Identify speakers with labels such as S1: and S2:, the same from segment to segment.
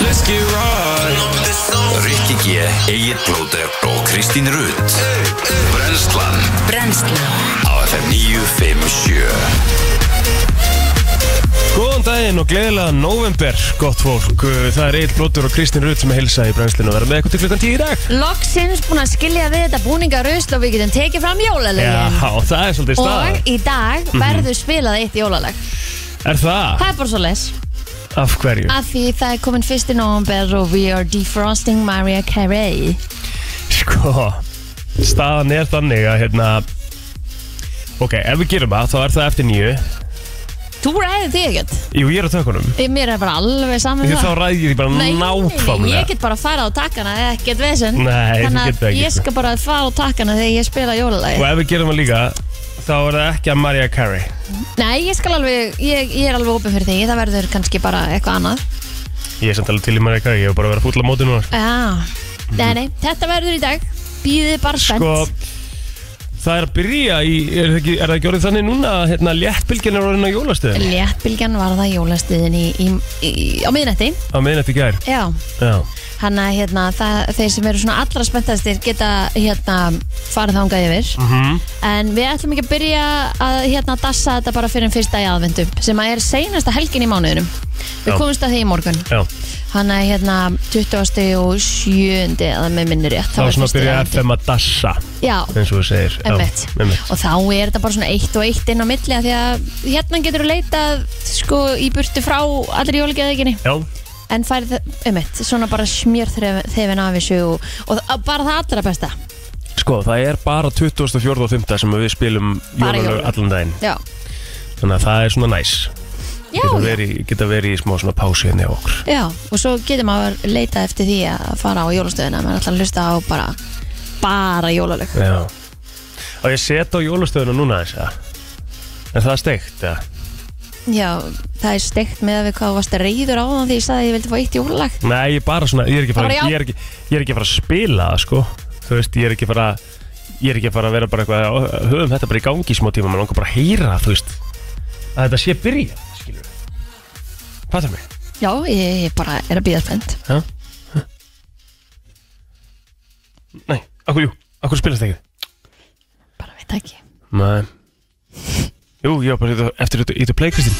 S1: ekki right
S2: Rikki G, Egil Blóter og Kristín Rutt Brenslan
S3: Brennslan
S2: á FM 957
S1: Góðan daginn og gleðilega november, gott fólk Uh, Það er Egil Blóttur og Kristín Rutt sem er hilsað í brennslinu og verða með ykkur til klukkan 10 í dag
S3: Loksins búin að skilja við þetta búningarusl og við getum tekið fram jólalögin
S1: Já, Mhm. það er svolítið
S3: Og
S1: staðan
S3: í dag verður spilað eitt jólalag
S1: Er það?
S3: Það er bara svo les
S1: Af hverju?
S3: Af því það er komin 1. november og we are defrosting Mariah Carey
S1: Sko, staðan er þannig að hérna Ok, ef við gerum það, þá er það eftir nýju
S3: Þú ræðir því ekkert
S1: Jú, ég er á tökunum
S3: Ég- Mér er bara alveg saman
S1: Því þá ræði ég því bara
S3: Nei,
S1: nákvæmlega
S3: ég get bara að fara á takkana eða ekkert vesen
S1: Nei, þú getur
S3: Þannig
S1: það
S3: að
S1: ekki,
S3: ég
S1: sko.
S3: skal bara fara á takkana þegar ég spila jólalagi
S1: Og ef við gerum það líka, þá er það ekki að Mariah Carey
S3: Nei, ég skal alveg, ég, ég er alveg opið fyrir því Það verður kannski bara eitthvað annað
S1: Ég er samt alveg til í Mariah Carey, ég hef bara verið að fúla móti núna sko.
S3: Já, nei, nei, þetta verður í dag Býðið bara spennt
S1: sko, það er að byrja í, er það ekki, er það ekki orðið þannig núna að hérna, léttbylgjan er orðin á jólastöðinni
S3: Léttbylgjan var það jólastuðin í, í, í, á miðnætti
S1: á meðinett í gær
S3: Já,
S1: já,
S3: hann að hérna, það, þeir sem eru svona allra spenntastir geta hérna, farið þangað yfir
S1: Mhm.
S3: En við ætlum ekki að byrja að hérna, dassa þetta bara fyrir en fyrsta í aðvendu sem að er seinasta helgin í mánuðinum Við
S1: Já.
S3: komumst að því í morgun
S1: já.
S3: Hann að hérna 27. eða með minni rétt
S1: þá
S3: var
S1: er svona
S3: fyrsti
S1: að
S3: í
S1: byrja
S3: aðventu.
S1: FM að dassa
S3: Já,
S1: eins og þú segir Já,
S3: Einmitt.
S1: einmitt.
S3: og þá er þetta bara svona eitt og eitt inn á milli af því að hérna getur þú leitað sko í burtu frá allri jólageðeginni
S1: já,
S3: en færið það um eitt, svona bara smjör þefin af þessu og, og það- bara það allra besta
S1: sko, það er bara 24. og 5. sem við spilum
S3: Bara
S1: jólalög
S3: jólalög.
S1: allan daginn
S3: Já,
S1: þannig að það er svona næs
S3: já,
S1: geta
S3: já,
S1: verið, geta verið í smá svona pási henni á okkur
S3: já og svo getur maður leitað eftir því að fara á jólastöðina maður ætlar að hlusta á bara bara jólalög
S1: já og ég set á jólastöðinu núna þess að en það er steikt, já
S3: Já, það er steikt með að við hvað þú varst reyður á þann því ég sagði að ég vildi fá eitt jólalag
S1: Nei, ég er bara svona, ég er ekki fara,
S3: Bara já.
S1: ég er ekki, ég er ekki fara að spila það, sko Þú veist, ég er ekki fara Ég er ekki fara að vera bara eitthvað "Ó, Höfum þetta bara í gangi í smá tíma, maður langar bara að heyra, þú veist Að þetta sé byrja, skilur við Fattar mig?
S3: Já, ég, ég bara er að býða spennt
S1: Ha? Ha? Nei, akkur, jú, akkur spilast það ekki
S3: bara veit það ekki
S1: Nei Jú, ég var bara að- eftir þetta, ítta play, Kristín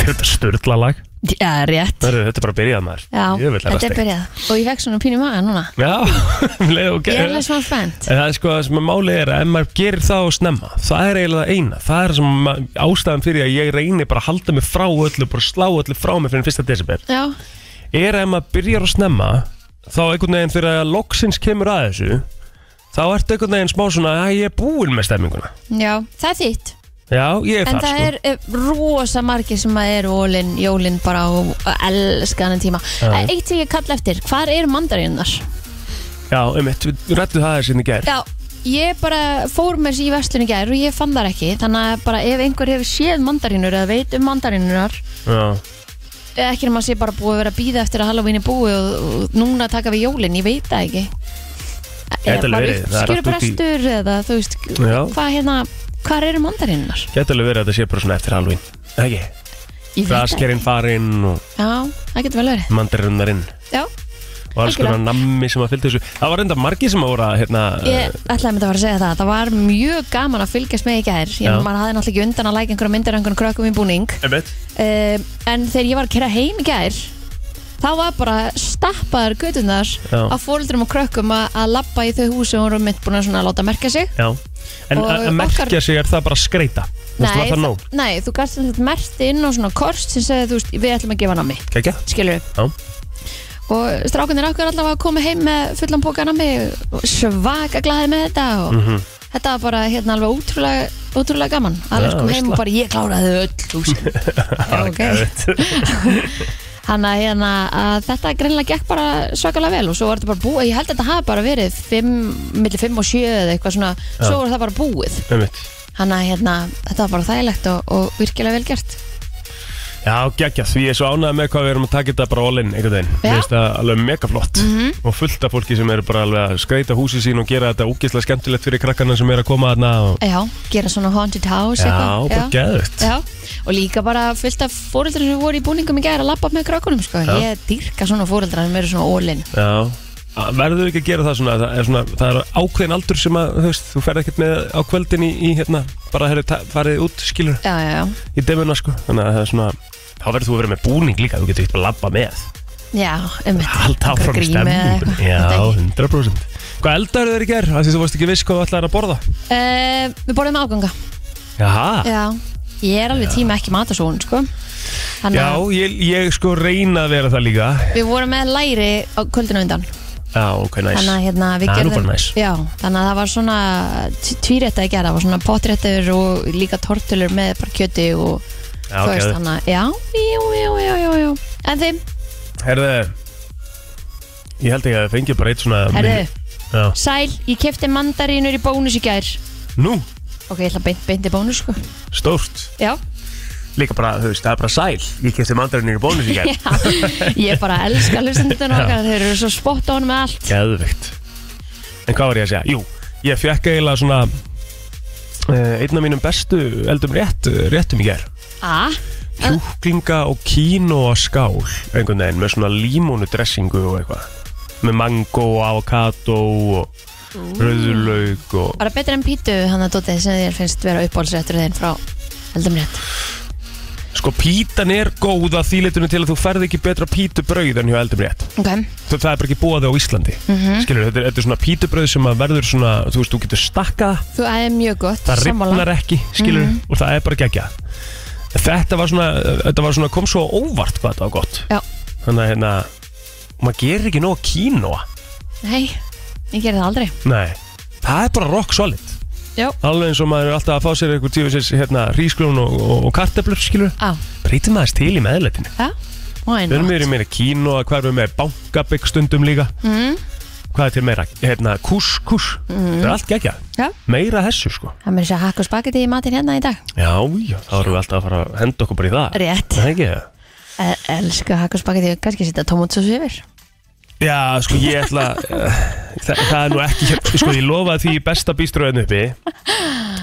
S1: Þetta er störla lag
S3: Já, rétt
S1: Heyrðu, Þetta er bara að byrjað maður
S3: Já,
S1: Ég vil
S3: þetta er byrjað Og ég fekk svona pínu maga núna
S1: Já, um leið
S3: Ég
S1: og
S3: er
S1: gerð
S3: alveg svona spennt
S1: En það er sko það sem að máli er að ef maður gerir það og snemma Það er eiginlega það eina Það er sem að- ástæðan fyrir að ég reyni bara að halda mig frá öllu Bara slá öllu frá mig fyrir fyrsta desember
S3: Já,
S1: Er að ef maður byrjar að snemma Þá einhvern veginn fyrir að loksins kemur að þessu Þá ertu einhvern veginn smá svona að ég er búinn með stemminguna
S3: já, það er þitt
S1: Já, ég er
S3: En
S1: þar
S3: það
S1: sko
S3: er eh, rosa margir sem að er ólinn, jólinn bara og elskan en tíma
S1: Já.
S3: Eh, Eitt sem ég kalla eftir, hvar eru mandarinnar?
S1: Já, um eitt, við rættu það þessi inn í gær
S3: Já, ég bara fór mér í verslun í gær og ég fann þar ekki Þannig að bara ef einhver hefur séð mandarinur eða veit um mandarinurnar
S1: Já,
S3: Eh, Ekki nema að sé bara búið að vera að býða eftir að Halloween er búið og, og núna taka við jólinn, ég veit það ekki
S1: Gæti alveg verið, það er allt út í-
S3: Skjörbrestur eða þú veist,
S1: Já.
S3: hvað hérna, hvað eru mandarinnar?
S1: gæti alveg verið að þetta sé bara svona eftir halvín Ekki,
S3: Ég veit það
S1: fraskerinn farinn og
S3: ekki. Já, það getur vel verið
S1: mandarinarinn
S3: Já,
S1: og alls konar nammi sem að fylgja þessu það var enda margi sem að voru að hérna,
S3: ég ætlaði mér að fara að segja það Það var mjög gaman að fylgjast með í gær Ég
S1: Já.
S3: maður hafði náttúrulega ekki undan að læka einhverja myndir af einhverjum krökkum í búning
S1: einmitt,
S3: uh, En þegar ég var að kera heim í gær Þá var bara stappaðar gödunar
S1: Já.
S3: á fóreldrum og krökkum að, að labba í þau húsi og voru mitt búin að svona láta merka sig
S1: já en
S3: Og
S1: að að merkja
S3: okkar-
S1: sig er það bara að skreita þú veist, var það nóg,
S3: þa- nei, þú gæst þetta merti inn á svona kort sem segði, þú veist, við ætlum að gefa nami
S1: kækja
S3: skilur
S1: Já.
S3: og strákunir okkar allavega komu heim með fullan póka nami svaka glaði með þetta og
S1: Mhm.
S3: þetta var bara hérna alveg ótrúlega ótrúlega gaman, Alex
S1: Já,
S3: kom heim
S1: veistla.
S3: og bara ég kláraði þau öll húsin Já, ok. hann að hérna að þetta greinlega gekk bara svakalega vel og svo var þetta bara búið, ég held að þetta hafi bara verið fimm, milli 5 og 7 eða eitthvað svona svo var það bara búið
S1: einmitt
S3: hann að hérna, þetta var bara þægilegt og, og virkilega vel gert
S1: Já, geggja, því ég er svo ánægð með hvað við erum að taka þetta bara all in einhvern veginn.
S3: Já. Mhm.
S1: Mér finnst það alveg mega flott og fullt af fólki sem eru bara alveg að skreita húsi sín og gera þetta úkislega skemmtilegt fyrir krakkana sem eru að koma þarna og...
S3: Já, gera svona haunted house
S1: Já,
S3: eitthvað.
S1: bara geðvögt.
S3: Já, og líka bara fullt af fóreldrar sem voru í búningum í gæri að labba með krakkunum sko.
S1: Já.
S3: Ég dýrka svona fóreldrar sem eru svona ólinn
S1: Já. Að- Verður ekki að gera það svona, það er, svona, það er ákveðin aldur sem að, þú veist, þú ferð ekkert með á kvöldin í, í hérna, bara herri, ta- farið út, skilur,
S3: Já, já, já
S1: í demuna, sko, þannig að það er svona, þá verður þú að vera með búning líka, þú getur ekkert bara að labba með,
S3: Já, um
S1: halda áfram stemningun, já, 100%. Hvað eldar þau í gerð, af því þú varst ekki viss hvað þú ætlaði að borða?
S3: uh, Við borðum afganga
S1: Jaha,
S3: Já, ég er alveg tíma ekki matasón sko. Þannig
S1: Já,
S3: að
S1: ég, ég sko reyna að vera það líka
S3: við vorum með læri á kvöldinu undan
S1: Já, ok, næs
S3: Þannig að hérna, við
S1: Það er nú
S3: gerðum
S1: bara næs.
S3: já, Þannig að það var svona tvírétta að gera Það var svona potréttur og líka tortulur með bara kjöti og
S1: Já,
S3: þú veist
S1: ok.
S3: þannig að Já, jú, jú, jú, jú, jú En þeim, hérna-
S1: Herðu Ég held ekki að það fengi bara eitt svona
S3: herðu,
S1: Já.
S3: sæl, ég kefti mandarínur í bónus í gær
S1: Nú,
S3: Ok, ég ætla að beint, beint í bónus sko
S1: stórt
S3: Já,
S1: Líka bara, þú veist, það er bara sæl Ég kefti mandarinn í bónus í gær
S3: ég bara elska hlustendurinn okkar Þeir eru svo spott á hann með allt
S1: Geðvikt En hvað var ég að segja? Jú, ég fekk eiginlega svona eh, Einn af mínum bestu eldum rétt, réttum í gær
S3: A,
S1: Kjúklinga og kínoa skál Einhvern veginn, með svona límónu dressingu og eitthvað Með mango og avocado og rauðlaug og
S3: bara betur en pítu hann að dótið sem þér finnst vera uppáhaldsréttur þinn frá Eldum rétt
S1: Sko pítan er góð að þýleitinu til að þú ferð ekki betra pítubrauð en hjá eldum rétt
S3: Ok,
S1: Þa- Það er bara ekki búið á Íslandi mm
S3: Mhm.
S1: Skilur, þetta er, þetta er svona pítubrauð sem að verður svona Þú veist, þú getur stakkað,
S3: þú æði mjög gott
S1: það
S3: sammála. Mhm.
S1: rifnar ekki Skilur, og það er bara geggja Þetta var svona, þetta var svona, kom svo á óvart hvað þetta var gott
S3: Já.
S1: Þannig að hérna, maður gerir ekki nóg kínoa
S3: Nei, ég gerði það aldrei
S1: Nei, það er bara rock solid
S3: Já.
S1: Alveg eins og maður er alltaf að fá sér einhver tíu sér hérna hrísgrjón og, og, og karteblur skilur
S3: Á,
S1: Breytum aðeins til í meðlætinu
S3: why
S1: Við erum
S3: not?
S1: meira í meira kínu og hvað erum við með bankabygg stundum líka
S3: Mm,
S1: Hvað er til meira? Hérna, kús, kús Það er allt gegja
S3: Já.
S1: Meira þessu sko
S3: Það mér sé að hakka og spagetti í matinn hérna í dag
S1: Já, já, þá erum við alltaf að fara að henda okkur bara í það
S3: Rétt,
S1: Það er ekki það
S3: e elsku hakka og spagetti og kannski setja tomatsós yfir
S1: Já, sko, ég ætla uh, það, það er nú ekki Sko, ég lofa því í besta bíströðin uppi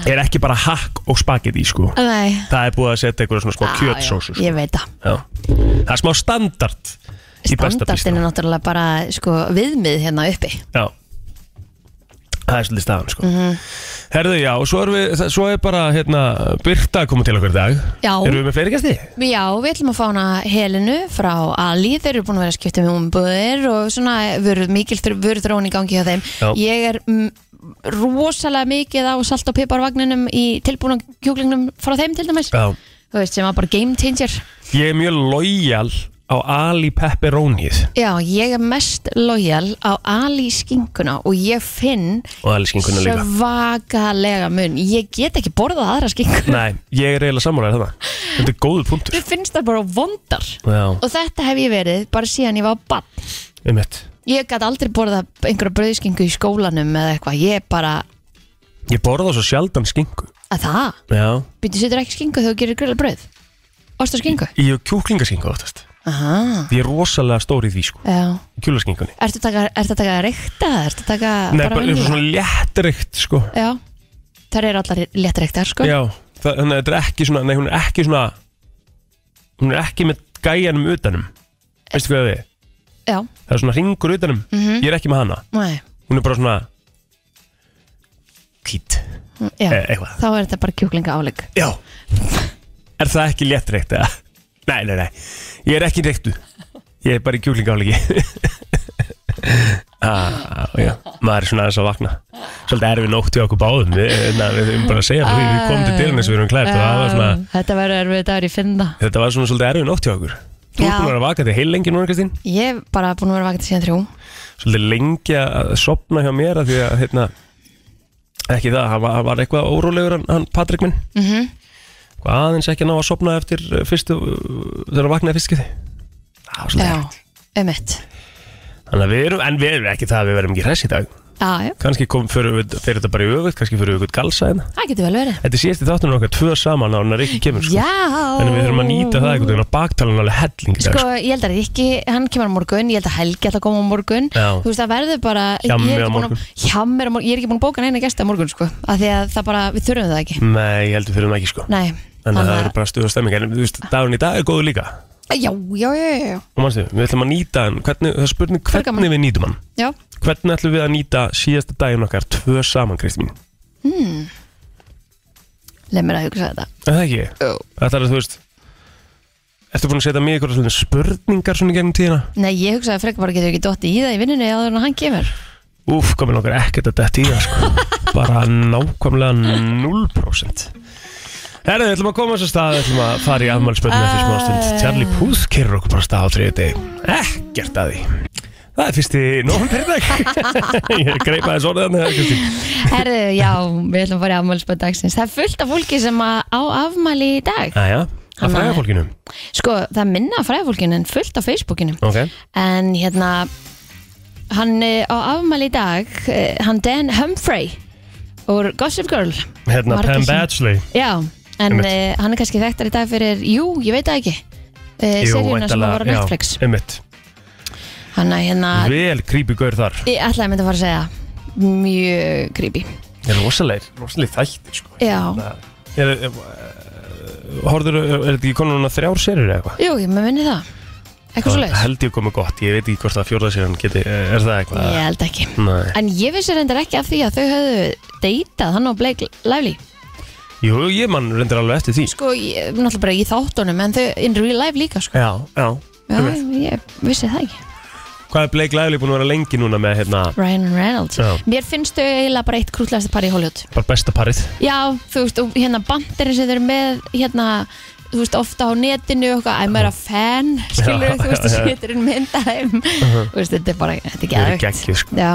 S1: Er ekki bara hakk og spagetti sko
S3: Nei,
S1: Það er búið að setja einhverja svona
S3: Ah,
S1: smá kjötsósu sko.
S3: Ég veit það
S1: Já. Það er smá standard í besta
S3: Standartin er
S1: bíströðin
S3: náttúrulega bara sko, viðmið hérna uppi
S1: Já Það er svolítið staðan sko
S3: Mhm.
S1: Herðu já, og svo er, við, það- svo er bara hérna, Birta að koma til okkur í dag
S3: Já.
S1: Erum við með fleiri gæsti?
S3: Já, við ætlum að fá hana Helenu frá Ali, þeir eru búin að vera að skipta með umbúðir og svona vörð, mikil vörð rón í gangi hjá þeim
S1: Já.
S3: Ég er mm, rosalega mikið á salt og piparvagninum í tilbúna kjúklingnum frá þeim til dæmis
S1: Já
S3: Þú veist, sem var bara game changer
S1: Ég er mjög lojal á Ali Pepperonið
S3: Já, ég er mest lojal á Ali skinkuna og ég finn
S1: og Ali skinkuna líka
S3: svakalega mun Ég get ekki borðað aðra skinkuna
S1: Nei, ég er eiginlega sammálaðið þetta Þetta er góðu punktur
S3: Mér finnst það bara vondar
S1: Já,
S3: og þetta hef ég verið bara síðan ég var bann
S1: um
S3: ég gæti aldrei borða einhverja brauðskingu í skólanum eða eitthvað, ég bara
S1: Ég borða svo sjaldan skinku
S3: að það,
S1: Já
S3: býttu setur ekki skingu þegar þú gerir grilla brauð ost og skingu
S1: Ég er kjúklingaskinku oftast
S3: Aha.
S1: Ég er rosalega stór í því sko
S3: já,
S1: Kjúlaskinkunni
S3: ertu að taka, ertu að taka reykta ertu að taka
S1: Nei, bara
S3: venjulega?
S1: eins og svona léttrygt sko
S3: já, þar eru allar léttreyktar sko
S1: Já, það, þannig að þetta er ekki svona Nei, hún er ekki svona Hún er ekki með gæjanum utanum Veistu hvað það er?
S3: já,
S1: Það er svona ringur utanum Ég er ekki með hana
S3: nei,
S1: Hún er bara svona Kít
S3: já.
S1: e Eitthvað
S3: þá er þetta bara kjúklinga áleik
S1: Já Er það ekki léttreikt eða? Nei, nei, nei Ég er ekki reyktu Ég er bara í kjúlingafleiki Ah, já, maður er svona aðeins að vakna Svolítið erfið nótt við okkur báðum Við, na, við erum bara að segja það, við, við komum til dyrun eins og við erum klært og það var svona
S3: Um, þetta verður erfið dagur í finna
S1: Þetta var svona svolítið erfið nótt hjá okkur Þú
S3: Já.
S1: ert búin að vera vaka þetta heil lengi núna Kristín
S3: ég er bara búin að vera vakið síðan þrjú
S1: Svolítið lengi að sopna hjá mér að Því að hérna Ekki það, hann var, hann var eitthvað órólegur hann, hann Patrik minn mm
S3: Mhm.
S1: -hmm. Aðeins ekki að ná að sopna eftir uh, fyrstu uh, Þegar að vaknaði fyrst skipti Það var svolítið
S3: já,
S1: erfitt.
S3: um mitt
S1: Þannig að við erum, en við erum ekki það að við verðum ekki hress í dag
S3: já, já,
S1: Kanski kom fyrir, fyrir þetta bara í öfugt, kannski fyrir öfugt galsa hérna.
S3: það getur vel verið
S1: Þetta er síðast í þáttunum okkar tvö saman á hann að Rikki kemur sko.
S3: Já
S1: Þannig við þurfum að nýta það einhvern veginn á baktalan alveg helling í dag,
S3: Sko, ég held að Rikki, hann kemur á morgun, ég held að Helgi ætla að koma á morgun
S1: Já.
S3: Þú veist, það verður bara ég er
S1: Hjammi
S3: ekki
S1: á
S3: búin að-
S1: morgun.
S3: Hjammi á morgun, ég er ekki búin að bóka neina gesta á morgun, sko Af því að það bara, við þurfum það ekki
S1: sko. Nei, ég heldur fyrir það ekki sko
S3: Nei,
S1: Þannig að það eru bara stuða stemming En þú veist, dagurinn í dag er góður líka
S3: Já, já, já, já, já,
S1: Og mannstu, við ætlum að nýta hann hvernig, Það er spurning
S3: er gaman.
S1: hvernig við nýtum hann
S3: já.
S1: Hvernig ætlum við að nýta síðasta daginn okkar Tvö saman, Kristi mín
S3: Leð mér að hugsa þetta
S1: Er það ekki?
S3: Jú.
S1: Það er að þú veist Ertu búin að setja mig ykkur svona spurningar svona í gegnum tíðina?
S3: Nei, ég hugsaði frekar bara getur ekki dotti í það í vinnunni áður en hann kemur
S1: Úf, komin okkar ekkert að detta í það sko Bara nákvæmlega 0% Herðu, við ætlum að koma þess að stað Við ætlum að fara í afmælspöldin eftir smá stund Charlie Puth kerur okkur bara af stað á þriði deg Ekkert að því Það er fyrst í nógum fyrir dag Ég greipa þess orðið hann Kristín
S3: Herðu, já, við ætlum að fara í afmælisböð dagsins Það er fullt af fólki sem að á afmæli í dag
S1: Æja, að fræða fólkinu
S3: Sko, það er minna fræðfólkinu en fullt á Facebookinu
S1: Ok,
S3: En hérna Hann eh, á afmæli í dag eh, Hann Dan Humphrey Úr Gossip Girl
S1: hérna
S3: Margir
S1: Pam
S3: sem-
S1: Batchley
S3: Já, en
S1: Einmitt.
S3: uh, hann er kannski þekktar í dag fyrir Jú, ég veit það ekki uh, Seríuna sem var á Netflix
S1: einmitt
S3: Hann er hérna
S1: Vel creepy gaur þar
S3: Ég ætlaði að mynda að fara að segja Mjög creepy
S1: Það er rosalegir, rosalegir þættir sko
S3: Já,
S1: Er, er, horfður, er þetta ekki konar núna þrjár serir eða eitthvað?
S3: jú, ég með minni það Eitthvað svo
S1: Það held ég komið gott, ég veit ekki hvort það fjórða síðan geti, eh, er það eitthvað?
S3: Ég held ekki
S1: Nei.
S3: En ég vissi reyndar ekki af því að þau höfðu deytað hann og Blake Lively
S1: Jú, ég mann reyndir alveg eftir því.
S3: Sko, ég, náttúrulega bara í þáttunum En þau in real life líka, sko
S1: Já, já.
S3: Já,
S1: einmitt.
S3: ég vissi það ekki
S1: Hvað er Blake Lively búin að vera lengi núna með hérna,
S3: Ryan Reynolds
S1: Já.
S3: Mér finnst þau eiginlega bara eitt krútlegasta par í Hollywood
S1: bara besta parið?
S3: Já, þú veist, og hérna bandirinn sem þau eru með hérna, þú veist, ofta á netinu og eitthvað, I'm a fan skilur,
S1: Já,
S3: þú veist, þú
S1: já, já. Uh-huh.
S3: setur inn myndaðum þú veist, þetta er bara, þetta er
S1: Þau eru
S3: geðvegt
S1: geggjuð, sko.
S3: Já,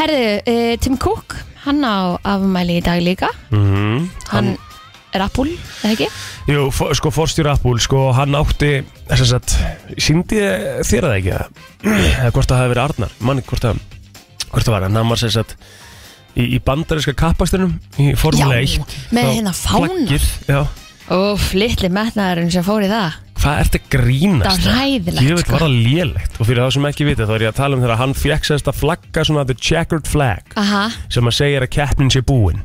S3: herðu, uh, Tim Cook hann á afmæli í dag líka
S1: Mhm.
S3: hann er Apple, eða ekki?
S1: Jú, for, sko, forstjóra Apple, sko, hann átti, þess að, síndi þér það ekki það? Eða hvort það hafi verið Arnar, manni, hvort það, hvort það var, en hann var, þess að, í, í bandarinska kappastunum, í Formule 1.
S3: með
S1: þá
S3: hérna fánar.
S1: plaggið, Já,
S3: Óf, litli metnaðurinn sem fór í það
S1: Hvað ert að grínast?
S3: Það var hræðilegt,
S1: Ég veit,
S3: sko.
S1: var það lélegt Og fyrir þá sem ekki vita þá er ég að tala um þegar hann fekk sérst að flagga svona the checkered flag
S3: Aha,
S1: sem að segja að keppnin sé búin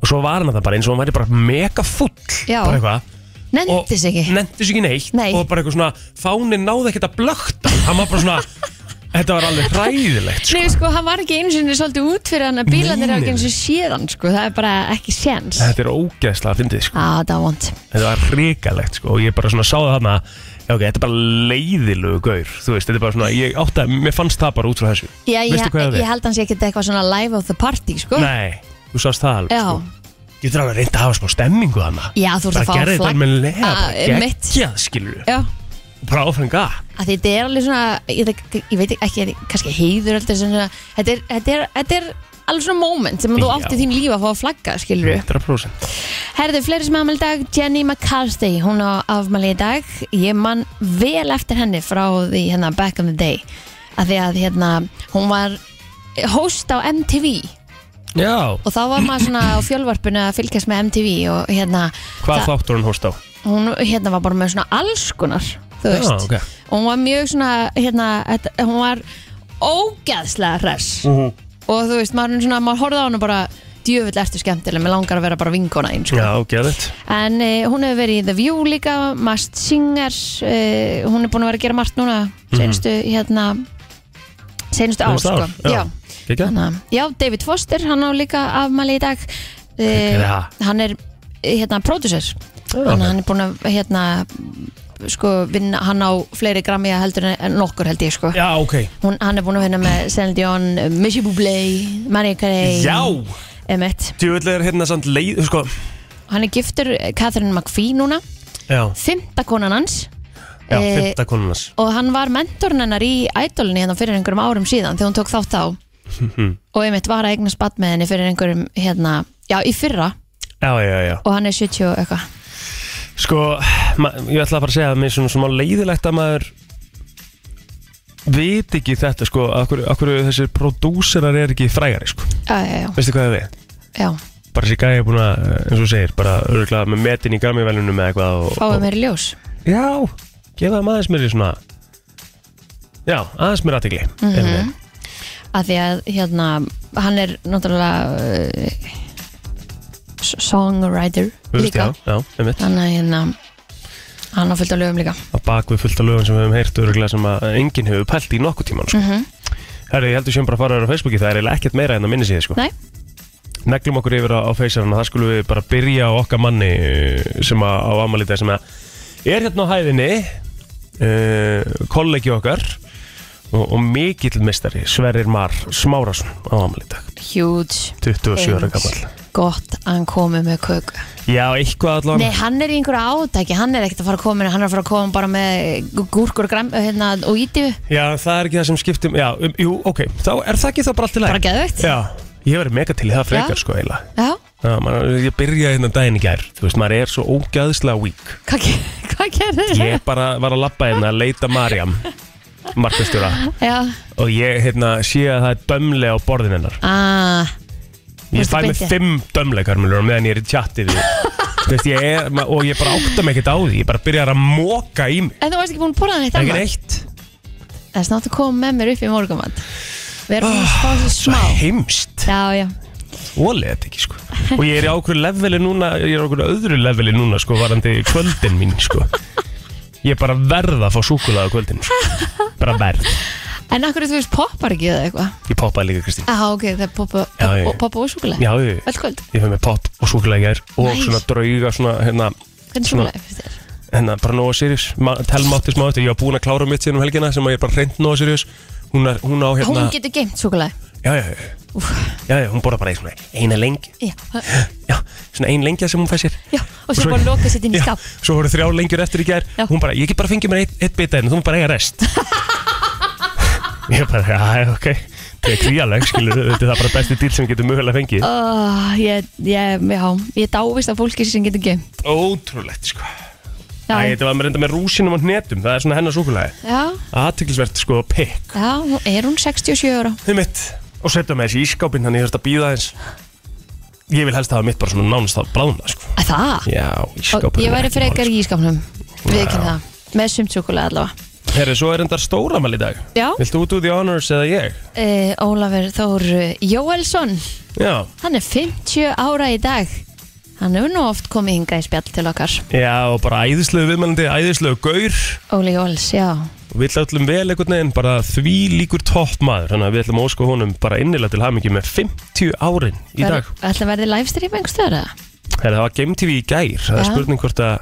S1: og svo var hann það bara eins og hann væri bara mega full
S3: Já.
S1: bara eitthvað og
S3: nefndis ekki
S1: nefndis ekki neitt
S3: Nei.
S1: og bara eitthvað svona fánin náði ekkert að blökta hann var bara svona Þetta var alveg hræðilegt sko.
S3: Nei, sko, hann var ekki einu sinni svolítið út fyrir hann að bílarnir
S1: Nei,
S3: er ekki
S1: nei.
S3: einu sinni séðan, sko, það er bara ekki séns Já,
S1: Þetta er ógeðslega að fyndið sko.
S3: það var vond
S1: Þetta var hrikalegt sko og ég bara svona sáði þarna Já ok, þetta er bara leiðilegu gaur Þú veist, þetta er bara svona, ég átti að, mér fannst það bara út frá þessu
S3: Já, ég,
S1: Veistu hvað það er?
S3: ég held hans ekki eitthvað svona live of the party, sko
S1: Nei, þú sást það alveg
S3: Já,
S1: Getur alveg reynda að hafa smá stemmingu þannig
S3: Já, þú ert að fá
S1: Það gerði þetta
S3: flagg-
S1: alveg lega
S3: Ah, einmitt.
S1: Geggjað skilur við
S3: já
S1: Bara áfenga
S3: að því þetta er alveg svona, ég, þek- ég veit ekki, kannski heiður alltaf svona, þetta er, þetta er, þetta er alveg svona moment sem þú
S1: Já.
S3: átt í þín líf að fá að flagga, skilur við.
S1: 100%
S3: Herðu, fleiri sem afmæli í dag, Jenny McCarthy, hún á afmæli í dag, ég man vel eftir henni frá því hérna back in the day, að því að hérna, hún var host á MTV
S1: Já
S3: og þá var maður svona á fjölvarpinu að fylgjast með MTV og hérna,
S1: Hvað þáttur hún hóst á?
S3: hún hérna var bara með svona allskunar þú veist,
S1: ok.
S3: og hún var mjög svona hérna, þetta- hún var ógeðslega hress
S1: -huh.
S3: og þú veist, maður, er svona, maður horfði á hún og bara djöfull ertu skemmtileg, mér langar að vera bara vinkona eins
S1: Já, geðið
S3: en e, hún hefur verið í The View líka Mast Singer e, hún er búin að vera að gera margt núna
S1: Mhm.
S3: senstu, hérna senstu ár, sko
S1: Já, gekkja
S3: Þannig, að- já, David Foster, hann á líka afmæli í dag e,
S1: Geggjað.
S3: Hann er eh, hérna, producer Þannig að hann er búinn að hérna, sko, vinna, hann á fleiri grammi heldur en- en nokkur held ég sko.
S1: Já, ok
S3: Hún, hann er búinn að vinna með Celine Dion, Missy Bublé, Maria Carey
S1: Já
S3: Emmett.
S1: Djúvill er hérna samt leið, sko
S3: Hann er giftur eh, Catherine McPhee núna
S1: Já,
S3: Fymta konan hans
S1: já,
S3: Eh,
S1: fyrta konunars
S3: og hann var mentorinn hennar í ædolni hérna fyrir einhverjum árum síðan þegar hún tók þátt á og einmitt var að eigna spatt með henni fyrir einhverjum hérna, já, í fyrra
S1: Já, já, já
S3: og hann er 70 og eitthvað
S1: Sko, ma- ég ætla að fara að segja að mér er svona smá leiðilegt að maður veit ekki þetta sko Akkur, akkur þessir prodúserar er ekki frægari sko
S3: já, já, já,
S1: Veistu hvað það er?
S3: já,
S1: Bara þessi gæja er búin að, eh, eins og þú segir Bara örgulega með metin í gamivelunum eða eitthvað og,
S3: fáið
S1: og,
S3: mér í ljós
S1: Já, gefa það aðeins mér í svona Já, aðeins mér aðtegli mm -hmm.
S3: að Mhm. því að hérna hann er náttúrulega uh, songwriter líka
S1: Já, já, einmitt
S3: þannig að hérna hann á fullt af lögum líka
S1: á bak við fullt af lögum sem við hefum heyrt öruglega sem að enginn hefur pælt í nokkuð tíman sko.
S3: Mhm.
S1: Herri, ég heldur sem bara að fara þér á Facebooki það er eiginlega ekkert meira en að minni síði sko.
S3: Mm. Nei.
S1: Neglum okkur yfir á, á Facebooki það skulum við bara byrja á okkar manni eh, sem að, á amalita sem að er hérna á hæðinni uh, kollegi okkar og, og mikill mistari Sverrir Mar Smárasson á amalita
S3: huge
S1: 27 ára
S3: Eins
S1: gammal
S3: gott að hann komi með köku
S1: Já, eitthvað allan
S3: Nei, hann er í einhverju átæki, hann er ekkert að fara að koma hann er að fara að koma bara með gúrkur og græm, hérna, og íti
S1: Já, það er ekki það sem skiptum Já, um, jú, ok, þá er það ekki þá bara allt í
S3: bara
S1: lagi
S3: geðveikt
S1: Já, ég hef verið mega til í það frekar
S3: Já.
S1: sko eiginlega
S3: Já,
S1: Já, maður, ég byrjaði hérna daginn í gær Þú veist, maður er svo ógæðslega vík
S3: hvað, ge- hvað gerði þér?
S1: Ég bara var að labba hérna að leita Marjam Markastjóra
S3: Já,
S1: Og ég hérna, sé að það er dömle á borðin hennar
S3: aaa,
S1: Ég
S3: Varstu
S1: fæ með
S3: beinti?
S1: fimm dömle karmelur meðan ég er í tjatti við Þú veist, ég er, ma- og ég bara átta mig ekkert á því Ég bara byrjaði að móka í mig
S3: en þú varst ekki búin að borða neitt
S1: Ekki
S3: annað
S1: neitt
S3: Það er snátt að koma með mér upp í morgumann Við erum búin að
S1: Ah,
S3: spá þessu
S1: Svo
S3: smá
S1: heimst
S3: Já, já,
S1: Ólið þetta ekki, sko Og ég er í ákveður leveli núna Ég er í ákveður öðru leveli núna, sko Varandi kvöldin mín, sko Ég er bara verð að fá súkulega á kvöldin, sko Bara verð
S3: en akkur þú veist poppar ekki eða eitthvað
S1: Ég poppaði líka Kristín
S3: Já, ok, það er poppa,
S1: Já, já.
S3: poppa, poppa og súkulega
S1: Já, ég,
S3: Öll kvöld,
S1: ég fæði með pop og súkulega gær og
S3: Nice.
S1: svona drauga svona hérna,
S3: hvernig
S1: Svona-
S3: súkulega finnst þér?
S1: hérna bara Nóa Sirius, Ma- Telma átti smá eftir ég var búin að klára mitt síðan um helgina sem að ég er bara reynd Nóa Sirius hún, er, hún á hérna
S3: Hún getur geimt súkulega
S1: já, já, já, já, já, hún borða bara í svona eina lengi
S3: Já,
S1: já, svona ein lengja sem hún fæ sér
S3: já, og svo bara loka sér inn í
S1: já,
S3: skáp
S1: svo voru þrjá lengjur eftir í gær
S3: Já.
S1: hún bara, ég get bara fengið mér eitt, eitt bita en þú mátt bara eiga rest ég bara, já, já, ok það er kvíaleg, skilur, þetta er það bara besti dýl sem við getum mögulega fengið
S3: Oh, ég, ég, já, ég dávist af fólki sem getur geimt
S1: ótrúlegt, sko
S3: Já,
S1: Æ, þetta var með reynda með rúsinum og hnetum, það er svona hennar súkulæði
S3: já,
S1: Aðtiklisvert sko, pikk
S3: já, nú er hún 67 ára
S1: Þið mitt Og setja með þessi í ískápinn, þannig ég þurft að býða eins Ég vil helst hafa mitt bara svona nánast að blána sko.
S3: Að Það,
S1: Já,
S3: og
S1: ískápinn
S3: ég
S1: er
S3: væri
S1: ekki
S3: frekar
S1: mál,
S3: í ískapnum Við ekki það, með sumtsúkulega allavega
S1: sko. Herri, svo er endar stóramæl í dag
S3: Já,
S1: Viltu út úr The Honors eða ég?
S3: uh, Ólafur Þór Jóelsson
S1: Já,
S3: Hann er 50 ára í dag Hann hefur nú oft komið hingað í spjall til okkar
S1: já og bara æðislegu viðmælandi, æðislegu gaur
S3: Óli Jóels, já
S1: Við ætlum vel einhvern veginn bara því líkur toppmaður Þannig að við ætlum að óska honum bara innilega til hamingi með 50 árin í dag
S3: Ætla að verði livestream einhverstaður eða?
S1: Herra, það var Game TV í gær Það
S3: Já.
S1: er spurning hvort að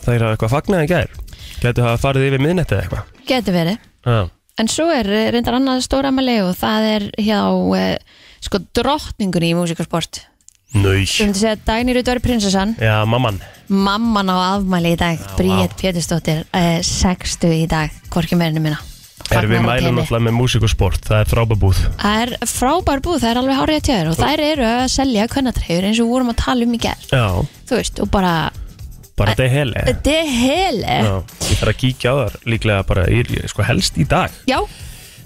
S1: það er eitthvað fagnað í gær Gætu hafa farið yfir miðnætti eða eitthvað
S3: Geti verið
S1: Já,
S3: En svo er eh, reyndar annað stóra amali og það er hjá eh, sko drottningunni í músikasport Þú
S1: nöy
S3: myndi segja Dagný Rutveri prinsessan
S1: Já, mamman
S3: Mamman á afmæli í dag Bríett Pétursdóttir eh, Sextu í dag, hvorki meirinu minna
S1: Herra, við
S3: Fagnar
S1: mælum
S3: hátíðinni.
S1: náttúrulega með músík og sport Það er frábabúð
S3: Það er frábær búð, það er alveg hárið að tjöður og þær eru að selja kvennatreifur eins og við vorum að tala um í gerð
S1: Já,
S3: Þú veist, og bara,
S1: bara þetta er heli
S3: þetta er hele
S1: Já, ég þarf að kíkja á þar líklega bara í, sko, helst í dag
S3: Já,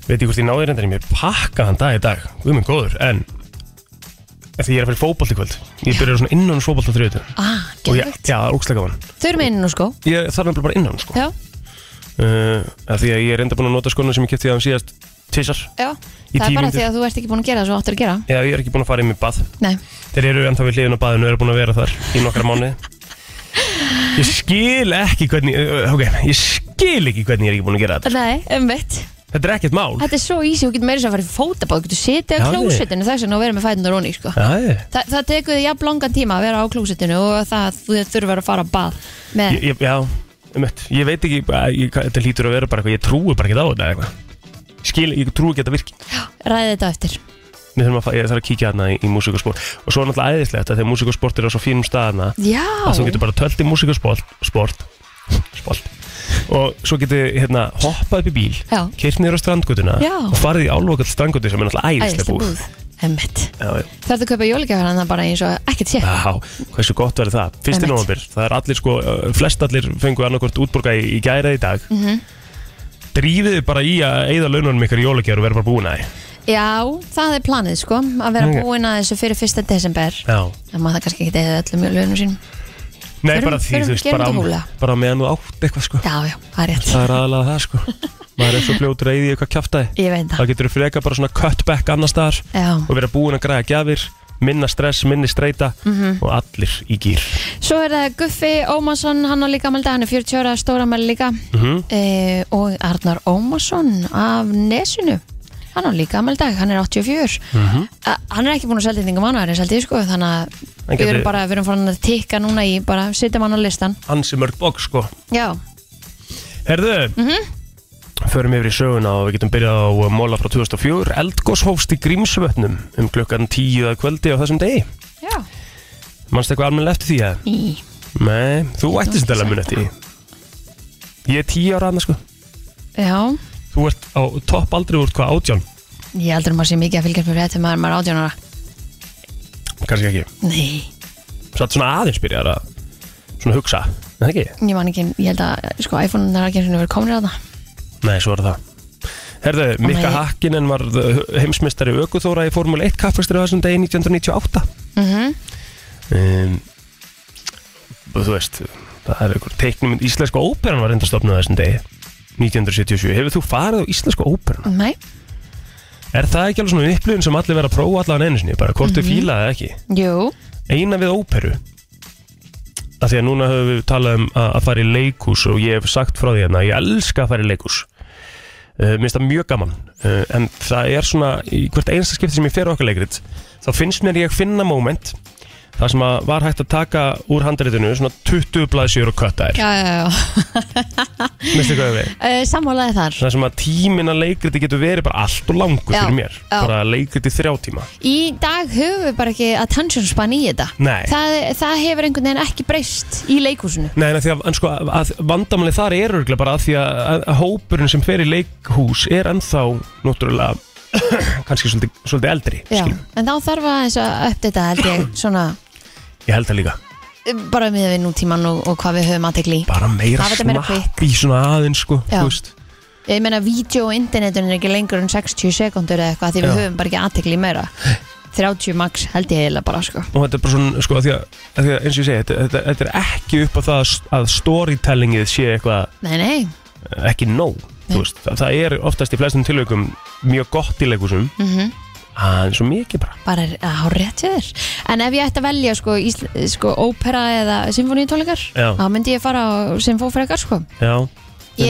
S1: Veit ég hvort ég náði reyndar í mér pakkaðan dag í dag Guð minn góður, en Því ég er að fyrir fótbolt í kvöld Ég byrjar svona innan fótbolt á þriðutum
S3: ah,
S1: Og ég,
S3: geðvögt
S1: já, úkslega gaman
S3: Þau eru með inn nú sko
S1: Ég þarf nefnilega bara innan, sko
S3: Já,
S1: uh, af Því að ég er enda búin að nota skona sem ég kipti aðeins síðast Tissar
S3: já, það er
S1: Í tíu
S3: bara
S1: mínútur.
S3: því að þú ert ekki búin að gera það svo áttur að gera
S1: Já, ég er ekki búin að fara í mig bað
S3: Nei,
S1: Þeir eru ennþá við hliðin á baðinu og eru búin að vera þar í nokkra mánuði Ég skil ekki hvernig uh, Ok, ég skil ekki hvernig ég er ekki búin að gera þetta
S3: Nei umvitt
S1: Þetta er ekkert mál
S3: Þetta er svo easy, þú getur meira sem að fara í fótabáð Þú getur setið
S1: Já,
S3: á
S1: við.
S3: klósettinu þess vegna og verið með fætundur onni sko.
S1: Já, ég-
S3: Þa, Það tekur þið jafn langan tíma að vera á klósettinu og það þú þurfur að fara að bað með,
S1: ég, ég, já um Ég veit ekki, að ég, hvað- þetta hlýtur að vera bara eitthvað Ég trúi bara ekki á þetta eða eitthvað Skil, ég trúi ekki að þetta virki
S3: ræði þetta eftir
S1: Mér þurfum að, fa- ég þarf að kíkja hana í, í músíkasport Og svo er náttúrulega æðislegt að þegar músíkasport er á svo fínum staðana
S3: Já,
S1: að þú getur bara tölt í músíkasport sport, sport og svo getur hérna hoppað upp í bíl
S3: Já.
S1: keyrt niður á strandgutuna
S3: Já.
S1: og farið í álokall strandgutu sem er náttúrulega æðislega
S3: æðislega
S1: búð
S3: búð Einmitt.
S1: Já, já.
S3: Það ertu að kaupa jólagjafar en það bara eins og ekkert sé
S1: Já, hversu gott verður það fyrsti
S3: Einmitt. Mhm.
S1: nóvambir, það er allir sko uh, flest allir fengu annarkvort útborga í, í gæra í dag mm drífið þið bara í að eigða laununum ykkur í jólagjör og vera bara búin að því
S3: Já, það er planið sko að vera
S1: Ok.
S3: búin að þessu fyrir 1. desember
S1: Já.
S3: það maður það kannski ekki eða öllum í launum sínum
S1: Nei,
S3: Förum-
S1: bara því,
S3: förum-
S1: þú veist,
S3: gerum
S1: bara,
S3: þetta hóflega.
S1: á- bara á meðan þú átt eitthvað sko
S3: Já, já, það er rétt
S1: Það er aðalega það sko Maður er svo fljótur að eyða í eitthvað kjaftaði
S3: Ég veit það
S1: Það getur þú freka bara svona cutback annars staðar
S3: Já.
S1: og vera búin að græða gjafir minna stress, minni streita
S3: Mhm.
S1: og allir í gýr
S3: Svo er það Guffi Ómarsson, hann á líka mælda, hann er 40 ára, stóra mæli líka
S1: mm -hmm.
S3: e, og Arnar Ómarsson af Nesinu hann á líka mælda, hann er 84 A, hann er ekki búin að selja þingum mánuðarins held ég sko, þannig
S1: Hann
S3: að við
S1: gæti-
S3: erum bara, við erum farin að tikka núna í, bara setjum hann á listan
S1: Ansi mörg bók sko
S3: Já,
S1: Herðu,
S3: Mhm.
S1: förum yfir í söguna og við getum byrjað á uh, móla frá 2004 Eldgós hófst í Grímsvötnum um klukkan 10 að kvöldi á þessum degi
S3: já
S1: Manstu eitthvað almennilega eftir því að?
S3: Í.
S1: Nei, þú ættist þetta almennilega eftir því Ég er 10 ára aðna sko
S3: Já,
S1: Þú ert á topp aldrei úr hvað átján
S3: ég heldur að maður sé mikið að fylgjast með fréttum maður maður átjónara
S1: Kanski ekki
S3: Nei,
S1: Satt svona aðeins byrjar að svona hugsa Er Það ekki?
S3: ég man ekki, ég held að sko iPhone-un er ekki einu sinni verið komin að það
S1: Nei, svo er það Herðu, Mikka
S3: nei.
S1: Hakkinen var heimsmystari aukuþóra í Formule 1 kappakstri á þessum degi 1998
S3: mm -hmm.
S1: um, og Þú veist, það er einhver teiknumynd Íslenska óperan var reynda stopnuð á þessum degi 1977, hefur þú farið á Íslenska óperan?
S3: Nei,
S1: Er það ekki alveg svona upplifun sem allir vera að prófa allan einu sinni, bara hvort þau mm
S3: Mhm.
S1: fílaði ekki
S3: jú,
S1: Eina við óperu að Því að núna höfum við talað um að, að fara í leikús og ég hef sagt frá því hérna að ég elska að fara í leikús uh, Mér finnst það mjög gaman uh, En það er svona, í hvert einsta skipti sem ég fer á okkar leikrit Þá finnst mér ég finna moment Það sem að var hægt að taka úr handritinu Svona 20 blaðsjör og kötta þær
S3: já, já, já
S1: Minnstu hvað ég við?
S3: uh, Sammálaði þar
S1: Það sem að tímin að leikriti getur verið bara allt og langur
S3: Já,
S1: fyrir mér
S3: já.
S1: Bara leikriti þrjá tíma
S3: Í dag höfum við bara ekki attention span í þetta
S1: Nei
S3: það, það hefur einhvern veginn ekki breyst í leikúsinu
S1: Nei, en, að því að, en sko, að vandamalið þar er örgulega bara að því að, að, að hópurinn sem fer í leikhús er ennþá náttúrulega kannski svolítið, svolítið eldri
S3: Já,
S1: skilur.
S3: en þá þarf að þess að uppdata held ég svona
S1: Ég held það líka
S3: eh, bara með við nútíman og, og hvað við höfum aðtekli í
S1: Bara meira
S3: Hafa þetta meira
S1: snapp í svona aðeins sko,
S3: Já.
S1: þú veist.
S3: Ég meina, vídeo og internetun er ekki lengur en 60 sekundur eða eitthvað því við
S1: Já.
S3: höfum bara ekki aðtekli meira 30 max held ég eiginlega bara sko
S1: Og þetta er bara svona sko, að því að, að því að eins og ég segi þetta, þetta, þetta er ekki upp á það að s- að storytellingið sé eitthvað
S3: Nei, nei,
S1: eh, ekki nóg
S3: Nei.
S1: þú veist. Það- Það er oftast í flestum tilvægum mjög gott í leikhúsum
S3: mm
S1: aðeins og mikið bara
S3: bara er að há rétt hjá þér En ef ég ætti að velja sko, ísl, sko ópera eða symfóníutónleikar
S1: Já.
S3: þá myndi ég fara á symfófrekar sko
S1: Já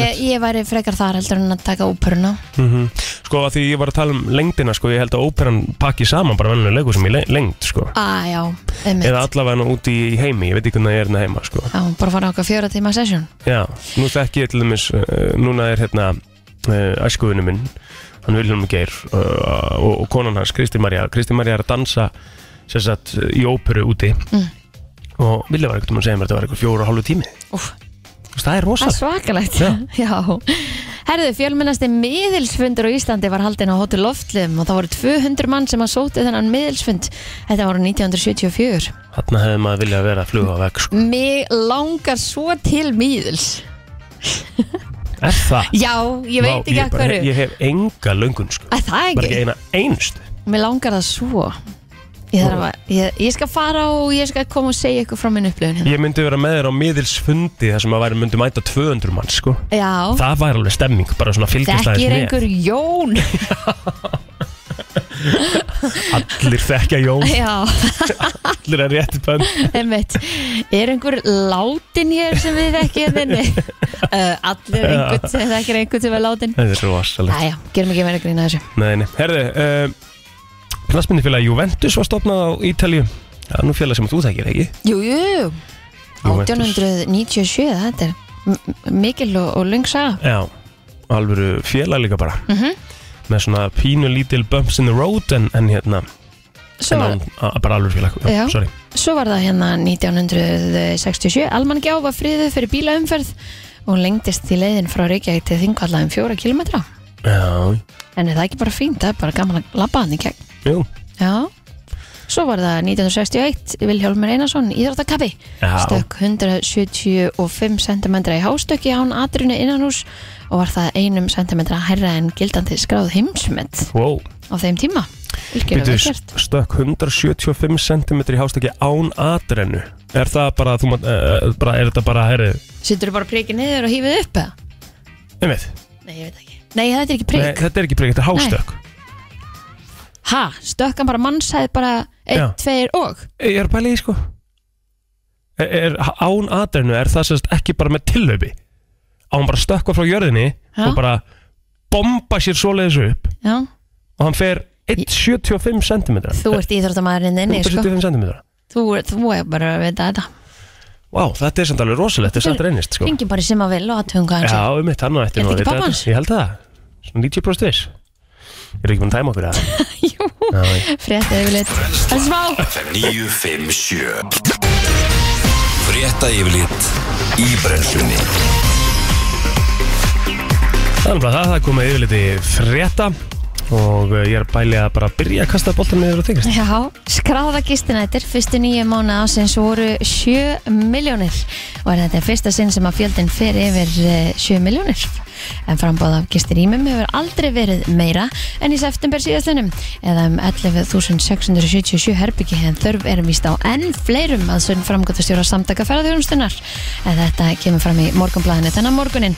S3: ég, ég væri frekar þar heldur en að taka óperuna
S1: Mm Sko að því ég var að tala um lengdina sko, ég held að óperan pakki saman bara vennilega leikur sem í le- lengd sko.
S3: Á, já, Ah, einmitt
S1: eða allavega nú úti í heimi, ég veit ekki hvernig það er hérna heima sko.
S3: Já, bara fara á okkar fjóra tíma session
S1: Já, nú þekki ég til dæmis uh, núna er hérna uh, æskuðinu minn, hann Vilhelm Geir uh, og, og konan hans, Kristi Marja Kristi Marja er að dansa sem sagt, í óperu úti
S3: Mm.
S1: og vilja var eitthvað að segja mér að þetta var eitthvað fjóra og hálfu tími
S3: Úf,
S1: Þú veist, það er
S3: það er
S1: rosalega
S3: svakalegt
S1: Já.
S3: Já Herðu, fjölmennasti miðilsfundur á Íslandi var haldinn á Hotel Loftlum og það voru 200 mann sem að sóti þennan miðilsfund Þetta voru 1974
S1: Þarna hefði maður viljað vera að fluga á veg sko.
S3: Mig langar svo til miðils
S1: Er það?
S3: Já, ég veit
S1: Vá,
S3: ekki
S1: ég,
S3: að
S1: bara-
S3: hverju
S1: ég hef enga löngun sko.
S3: Að Það
S1: bara ekki
S3: ekki,
S1: eina einst
S3: mig langar það svo Ég, þarf að, ég, ég skal fara og ég skal koma og segja ykkur frá minn upplöfun hérna.
S1: Ég myndi vera með þér á miðilsfundi þar sem að væri myndi mæta 200 mann sko.
S3: Já,
S1: Það væri alveg stemming, bara svona fylgjast aðeins
S3: þekkir
S1: með
S3: einhver Jón
S1: Allir þekkja Jón,
S3: Já
S1: allir er rétti bönn
S3: Einmitt. Er einhver látin hér sem við ekki þenni? Uh, allir einhvern sem þekkir einhvern sem er látin
S1: Það er rosalegt
S3: Jæja, gerum ekki meira grína þessu
S1: Nei, nei, herði uh, Knastmyndifélagi Juventus var stofnað á Ítalíu Það er nú félag sem þú þekkir ekki
S3: Jú, jú, jú.
S1: Juventus.
S3: 1897, þetta er m- m- mikil og, og lung saga
S1: Já, alvöru félag líka bara
S3: Mhm.
S1: Með svona pínu lítil bumps in the road En, en hérna,
S3: svo,
S1: en án, a, bara alvöru félag
S3: Já.
S1: sorry
S3: svo var það hérna 1967 Almangjá var friðu fyrir bílaumferð og lengdist í leiðin frá Reykjavík til þingvallaðum fjóra kilometra
S1: Já,
S3: en er það ekki bara fínt, það er bara gaman að labba hann í gegn
S1: jú
S3: Já, Svo var það 1961 Vilhjálmur Einarsson, íþróttakappi
S1: Já.
S3: stökk 175 cm í hástökki án atrinu innanhús og var það einum sentimetra hærra en gildandi skráð heimsmet
S1: Wow.
S3: á þeim tíma Vilkjör
S1: Bíddu,
S3: vel gert
S1: stökk 175 cm í hástökki án atrennu er það bara, þú, mátt, uh, bara er þetta bara herri
S3: Sýttur bara prikið niður og hífið upp eða?
S1: einmitt,
S3: Nei, ég veit ekki Nei, þetta er ekki
S1: Nei,
S3: prik
S1: þetta er ekki prik, þetta er hástökk
S3: Ha, stökkan bara mannsæði bara
S1: Já.
S3: 1, 2 og
S1: ég er bælið í sko er, er án atrennu er það sérst ekki bara með tillöpi á hann bara stökkva frá jörðinni
S3: Já.
S1: og bara bomba sér svoleiðis upp
S3: Já,
S1: og hann fer 1,75 cm
S3: þú ert íþróttamæðurinn
S1: Eh,
S3: inni, sko
S1: 175 cm
S3: Þú, þú er bara að vita þetta
S1: Vá, þetta er samt alveg rosalegt, þetta er samt reynist sko.
S3: Ringi bara í sem að vil og aðtöfum hvað hann
S1: Já,
S3: segir
S1: um mitt, hann á
S3: Er
S1: eftir
S3: þetta ekki
S1: nú að vita
S3: pabbi
S1: þetta.
S3: hans?
S1: Ég held það, svona 90% viss Ég er ekki búin að tæma okkur að
S3: Jú, frétta yfirleitt Það er smá
S2: 957 Frétta yfirlit í brennslunni
S1: Þannig að það, það komið yfirleiti frétta og eh, ég er bælið að bara byrja að kasta boltan niður og þykast
S3: Já, skráða gistinættir fyrstu nýju mánu ásins voru 7 miljónir og er þetta fyrsta sinn sem að fjöldin fer yfir eh, 7 miljónir en frambáð af gistirýmum hefur aldrei verið meira en í september síðastunum eða um 11.677 herbyggi en þörf er víst á enn fleirum að sunn framgötastjóra samtaka ferðarþjónustunar en þetta kemur fram í morgunblæðinu þennan morgunin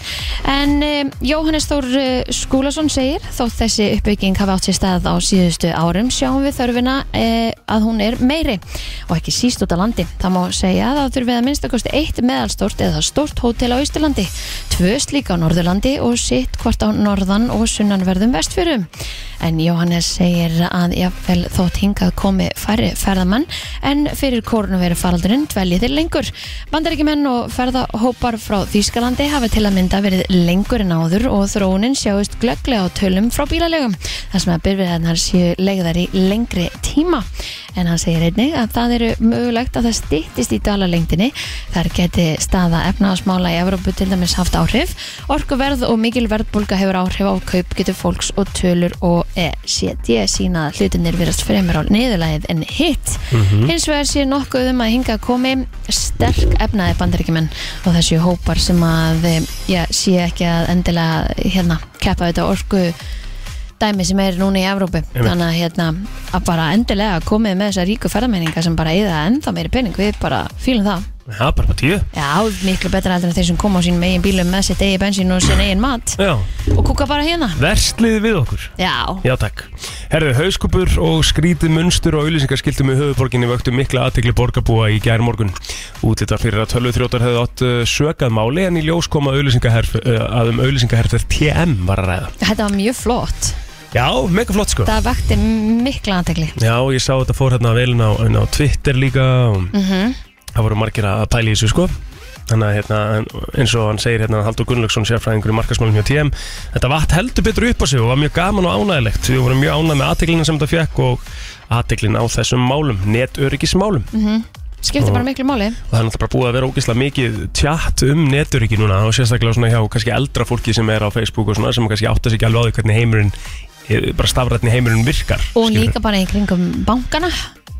S3: en um, Jóhannes Þór eh, Skúlason segir þótt þessi uppbygging hafi átt sér stað á síðustu árum sjáum við þörfina eh, að hún er meiri og ekki síst út á landi það má segja að það þurfið að minnstakosti eitt meðalstort eða stort hótel á Ístilandi tvö slík á Norðurlandi og sitt hvort á norðan og sunnanverðum vestfjörum en Jóhannes segir að jafnvel þótt hingað komi færri ferðamann en fyrir kórnuveru faraldurinn dveljið þeir lengur Bandaríkjumenn og ferðahópar frá Þýskalandi hafa til að mynda verið lengur en áður og þróunin sjáist glögglega á tölum frá bílalegum þar sem að byrfiðarnar séu legðar í lengri tíma en hann segir einnig að það eru mögulegt að það stýttist í dalalengdinni þar geti staða efnaðasmála í Evrópu til dæmis haft áhrif orkuverð og mikil verðbólga hefur áhrif á kaup getur fólks og tölur og E ECD sína að hlutinir virast fremur á niðurlæðið en hitt
S1: Hmm? Mhm.
S3: hins vegar sé nokkuð um að hinga komi sterk efnaði bandaríkjumenn og þessi hópar sem að eh, já, sé ekki að endilega hérna, keppa þetta orku dæmi sem er núna í Evrópu þannig að, hérna, að bara endilega komið með þessar ríku ferðamenninga sem bara eða ennþá meiri pening við bara fílum það
S1: Já, bara bara tíu
S3: Já, miklu betra heldur en þeir sem koma á sínum eigin bílum með sitt eigin bensín og sinn eigin mat
S1: Já,
S3: og kúka bara hérna
S1: verslið við okkur
S3: Já,
S1: Já, takk. Herðu, hauskupur og skrítið munstur og auðlýsingarskiltum í höfuborginni vöktu mikla aðtegli borgarbúa í gær morgun. Útlita fyrir að tölvuþrjótar hefðu átt uh, sökað máli en í ljós kom að, auglýsingaherf- uh, að um auðlýsingaherfer TM var að ræða.
S3: þetta var mjög flott
S1: Já, mega flott sko.
S3: Það vakti mikla aðtekli
S1: Já, ég sá þetta fór hérna vel inn á, inn á Twitter líka og
S3: Mhm.
S1: það voru margir að pæla í þessu sko. Þannig að hérna, en- eins og hann segir hérna Haldur Gunnlaugsson sérfræðingur í markasmálum hjá TM Þetta vatt heldur betur upp á sig og var mjög gaman og ánægilegt Við vorum mjög ánæg með aðteglina sem þetta fekk og aðteglina á þessum málum, netöryggismálum
S3: Mm. Skipti bara miklu máli
S1: og það er náttúrulega bara búið að vera ógeðslega mikið tjátt um netöryggi núna og sérstaklega svona hjá kannski eldra fólki sem er á Facebook og svona sem kannski átta sig ekki alveg á því hvernig heimurinn eh, bara stafrætni heimurinn virkar
S3: Og
S1: skilurðu.
S3: líka bara í kringum bankana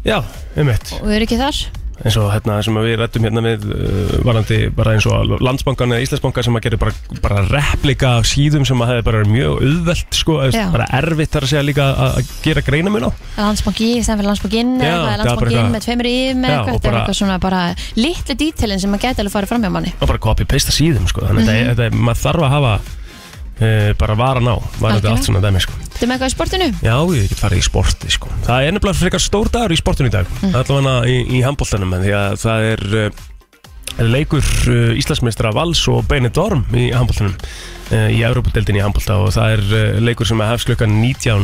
S1: Já, einmitt
S3: og eru ekki þar
S1: eins og hérna sem við rættum hérna við uh, varandi bara eins og landsbankan eða Íslandsbanka sem að gera bara, bara replika af síðum sem að hefði bara verið mjög auðvelt sko, eða
S3: Já.
S1: bara erfitt þar að segja líka að- að gera greina mun á
S3: Landsbanki, í staðan fyrir landsbankinn
S1: Já,
S3: eða eitthvað er
S1: það er bara
S3: landsbankinn
S1: eitthvað-
S3: með tveimur yfir með
S1: Já,
S3: eitthvað
S1: og
S3: Þetta er
S1: bara-
S3: eitthvað svona bara litlu dítilin sem maður gæti alveg farið fram hjá manni
S1: og bara copy-pasta síðum sko,
S3: Mhm.
S1: þannig að þetta, þetta, maður þarf að hafa uh, bara varan á, varandi
S3: Algjörlega.
S1: allt svona dæmi sko.
S3: Þetta með eitthvað í sportinu
S1: Já, ég get farið í sporti sko Það er nefnilega frekar stór dagur í sportinu í dag mm. Allavega í, í handbóltanum Því að það er uh, leikur uh, Íslandsmeistra Vals og Benidorm í handbóltanum uh, Í Európa-deldinni í handbólta Og það er uh, leikur sem hefst klukkan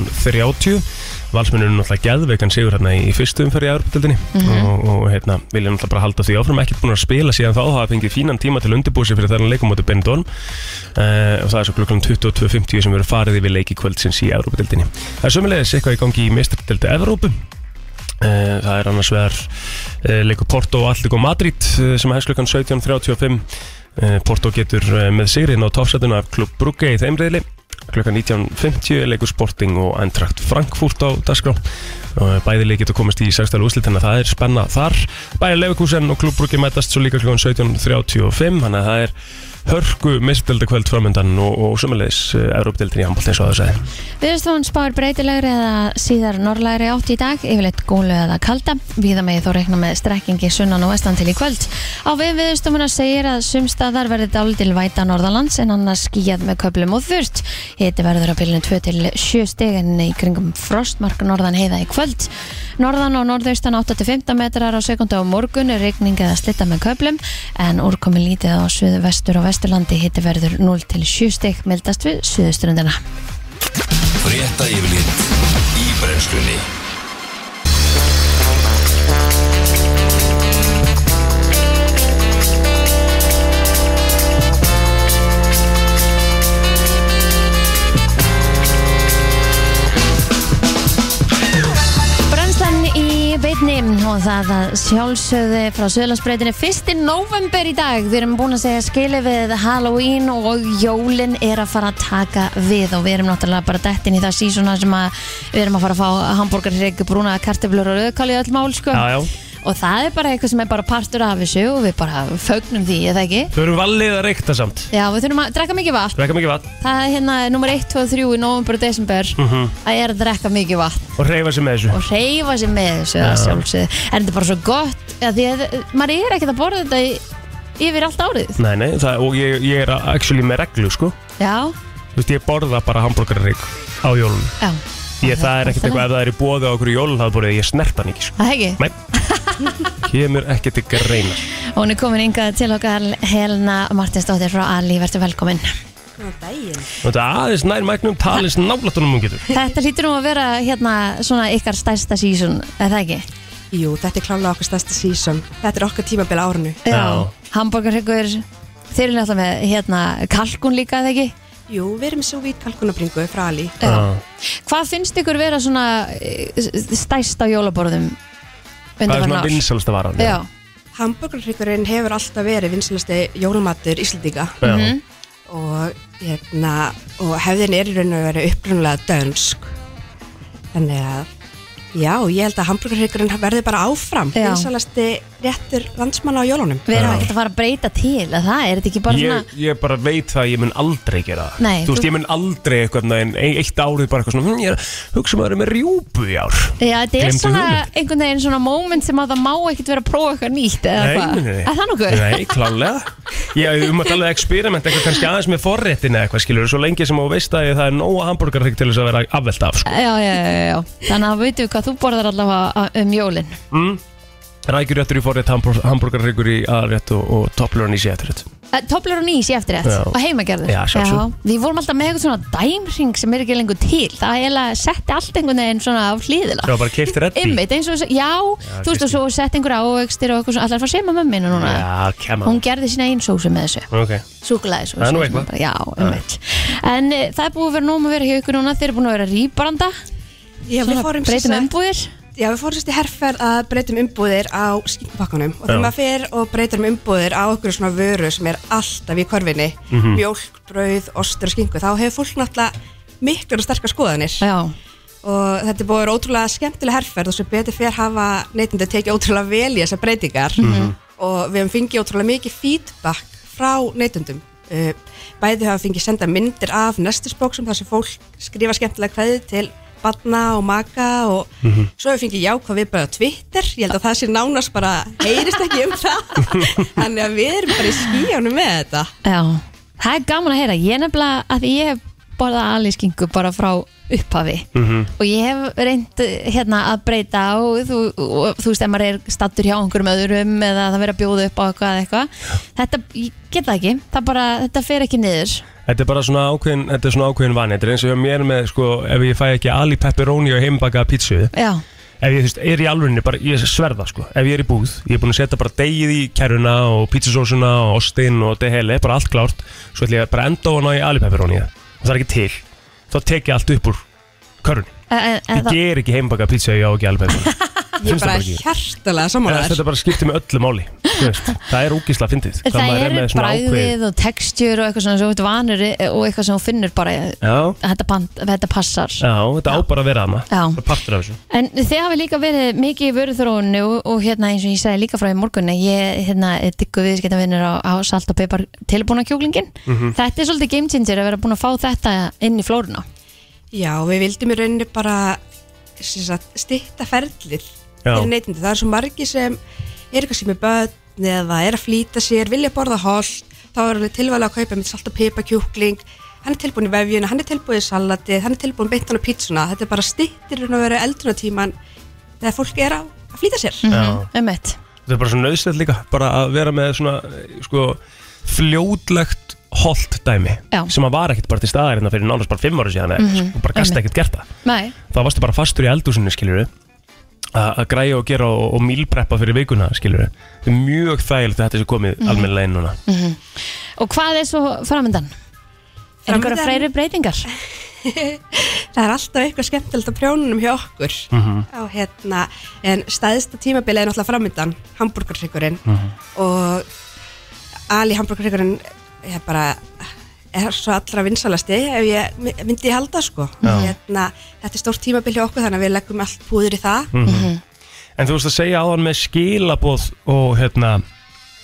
S1: 19.30 Valsmennur er náttúrulega geðveikan sigur hérna í fyrstu umferð í Európa-deldinni og, og hérna, vilja náttúrulega bara halda því áfram Ekkert búin að spila síðan þá Það fengið fínan tíma til undirbúsi fyrir þennan leikum átti Benidorm uh, og það er svo klukkan 22.50 sem verður farið yfir leiki kvöldsins í Evrópadeildinni. Það er sömulegis eitthvað í gangi í meistardildi Evrópu uh, það er annars vegar uh, leikur Porto og Alltík og Madrid uh, sem hefst klukkan Eh, 17.35 uh, Porto getur uh, með sigrinn á topsætuna af klubb Brugge í þeimriðli klukkan 19.50 er leikur Sporting og Eintracht Frankfurt á dagskrá og eh, bæði leik geta komist í sextælu úslit þannig að það er spenna þar bæði Leverkusen og klubbrúki mætast svo líka klukkan 17.35 þannig að það er hörku mistildi kvöld framöndan og, og sömulegis Európdeildin í handbólt eins og það sagði
S3: Viðstofan spáir breytilegri eða síðar norrlægri átt í dag, yfirleitt gólu eða kalda. Víða megið þó reikna með strekkingi sunnan og vestan til í kvöld. Á við viðstofuna segir að sumstaðar verði dálítil væta norðalands en annars skíjað með köplum og þurrt. Hiti verður á bylunum 2 til 7 stegin í kringum frostmark norðan heiða í kvöld. Norðan og norðaustan 8-15 metrar á sekundu á morgun er reikning eða slitta með köplum en úrkomi lítið á suðu vestur og vesturlandi hiti verður 0 til 7 steg mildast við suðustrundina.
S2: Frétta yfirlit í brennslunni
S3: Brennslan í beitni og það að sjálfsögðu frá Söðlandsbreytinni 1. november í dag við erum búin að segja skili við Halloween og jólin er að fara að taka við og við erum náttúrulega bara dettin í það sísona sem að við erum að fara að fá hambúrgarhrygg, brúna karteflur og rauðkáli í öll mál sko
S1: Já, já.
S3: og það er bara eitthvað sem er bara partur af þessu og við bara fögnum því, eða ekki?
S1: Þau eru vallið að reykta samt
S3: Já, við þurfum að drekka mikið vatn
S1: Rekka mikið vatn
S3: það er hérna nummer 1, 2 og 3 í november og desember
S1: Mhm.
S3: að er að drekka mikið vatn
S1: og reyfa sig með þessu
S3: og hreyfa sig með þessu
S1: Já.
S3: að sjálfsögðu en þetta er bara svo gott að því að maður er ekkert að borða þetta í, yfir allt árið
S1: Nei, nei, það, og ég, ég er actually með reglu, sko
S3: já,
S1: Þú veist, ég borða bara hambúrgarrygg á jólun
S3: já,
S1: Ég, það er ekkert eitthvað, ef það er í bóði á okkur í jólun, það borðið ég snert hann ekki, sko
S3: það ekki
S1: Nei, kemur ekkert ekki að reyna
S3: og hún er komin yngað til okkar Helena Martinsdóttir frá Ali, verður velkomin
S1: Þetta aðeins nær mæknum talins nálatunum hún getur
S3: þetta hlýtur nú að vera hérna svona ykkar stærsta sísun, er það ekki?
S4: Jú, þetta er klálega okkar stærsta season Þetta er okkar tímabil á árinu
S1: Já.
S3: hambúrgarhryggur, þeir eru náttúrulega með hérna kalkun líka, er það ekki?
S4: Jú, við erum svo vít kalkunabringu frá Ali
S1: Já.
S3: Hvað finnst ykkur vera svona eh, stærst á jólaborðum
S1: Hvað er svona
S3: undanfarnar ár?
S1: vinsalsta varan?
S3: Já,
S4: Hamburgerryggurinn hefur alltaf verið vinsalasti jólumatur Íslandíka
S1: Já.
S4: og, hérna, og hefðin er í raun og verið upprunalega dönsk Þannig að Já, ég held að hamburgerryggurinn verði bara áfram
S3: Já.
S4: vinsalasti réttur landsmanna á jólunum
S3: Við erum
S1: Já.
S3: ekkert að fara að breyta til að það er þetta ekki bara
S1: Ég,
S3: svona
S1: ég bara veit það að ég mun aldrei gera það
S3: Nei,
S1: Þú veist,
S3: þú-
S1: ég mun aldrei eitthvað en eitt árið bara eitthvað svona hm, Ég er- hugsa maður er með rjúpu í ár
S3: Já, þetta er
S1: Gleymdu
S3: svona
S1: hugmynd.
S3: einhvern veginn svona moment sem að það má ekkert vera að prófa eitthvað nýtt eða
S1: Nei,
S3: hvað.
S1: nei, nei.
S3: Er það nokkuð?
S1: Nei, klálega Ég um að tala experiment eitthvað kannski aðeins með forréttin eða eitthvað skilur Svo lengi sem þú veist að það er nóga hambúrgarrygg til þess að vera afvelta af sko.
S3: Já, já, já, já, já. Þannig að veitum við hvað þú borðar allavega á- um jólin.
S1: mm.
S3: Eh.
S1: Rækjurréttur í forrétt, hambúrgarryggur í aðrétt og, og topplurann í sétrétt
S3: Eh, Toplur og nýs í eftirrétt
S1: Já.
S3: og heimagerður.
S1: Já, sjálfsögðu.
S3: Við vorum alltaf með eitthvað svona dæmring sem er ekki lengur til. Það er eiginlega setti allt einhvern veginn svona á hlýðila.
S1: Það var bara keift reddi
S3: Ymmið, eins og, já,
S1: Já,
S3: þú veist og svo sett einhver ávöxtir og eitthvað svona, allar fara að seima mömminu núna.
S1: Já, kemur
S3: Hún gerði sína einn sósu með þessu.
S1: Ok,
S3: Súkulæði svo
S1: Það er nú eitthvað. Ah.
S3: Já, um En uh, það er búið að vera nóg með að vera hjá ykkur núna Þeir eru búin að vera rýbranda
S4: Já, við fórum sem
S3: Breytum
S4: sagt-
S3: umbúðir
S4: Já, við fórum sérst í herrferð að breytum umbúðir á skipakkanum og þegar
S1: Já.
S4: maður fer og breytir um umbúðir á einhverju svona vöru sem er alltaf í korfinni mjólk, brauð, ostur og skingu þá hefur fólk náttúrulega miklar og sterkar skoðanir
S3: Já,
S4: og þetta er búið að vera ótrúlega skemmtileg herrferð og sem betur fyrir hafa neytindi að tekið ótrúlega vel í þessar breytingar og við hefum fengið ótrúlega mikið feedback frá neytundum Uh, bæði hafa fengið senda myndir af nestisbóksum þar sem fólk skrifa skemmtilega kveði til barna og maka og svo hefur fengið jákvæð við bara á Twitter ég held að það sé nánast bara heyrist ekki um það þannig að við erum bara í skíjónu með þetta
S3: já Það er gaman að heyra Ég nefnilega að ég hef borðað alískingu bara frá upphafi
S1: Mhm.
S3: -hmm. og ég hef reynd eh, hérna að breyta og þú, og, þú veist ef maður er stattur hjá einhverjum öðrum eða það verið að bjóða upp á eitthvað, eitthvað. þetta, ég get það ekki það bara, þetta fer ekki niður
S1: Þetta er bara svona ákveðin, þetta er svona ákveðin vani Þetta er eins og hjá mér með, sko, ef ég fæ ekki ali pepperoni og heimbakaða pítsu
S3: Já,
S1: Ef ég, þú veist, er í alvörinni, bara, ég sverða, sko Ef ég er í búð, ég er búin að setja bara degið í kæruna og pítsusósuna og ostinn og dehele, bara allt klárt Svo ætla ég bara að enda ofan á í ali pepperoni Það er ekki til, þá tek ég allt upp úr körunni
S3: en, en, en
S1: Ég
S3: það,
S1: ger ekki heimbakaða pítsu ef ég á ekki ali pepperoni
S4: ég er
S1: Finnst það
S4: bara
S1: bara ekki.
S4: hjartalega sammála
S1: Eða
S4: þér
S1: Þetta bara skiptir með öllu máli þú veist, það er ógísla fyndið hvað
S3: Það
S1: maður
S3: er
S1: með svona ákveðið-
S3: bræðið og textjur og eitthvað svona sem þú ert vanur í- og eitthvað sem þú finnur bara
S1: já,
S3: þetta, band, þetta passar
S1: já, þetta á bara að vera hana
S3: Já.
S1: það er partur af þessu
S3: En þið hafi líka verið mikið í vöruþróunni og, og hérna eins og ég sagði líka frá í morgunni ég hérna diggu viðskiptavinnir á, á salt og pepar tilbúna kjúklingin
S1: Mhm.
S3: Þetta er svolítið game changer að vera búin að fá þetta inn í flóruna
S4: Já, við vildum í rauninni bara sem sagt, stytta ferlið
S1: Já.
S4: fyrir neytindi. Það er svo margi sem er kannski með börn eða er að flýta sér, vilja borða holt, þá er alveg tilvæglega að kaupa með salt og peipa kjúkling, hann er tilbúin í vefjuna, hann er tilbúin í salatið, hann er tilbúin beintan á pítsuna. Þetta er bara styttir en að vera eldunartíman þegar fólk er að að flýta sér.
S1: Já.
S3: um eitt
S1: þetta er bara svona nöðsett líka bara að vera með svona sko, fljótlegt holt dæmi
S3: Já.
S1: sem að var ekkert bara til staðar hérna fyrir nánast bara fimm ára síðan mm -hmm. bara gasta ekkert gert það
S3: Nei,
S1: það varstu bara fastur í eldúsinu skiljuru að græja og gera og, og mílpreppa fyrir vikuna skiljuru mjög þægilegt að þetta sé komið mm -hmm. almennilega inn núna
S3: og hvað er svo framöndan? Er einhverja
S4: Framundan-
S3: fleiri breytingar?
S4: það er alltaf eitthvað skemmtilegt á prjónunum hjá okkur á, hérna, en staðista tímabilið er náttúrulega framöndan hambúrgarryggurinn og Ali hambúrgarryggurinn er bara er svo allra vinsalasti ef ég my- myndi ég halda sko hérna, þetta er stórt tímabil hjá okkur þannig að við leggum allt púður í það
S1: en þú veist að segja áðan með skilaboð og hérna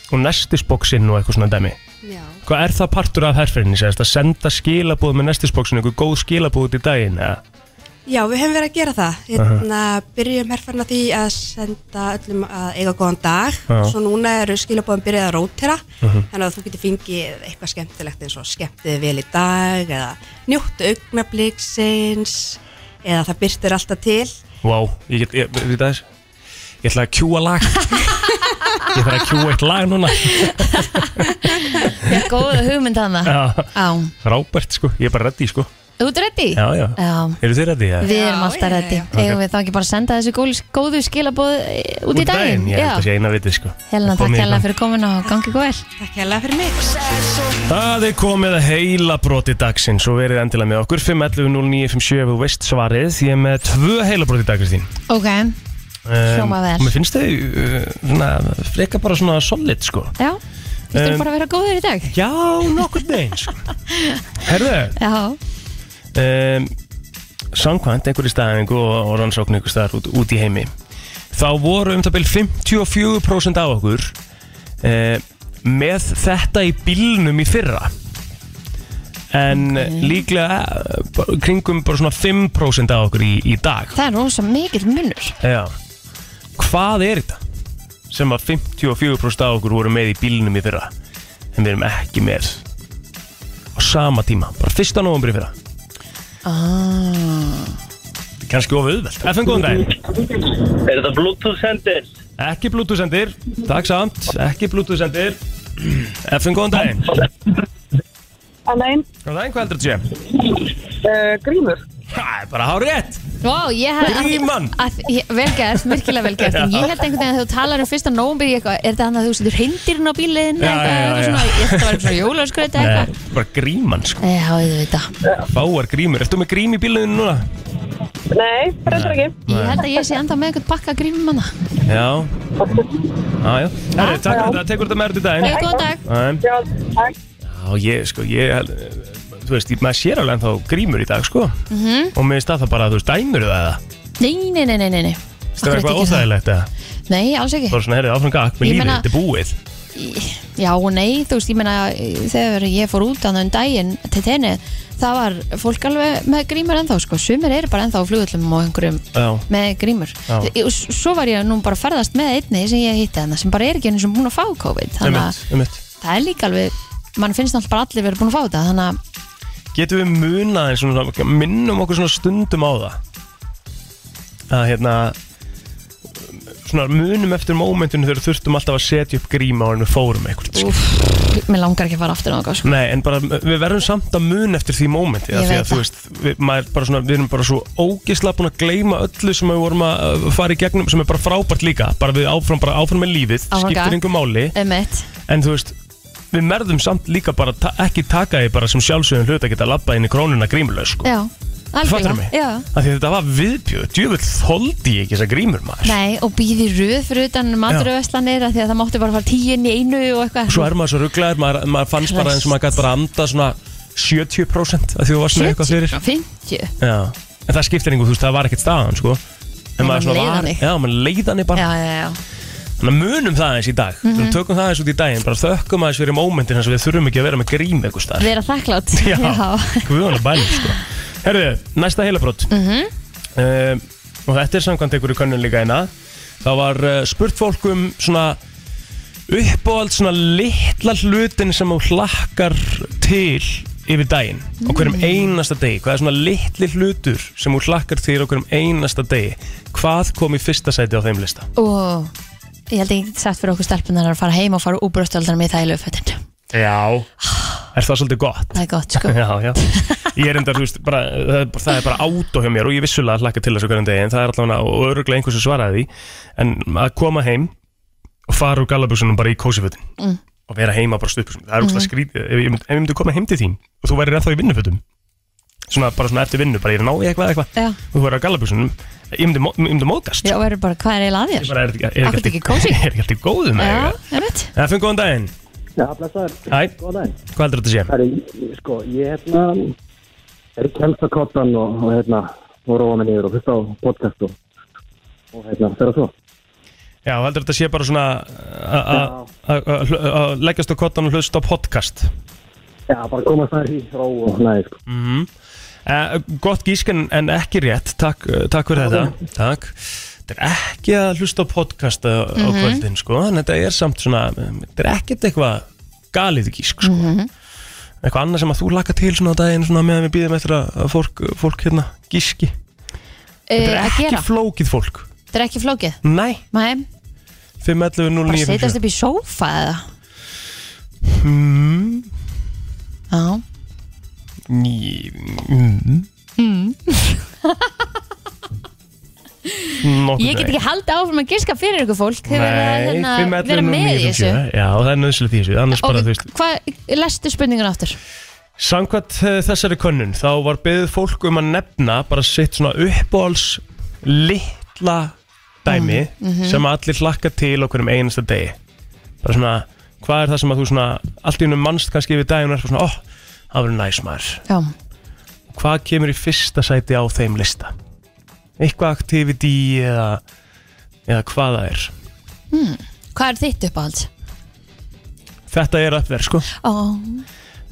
S1: og nestisboksin og eitthvað svona dæmi
S4: Já.
S1: hvað er það partur af herferinni segist að senda skilaboð með nestisboksin eitthvað góð skilaboð út í daginn eða?
S4: Já, við hefum verið að gera það hérna, byrjum herfarna því að senda öllum að eiga góðan dag
S1: Já.
S4: svo núna eru skilabóðum byrjað að rótera þannig að þú getur fengið eitthvað skemmtilegt eins og skemmtið vel í dag eða njóttu augnabliksins eða það byrtir alltaf til
S1: Vá, ég get, ég, við þess Ég ætla að kjúa lag Ég þarf að kjúa eitt lag núna
S3: Ég er góða hugmynd hana
S1: Já,
S3: Á,
S1: Rábert sko, ég er bara reddi sko
S3: þú ert ready?
S1: Já, já,
S3: Já.
S1: eru þið reddi? Ja?
S3: Eh. Við erum
S4: Já,
S3: alltaf
S4: já, já,
S3: ready
S4: já.
S3: Eigum við þá ekki bara að senda þessu gólu- góðu skilabóð eh, út í daginn?
S1: Ég held að sé eina vitið sko
S3: Helena,
S1: Komið
S3: takk
S1: í
S3: hérna
S1: gang.
S3: fyrir komin og gangi ykkur vel
S4: Takk hérlega fyrir mig
S1: Það er komið að heila broti dagsins og verið endilega með okkur 5.11.09.57 ef þú veist svarið Ég er með tvö heila broti dag Kristín
S3: Ok, Hljóma vel.
S1: og Mér finnst þau uh, svona, freka bara svona solid sko
S3: já, þú um,
S1: Um,
S3: bara að vera góður í dag
S1: Já, nokkur neins sko. Herðu,
S3: Já,
S1: um, samkvæmt einhverju staðingu og, og rannsókn einhverju staðar út, út í heimi þá voru um það byrjum 54% af okkur um, með þetta í bílnum í fyrra en okay. líklega eh, bara kringum bara svona 5% af okkur í, í dag
S3: það er rosa mikill munur
S1: Já. hvað er þetta sem að 54% af okkur voru með í bílnum í fyrra en við erum ekki með á sama tíma, bara 1. november í fyrra
S3: ah.
S1: kannski of auðvelt FN góðan daginn
S5: Er þetta Bluetooth sendir?
S1: Ekki Bluetooth sendir Takk samt Ekki Bluetooth sendir FN góðan daginn
S6: Alain
S1: Góðan daginn, hvað heldur þetta sé?
S6: uh,
S5: Eh,
S6: Grímur
S1: Það er bara hár rétt
S3: Vá, ég hef
S1: Gríman.
S3: Vel gert, virkilega vel gert En ég held einhvern veginn að þú talar um fyrsta nómbir eitthvað, Er það hann að þú setur hindirinn á bílinn
S1: Já, já, já, já.
S3: Ég held að það var svona jólaskreita
S1: Nei,
S3: eitthvað
S1: bara gríman sko
S3: Já, ég veit það
S1: Fáar grímur Ertu með grím í bílunum núna?
S6: Nei, reyndar ekki
S3: Ég held að ég sé enda með einhvern pakka grímum hana
S1: Já Já, já Herri, takk fyrir þetta Tekur þetta með þér til
S3: Hefur góðan dag
S1: daginn Æ,
S6: Já, takk
S1: Já, ég, sko, ég held- Þú veist, ég- maður sér alveg ennþá grímur í dag, sko
S3: Mhm.
S1: -hmm. Og mér finnst það það bara, þú veist, dæmur það eða
S3: Nei, nei, nei, nei, nei, nei
S1: Það er
S3: Akkurat
S1: eitthvað
S3: ekki það.
S1: óþægilegt eða
S3: Nei, alls ekki
S1: Bara svona, herri, áfram gakk með
S3: Ég
S1: lífið,
S3: meina-
S1: þetta er búið
S3: Já og nei, þú veist, ég meina þegar ég fór út annað um daginn til tenni, það var fólk alveg með grímur ennþá, sko, sumir eru bara ennþá á flugullum og einhverjum
S1: Já.
S3: með grímur
S1: Já.
S3: Ég- og s- svo var ég nú bara að ferðast með einni sem ég hitti hana, sem bara er ekki einu sem búin að fá COVID, þannig að
S1: Einmitt, einmitt.
S3: það er líka alveg, mann finnst alltaf bara allir verið búin að fá þetta, þannig að
S1: getum við munað eins og svona- minnum okkur svona stundum á það að hérna svona munum eftir mómentinu þegar þurftum alltaf að setja upp gríma og við fórum eitthvað sko. Úf.
S3: mér langar ekki að fara aftur á það, sko
S1: Nei, en bara við verðum samt að mun eftir því mómenti
S3: Ég
S1: af því
S3: veit
S1: að þú
S3: það.
S1: veist, við, maður er bara svona, við erum bara svo ógisla búin að gleyma öllu sem við vorum að uh, fara í gegnum sem er bara frábært líka, bara við áfram, bara áfram með lífið,
S3: Áfram gakk.
S1: skiptir yngur máli
S3: Emmett,
S1: en þú veist, við merðum samt líka bara ta ekki taka því bara sem sjálfsögum hlut að geta labba inn í krónuna grímulega sko.
S3: já, Algjörlega,
S1: Fattar mig?
S3: já.
S1: Af því að þetta var viðbjöð, djöfull þoldi ég ekki þessa grímur maður
S3: Nei, og býði röð fyrir utan maturöðslanir að því að það mátti bara fara tíin í einu og eitthvað
S1: Svo er maður svo rugglaður, maður, maður fannst bara eins og maður gæti bara anda svona 70% af því þú varst með eitthvað fyrir
S3: 50
S1: Já, en það skiptir einhver, þú veist, það var ekkert staðan, sko En
S3: Nei,
S1: maður
S3: mann
S1: svona
S3: leið
S1: var,
S3: þannig.
S1: já, mann leiðan er bara
S3: Já, já, já
S1: Þannig að munum það eins í dag mm -hmm. Tökum það eins út í daginn, bara þökkum aðeins fyrir mómentin Þannig að við þurfum ekki að vera með grím eitthvað staðar
S3: Vera þakklátt
S1: Já, guðan að bæli sko. Herðu, næsta heilabrótt mm Og þetta er samkvæmt einhverju könnun líka eina Það var uh, spurt fólk um svona uppáhald svona litla hlutin sem þú hlakkar til yfir daginn á hverjum einasta degi hvað er svona litli hlutur sem þú hlakkar til á hverjum einasta degi hvað kom í fyrsta sæti á þeim lista
S3: Og ég held að ég geti sagt fyrir okkur stelpunar að fara heim og fara úr bröstöldar með það í lögfötin
S1: já er það svolítið gott
S3: Það er gott, sko
S1: Já, já. Ég er enda, þú veist, bara, það, er, það er bara átó hjá mér og ég vissulega hlakka til þessu hverjum degi en það er allavega, og öruglega einhversu svaraði því en að koma heim og fara úr gallabúsunum bara í kósifötin mm. og vera heima bara stupur það er úrslag mm. skrítið, ef ég, myndi, ef ég myndi koma heim til þín og þú værir ennþá í vinnufötum svona bara svona eftir vinnu, bara ég er að ná í eitthvað eitthvað
S3: Já.
S1: og þú værir á gallabúsunum ég myndi, mó- ég myndi móðgast
S3: Eh. Já, og verður bara, hvað er eiginlega að
S1: Ég
S3: þér?
S1: bara, er þetta ekki- er
S3: Akkur
S1: þetta
S3: ekki kósí?
S1: er ekki alltaf góðu með
S3: Já,
S1: það
S3: ég veit
S1: Það finn góðan daginn
S7: Já, blessaður.
S1: Hæ,
S7: Góðan daginn.
S1: hvað heldur þetta sé?
S7: Herri, ég- sko, ég hérna er í kjálfakottan og, og hérna og róa mig niður og hlusta á podcast og, og hérna, þeirra svo.
S1: Já, heldur þetta sé bara svona uh, a- a- a- a- hl- að uh, leggjast á kottan og hlusta á podcast
S7: Já, bara koma þær í ró og næði, sko.
S1: uh, Gott gísk en, en ekki rétt Takk, eh, takk fyrir þetta Takk Þetta er ekki að hlusta á podcast á, á
S3: Mhm.
S1: kvöldin sko, en þetta er samt svona um, þetta er ekkert eitthvað galið gísk sko.
S3: Mhm.
S1: eitthvað annað sem að þú laka til svona á daginn svona meðan við býðum eftir að að fólk, fólk hérna gíski
S3: Eh,
S1: Þetta er
S3: Að
S1: ekki
S3: gera,
S1: flókið fólk
S3: þetta er ekki flókið
S1: Nei,
S3: Mæm,
S1: 511
S3: bara
S1: 09
S3: setjast upp í sófa eða
S1: Mm.
S3: Já,
S1: Ný... Mm. Mm.
S3: ég get ekki haldið áfram að giska fyrir ykkur fólk Þið verða að, hérna, vera með í þessu
S1: Já, það er nöðslega því þessu, annars bara, þú
S3: Og
S1: veist
S3: hvað, lestu spurningun aftur
S1: Samkvæmt eh, þessari könnun, þá var beðið fólk um að nefna bara sitt svona uppbóls litla dæmi
S3: Mm, mhm.
S1: sem allir hlakka til okkur um einasta degi bara svona, hvað er það sem að þú svona allt í unum mannst kannski yfir daginn og er bara svona, ó, það verður næs maður
S3: Já,
S1: hvað kemur í fyrsta sæti á þeim lista eitthvað activity eða, eða hvað það er
S3: hvað er þitt uppáhalds?
S1: þetta er upp þér sko
S3: Ó,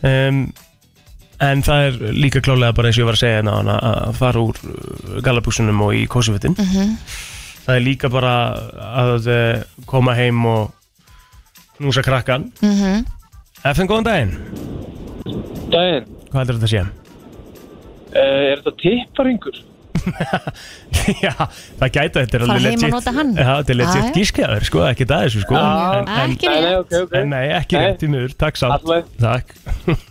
S1: um, en það er líka klálega bara eins og ég var að segja ná, að fara úr galabúsunum og í kósufittin
S3: Mhm.
S1: það er líka bara að eh, koma heim og knúsa krakkan mm
S3: Mhm.
S1: -hmm. FN góðan daginn
S5: Daginn,
S1: hvað heldur þetta að sé?
S5: eh, er þetta tipparingur?
S1: Já, það gæta þetta er
S3: Fara
S1: alveg
S3: heim og nota hann.
S1: Já, þetta er
S3: Ah, já.
S1: legit gískjaður, sko, ekki það þessu, sko
S5: Já.
S1: en, en,
S3: ekki
S5: Nei,
S3: rétt
S5: ok, ok.
S1: en nei, ekki
S5: Nei.
S1: rétt í miður, takk samt
S5: Alla leið.
S1: Takk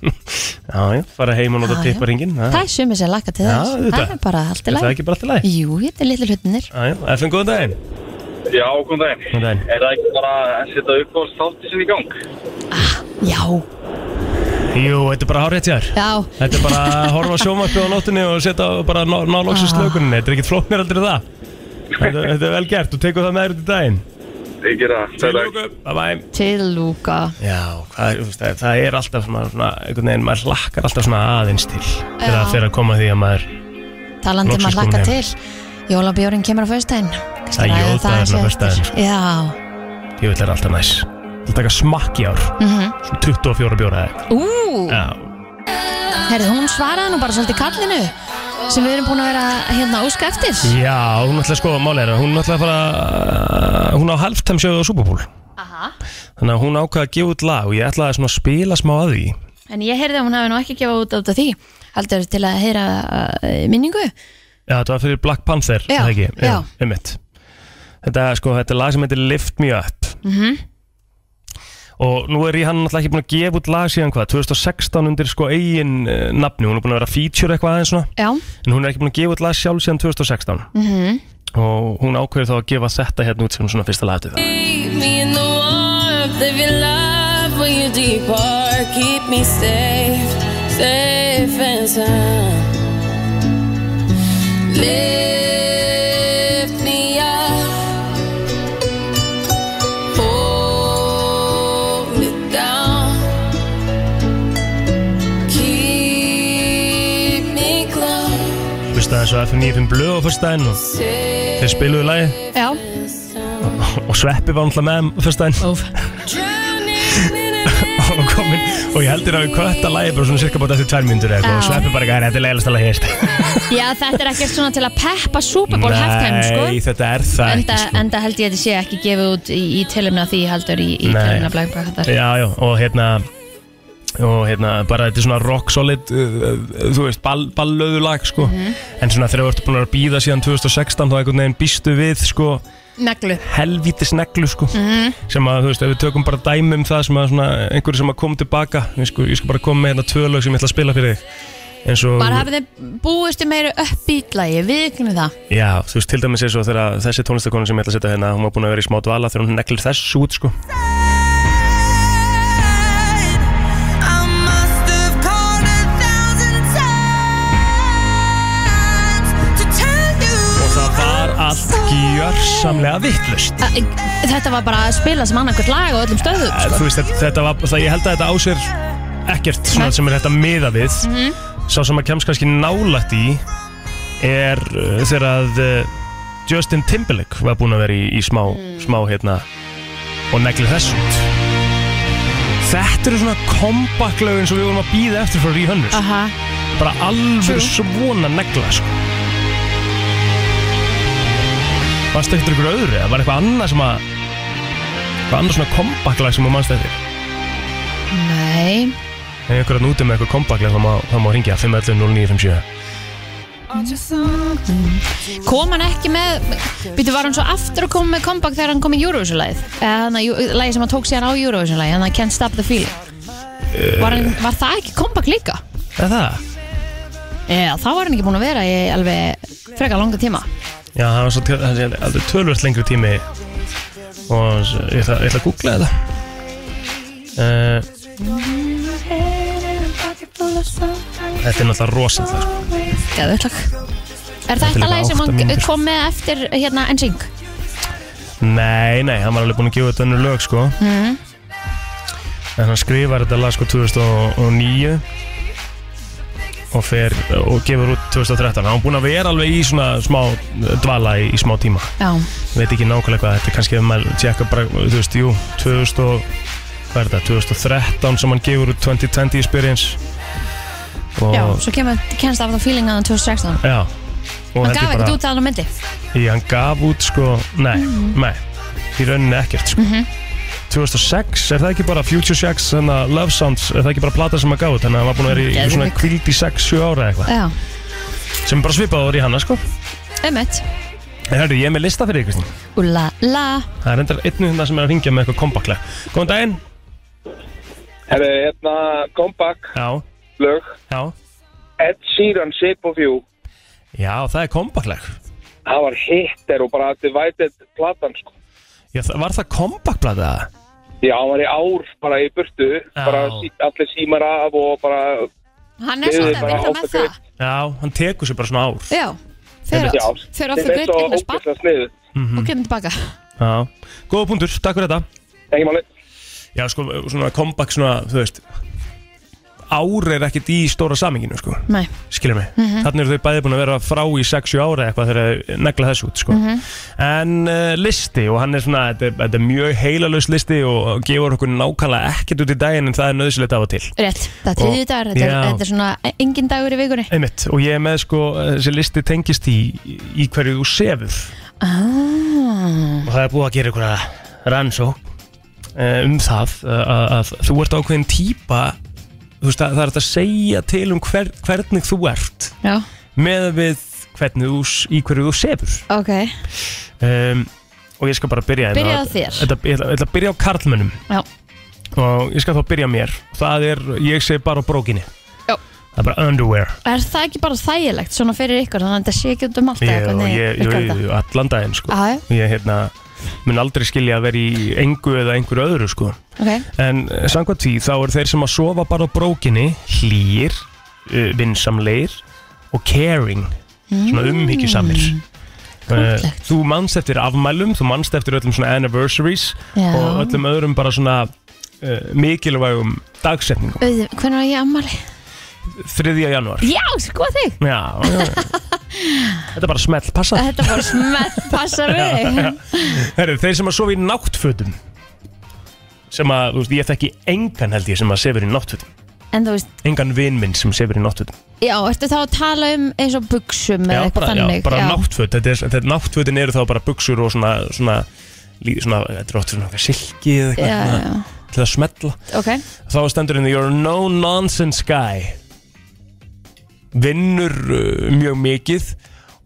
S1: Já, já, fara heim og nota
S3: Já, Ah, já.
S1: tipparingin
S3: Það er sumið sem laka til
S1: Já,
S3: þess
S1: auðvitað.
S3: Það er bara allt í
S1: Það er
S3: lagi
S1: ekki bara alltaf læg
S3: Jú, þetta er litlu hlutinir
S1: Já, já, FN, góðan daginn
S5: Já, góðan daginn.
S1: Góðan daginn.
S5: Er það ekki bara að setja upp á státtisinn í gang?
S3: Já,
S1: Jú, þetta er bara hárið þér
S3: já,
S1: Þetta er bara að horfa sjómarfið á nóttunni og setja á- bara ná, ná loksins
S3: Ah.
S1: slökuninni Þetta er ekkert flóknir aldrei það Þetta, þetta er vel gert, þú tekur það með þér út í daginn
S5: Ég gera það.
S1: Til lóku, bye bye
S3: til lúka
S1: Já, hvað er, þú veist, það, það er alltaf svona, svona einhvern veginn, maður hlakkar alltaf svona aðeins til þegar
S3: Já.
S1: þegar að koma að því að maður
S3: Talandi um
S1: Loksins
S3: að
S1: komin
S3: laka
S1: heim.
S3: til Jólabjórin kemur á föstudaginn Kannski
S1: Það
S3: ræða
S1: er jóldagurinn á
S3: aðeins eftir.
S1: föstudaginn, sko.
S3: Já,
S1: ég vil er alltaf næs Það taka smakk í ár
S3: Mhm.
S1: Svona 24 bjóra eða eitthvað.
S3: ú,
S1: Já,
S3: herrið hún svaraði nú bara svolítið kallinu sem við erum búin að vera hérna að óska eftir
S1: Já, hún ætlaði sko málið er að hún ætlaði að fara hún á halftime sjóðu á Superbowl
S3: Aha.
S1: þannig að hún ákvaði að gefa út lag og ég ætlaði svona að spila smá að því
S3: En ég heyrði að hún hafi nú ekki gefað út át af því Haldur til að heyra eh, minningu
S1: Já, þetta var fyrir Black Panther,
S3: Já,
S1: er það ekki?
S3: já.
S1: einmitt. Þetta, er, sko, þetta er lag sem heitir Lift Me Up
S3: Mhm.
S1: Og nú er ég hann náttúrulega ekki búin að gefa út lag síðan hvað 2016 undir sko eigin uh, nafni Hún er búin að vera að feature eitthvað aðeins svona
S3: Já,
S1: En hún er ekki búin að gefa út lag sjálf síðan 2016
S3: Mhm.
S1: Og hún ákveður þá að gefa þetta hérna út sem svona fyrsta lag eftir það
S8: me in the warmth of your love when you depart. Keep me safe, safe and sound. Lift me up, hold me down, keep me close.
S1: Hlusta þessu á F95 blöð á fyrstæðin og þeir spiluðu lagi
S3: Já,
S1: og Sveppi var náttúrulega með þeim fyrstæðin
S3: óf
S8: Drowning in an
S1: og komin og ég heldur að við kvötta lagi bara svona cirka bóta eftir tvær myndur eða eitthvað
S3: Já.
S1: og Sveppi bara gæri, þetta er leiðast að lagi hérst
S3: Já, þetta er ekkert svona til að peppa Super Bowl halftime,
S1: Nei,
S3: sko
S1: þetta er það
S3: Enda,
S1: ekki sko.
S3: enda held ég að þetta sé ekki gefið út í, í tilumna því heldur í, í
S1: Nei.
S3: tilumna Black Panther
S1: Já, já, og hérna og hérna, bara þetta er svona rock solid uh, uh, þú veist, ball, ballöðu lag sko. en svona þegar við ertu búin að býða síðan 2016 þá einhvern veginn býstu við sko,
S3: Neglu
S1: helvítis neglu sko. sem að, þú veist, ef við tökum bara dæmi um það sem að svona, einhverju sem að kom tilbaka ég sko, ég sko bara koma með hérna tvö lög sem ég ætla að spila fyrir þig eins og,
S3: Bara hafið þið búistu meira upp í lagi, við ykkur um það
S1: já, þú veist, til dæmis eins og þegar þessi tónlistakonu sem ég ætla að setja hérna, hún var búin að vera í smá dvala þegar hún neglir þessu út, sko og það var allt gjörsamlega vittlust
S3: Æ, Þetta var bara að spila sem annað hvert lag á öllum stöðum
S1: Eh,
S3: sko.
S1: þú veist, þetta, þetta var, það, ég held að þetta á sér ekkert svona sem er þetta miða við sá sem að kemst kannski nálætt í er uh, þegar að uh, Justin Timberlake var búin að vera í, í smá, smá hérna og negli þess út þetta eru svona kompaktlögin sem við vorum að býða eftir frá Ríhönnus ah.
S3: Aha,
S1: bara alveg
S3: True.
S1: svona negla sko Varst eftir ykkur öðru eða var eitthvað annað sem að eitthvað annað svona kompaktlag sem að mannst eftir
S3: nei
S1: Ef einhverjar núti með eitthvað kompaklega þá má, þá má ringja 511-0957
S3: Kom hann ekki með, býtu var hann svo aftur að koma með comeback þegar hann kom í Eurovision-læð Þannig að lægi sem hann tók síðan á Eurovision-læð Þannig að Can't Stop the Feeling
S1: Eh.
S3: var, hann, var það ekki comeback líka?
S1: Er það?
S3: Já, þá var hann ekki búin að vera í alveg frekar langa tíma
S1: Já, það var svo töl- það er alveg tölvöld lengri tími og s- ég ætla, ég ætla að googla þetta uh, Þetta er náttúrulega rosalega sko.
S3: Geðveikt lag. Er
S1: Þetta er
S3: þetta
S1: líka
S3: lægi sem
S1: átta
S3: hann
S1: mínútur.
S3: kom með eftir hérna NSYNC?
S1: Nei, nei, hann var alveg búinn að gefa þetta önnur lög sko En hann skrifar þetta lag sko 2009 og fer og gefur út 2013 Hann var búinn að vera alveg í svona smá eh, dvala í, í smá tíma
S3: Já,
S1: Veit ekki nákvæmlega hvað þetta er kannski ef maður tjekka bara, þú veist, jú 2000 og, hvað er þetta, 2013 sem hann gefur út 2020 experience og,
S3: já, svo kemur Can't Stop the Feeling hann 2016
S1: já og
S3: Hann
S1: þetta er
S3: gaf
S1: bara-
S3: ekkert út Mhm. að hann á myndi
S1: Í hann gaf út sko, nei, nei, í rauninni ekkert sko.
S3: Mhm.
S1: 2006, er það ekki bara Future Shacks, þannig að Love Sounds, er það ekki bara plata sem að gaf út, þannig að hann var búin að vera í
S3: Geðvik.
S1: svona kvild í 6-7 ára eða eitthvað,
S3: Já, Eh.
S1: sem er bara svipað orði í hanna sko.
S3: einmitt
S1: En hörru, ég er með lista fyrir ykkur,
S3: Úla, la,
S1: það er endar einn hundar sem er að ringja með eitthvað kompaklega. Góðan daginn,
S5: Herru, hérna, kompakk,
S1: já,
S5: lög,
S1: já,
S5: Ed Sheeran, Shape of You.
S1: já, það er kompakleg.
S5: Það var hitter og bara divided platan, sko.
S1: Já, það- var það kompakblad eða?
S5: Já, hann var í ár bara í burtu, bara sí, allir símar af og bara,
S3: hann er
S5: Ég
S3: svolítið
S5: er
S3: að
S5: bara
S3: vinna með
S5: átta
S3: það
S1: Já, hann tekur sér bara svona ár.
S3: Já,
S1: Einmitt.
S5: já.
S3: fyrir að hérna
S5: Þeim
S3: fyrir
S5: er
S3: greitt
S5: svo
S3: eignast bann
S5: ógeðslega sniðu.
S3: og kemur tilbaka
S1: Já, góða punktur, takk fyrir þetta.
S5: Ekki máli.
S1: Já, sko, svona comeback svona, þú veist Ár er ekkert í stóra saminginu, sko
S3: Nei,
S1: Skilja mig, mm þannig eru þau bæði búin að vera frá í 6-7 ára eitthvað þegar þau negla þessu út, sko En uh, listi, og hann er svona, þetta er, þetta er mjög heilalaus listi og gefur okkur nákvæmlega ekkert út í daginn en það er nöðsilegt af og til
S3: rétt, það er tíðu dagar þetta, er-
S1: Já.
S3: þetta er svona engin dagur í vikunni
S1: Einmitt, og ég er með, sko, þessi listi tengist í, í hverju þú sefur
S3: ah,
S1: og það er búið að gera einhverja rannsók eh, um það eh, að, að þú ert ákveðin típa þú veist, það, það er hægt að segja til um hver, hvernig þú ert
S3: Já,
S1: með við hvernig þú, s- í hverju þú sefur
S3: ok,
S1: um, og ég skal bara byrja hérna.
S3: Byrjaðu á þér.
S1: Þetta- ég ætla ég ætla að byrja á karlmönnum
S3: Já.
S1: og ég skal þá byrja á mér það er, ég segi bara á brókinni
S3: Já.
S1: það er bara underwear
S3: er það ekki bara þægilegt svona fyrir ykkur þannig að þetta sé ekki út um allt eða
S1: ég, og
S3: hvernig
S1: ég,
S3: virkar
S1: ég,
S3: þetta?
S1: ég allan daginn sko.
S3: Já, já,
S1: ég hérna, mun aldrei skilja að vera í engu eða einhverju öðru sko.
S3: ok,
S1: En eh, samkvæmt því þá eru þeir sem að sofa bara á brókinni hlýr, uh, vinsamleir og eh, caring svona umhyggjusamir Eh,
S3: Mm. Krúttlegt.
S1: Þú manst eftir afmælum, þú manst eftir öllum svona anniversaries
S3: Já.
S1: og öllum öðrum bara svona uh, mikilvægum dagsetningum
S3: Auð- Hvenær var ég ammali?
S1: 3. janúar
S3: Já, sko þig!
S1: Já, já, já. Þetta er bara smelt passa
S3: Þetta bara smelt passar við þig.
S1: Herru, þeir sem að sofa í náttfötum sem að, þú veist, ég þekki engan held ég sem að sefur í náttfötum
S3: En þú veist,
S1: engan vin minn sem sefur í náttfötum
S3: já, ertu þá að tala um eins og buksum eða
S1: Já,
S3: eitthvað
S1: bara,
S3: þannig?
S1: já, bara náttföt þetta er, þetta er náttfötin eru þá bara buksur og svona svona, lí- svona þetta er óttur svona eitthvað silki eða
S3: Já, já,
S1: eitthvað svona, til að smetla
S3: ok.
S1: þá stendur henni you're a no nonsense guy vinnur uh, mjög mikið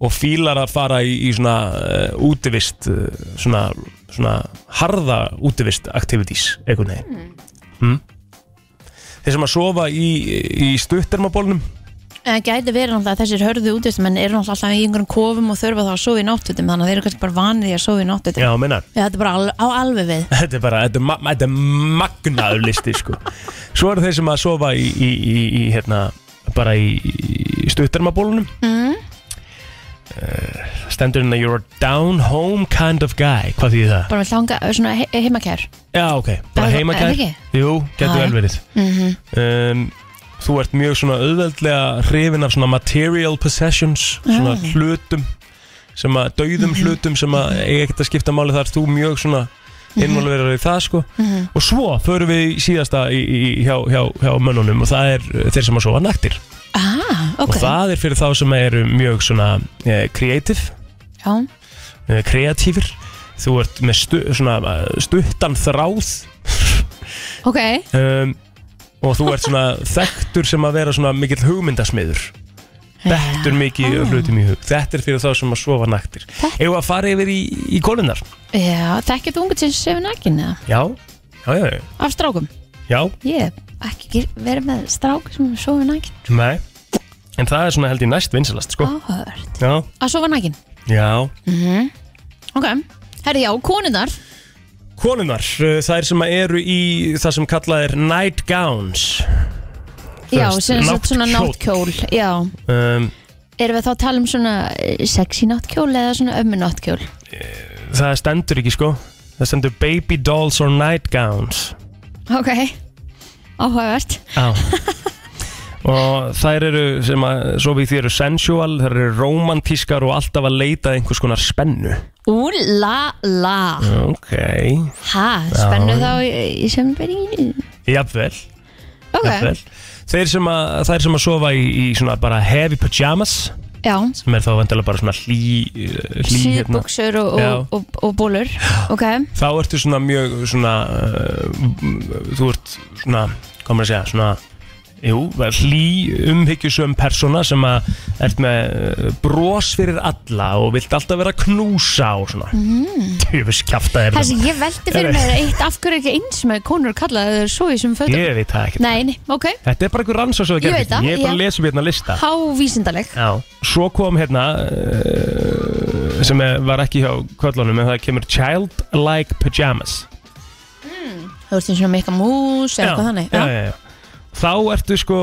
S1: og fílar að fara í, í svona uh, útivist uh, svona, svona harða útivist activities einhvern veginn mm. þeir sem að sofa í, í stuttermabólnum
S3: En Eh, gæti verið náttúrulega að þessir hörðu útvistumenn eru náttúrulega alltaf í einhverjum kofum og þurfa þá að sofa í náttvutum þannig að þeir eru kannski bara vanið í að sofa í náttvutum.
S1: já, minna
S3: Já, þetta er bara al á alveg við.
S1: Þetta er bara, þetta er, ma þetta er magnaður listi sko. Svo eru þeir sem að sofa í, í, í, í hérna, bara í, í stuttarmabólunum mm. uh, Stendur hérna You're a down home kind of guy Hvað þýðir það?
S3: Bara með langa, svona he heimakær.
S1: Já, ok, bara
S3: Er- er
S1: heimakær
S3: ekki?
S1: Jú, getur
S3: Já,
S1: vel verið
S3: Mhm,
S1: um, Þú ert mjög svona auðveldlega hrifin af svona material possessions
S3: Ah.
S1: svona hlutum sem að
S3: Mhm.
S1: dauðum hlutum sem að eiga ekkert að skipta máli þar þú mjög svona
S3: Mhm.
S1: innmálverður í það sko og svo förum við í síðasta í, í, hjá, hjá, hjá mönnunum og það er uh, þeir sem að sofa naktir
S3: Ah,
S1: og
S3: ok.
S1: það er fyrir þá sem eru mjög svona eh, creative
S3: Já,
S1: eh, kreatífur þú ert með stu, svona, eh, stuttan þráð
S3: ok.
S1: um, og þú ert svona þekktur sem að vera svona mikill hugmyndasmiður Dettur mikið ah. hlutum í hug Þetta er fyrir þá sem að sofa naktir Ef að fara yfir í, í kólunar
S3: Já, þekkir þú ungur sem sefur nakin eða?
S1: Já, já, já, já,
S3: Af strákum?
S1: já.
S3: Ég hef ekki ger- verið með strák sem sofa nakin.
S1: Nei. En það er svona held ég næst vinsalast sko.
S3: Áhört.
S1: Já,
S3: Að sofa nakin?
S1: já
S3: Ok. Herri, já, konundar.
S1: Konunar, eh, þær sem að eru í það sem kallað er night gowns
S3: Já,
S1: veist,
S3: sem sagt svona
S1: náttkjól.
S3: náttkjól. Já.
S1: um,
S3: Erum við þá að tala um svona eh, sexy náttkjól eða svona ömmu náttkjól?
S1: Það stendur ekki sko Það stendur baby dolls or night gowns
S3: Ok. Áhugavert.
S1: Já Og þær eru sem að svo við því eru sensual, þær eru romantískar og alltaf að leita að einhvers konar spennu
S3: Ú la la.
S1: Ok
S3: Ha, spennu þá í, í sömbyrginu.
S1: Jafnvel,
S3: Ok.
S1: jafnvel. Þeir sem að, þær sem að sofa í, í svona bara heavy pajamas
S3: Já.
S1: sem er þá vandilega bara svona hlý, hlý hérna.
S3: Síðbuksur og,
S1: Já. Hérna.
S3: og, og, og bólur. Ok.
S1: Þá ertu svona mjög svona uh, þú ert svona, hvað maður að segja svona Jú, hlý umhyggjusum persóna sem að ert með uh, bros fyrir alla og vilt alltaf vera að knúsa og svona mm. Tjöfus kjafta þér
S3: Mm-hmm. Þessi, ég veldi fyrir mér eitt af hverju ekki eins með konur kallaði þau svo í sem fötum.
S1: Ég veit það ekki
S3: Nei, nei, ok.
S1: Þetta er bara einhver rannsóð sem
S3: Ég veit það,
S1: Ég er bara að
S3: já.
S1: lesa um hérna lista
S3: Hávísindaleg.
S1: Já. Svo kom hérna uh, sem er- var ekki hjá kvöllunum en það kemur Childlike Pajamas
S3: Þú ert eins og mikka mús eða eitthvað þannig.
S1: já, já, já. Þá ertu sko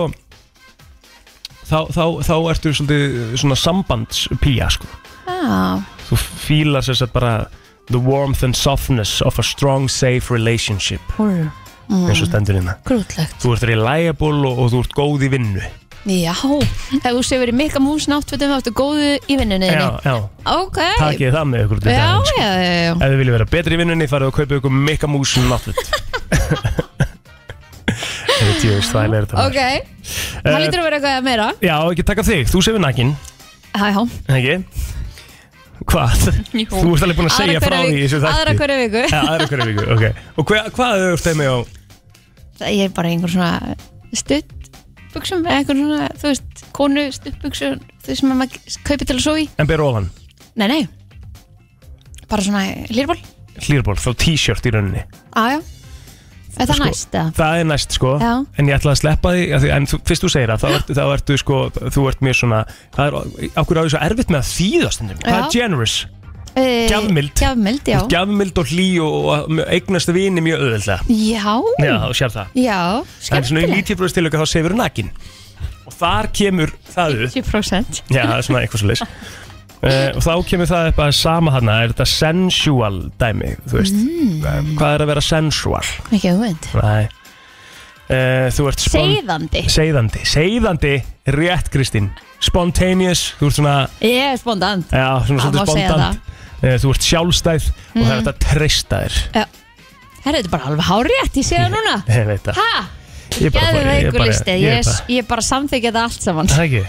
S1: þá, þá, þá ertu svolítið eh, svona sambandspía sko.
S3: Já.
S1: þú fílar sér satt bara the warmth and softness of a strong safe relationship
S3: Húr.
S1: eins og stendur hérna
S3: Grútlegt.
S1: Þú ert reliable og, og þú ert góð í vinnu
S3: Já. Ef þú séu verið mikka mús náttfötum, þá ertu góðu í vinnunni. þinni.
S1: Já, já,
S3: Ok.
S1: takið það með ykkur út í
S3: Já,
S1: daginn, sko.
S3: já, já, já.
S1: Ef þið viljið vera betri í vinnunni farið og kaupið ykkur mikka músin náttútt Það er tíu stæli er þetta maður.
S3: Ok,
S1: Eh,
S3: það lítur að vera eitthvað meira
S1: Já, ekki taka þig, þú sefur nakin
S3: Hæ, há
S1: Ekki? Hvað? Þú ert alveg búin að segja frá því í þessu þætti
S3: Aðra hverju viku
S1: Já, aðra hverju viku, ok Og hver, hvað er þau með á
S3: Ég er bara einhver svona stutt buksum eða einhver svona, þú veist, konu stutt buksum þau sem maður kaupir til að sofa í
S1: en ber ofan?
S3: Nei, nei Bara svona hlýrból
S1: Hlýrból, þá t-shirt í rauninni
S3: Á, já Er
S1: Sko,
S3: það næst, eða?
S1: Það er næst sko
S3: Já.
S1: En ég ætla að sleppa því, af því En þú, fyrst þú segir það, þá ertu, þá ertu sko Þú ert mér svona Það er okkur á því svo erfitt með að þýða stundum Hvað er
S3: Já.
S1: generous?
S3: Eh,
S1: Gjafmild.
S3: Gjafmild, já
S1: Gjafmild og hlý og, og eignast vini mjög auðvöldlega
S3: Já,
S1: Já, þú sér það
S3: já,
S1: En svona
S3: Mm.
S1: í
S3: skemmtilegt
S1: 90% tilöka þá sefur nakin og þar kemur það upp
S3: 10%
S1: Já, það er svona eitthvað svo leys og þá kemur það upp að sama hana er þetta sensual dæmi þú veist, mm. hvað er að vera sensual
S3: Ekki hugmynd
S1: nei uh, þú ert spon-
S3: Seiðandi
S1: seiðandi, seiðandi rétt Kristín, spontaneous þú ert svona,
S3: Ég er spondant
S1: já, svona
S3: Það Mm. má
S1: svolítið
S3: segja
S1: spontant uh, þú ert sjálfstæð og það er þetta treysta þér
S3: Herra, þetta er bara alveg hárétt, ég sé það núna
S1: ég veit það,
S3: Hæ?
S1: Eh. Ég er bara-
S3: Gæður
S1: ég er
S3: veikur
S1: bara-
S3: listi
S1: ég er
S3: Ég er-
S1: bara- Eh.
S3: ég er bara að samþykja það allt saman
S1: það ekki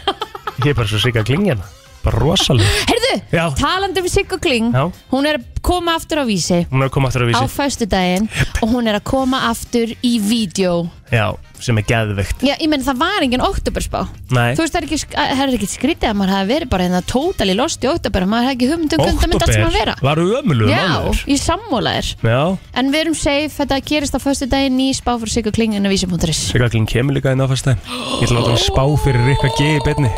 S1: ég er bara svo sigga klingjana, bara rosalega
S3: Herðu,
S1: Já.
S3: talandi um Sigga Kling
S1: Já.
S3: Hún er að koma aftur á vísi
S1: hún er að koma aftur að
S3: á
S1: vísi,
S3: föstudaginn og hún er að koma aftur í vídeo
S1: já, sem er geðvikt
S3: Já, ég meina það var engin oktoberspá
S1: nei,
S3: Þú veist, það er ekki, eh, það er ekki skrítið að maður hafi verið bara hérna totally lost í oktober og maður hafi ekki hugmynd um hvernig það myndi allt saman vera
S1: var ömulug
S3: Já, ég sammála þér
S1: já,
S3: En við erum safe, þetta gerist á föstudaginn í spá fyrir Sigga Kling en á vísi.is
S1: Siggaklinn kemur líka inn á fastæðin Ég ætla að láta hann spá fyrir Rikka G í beinni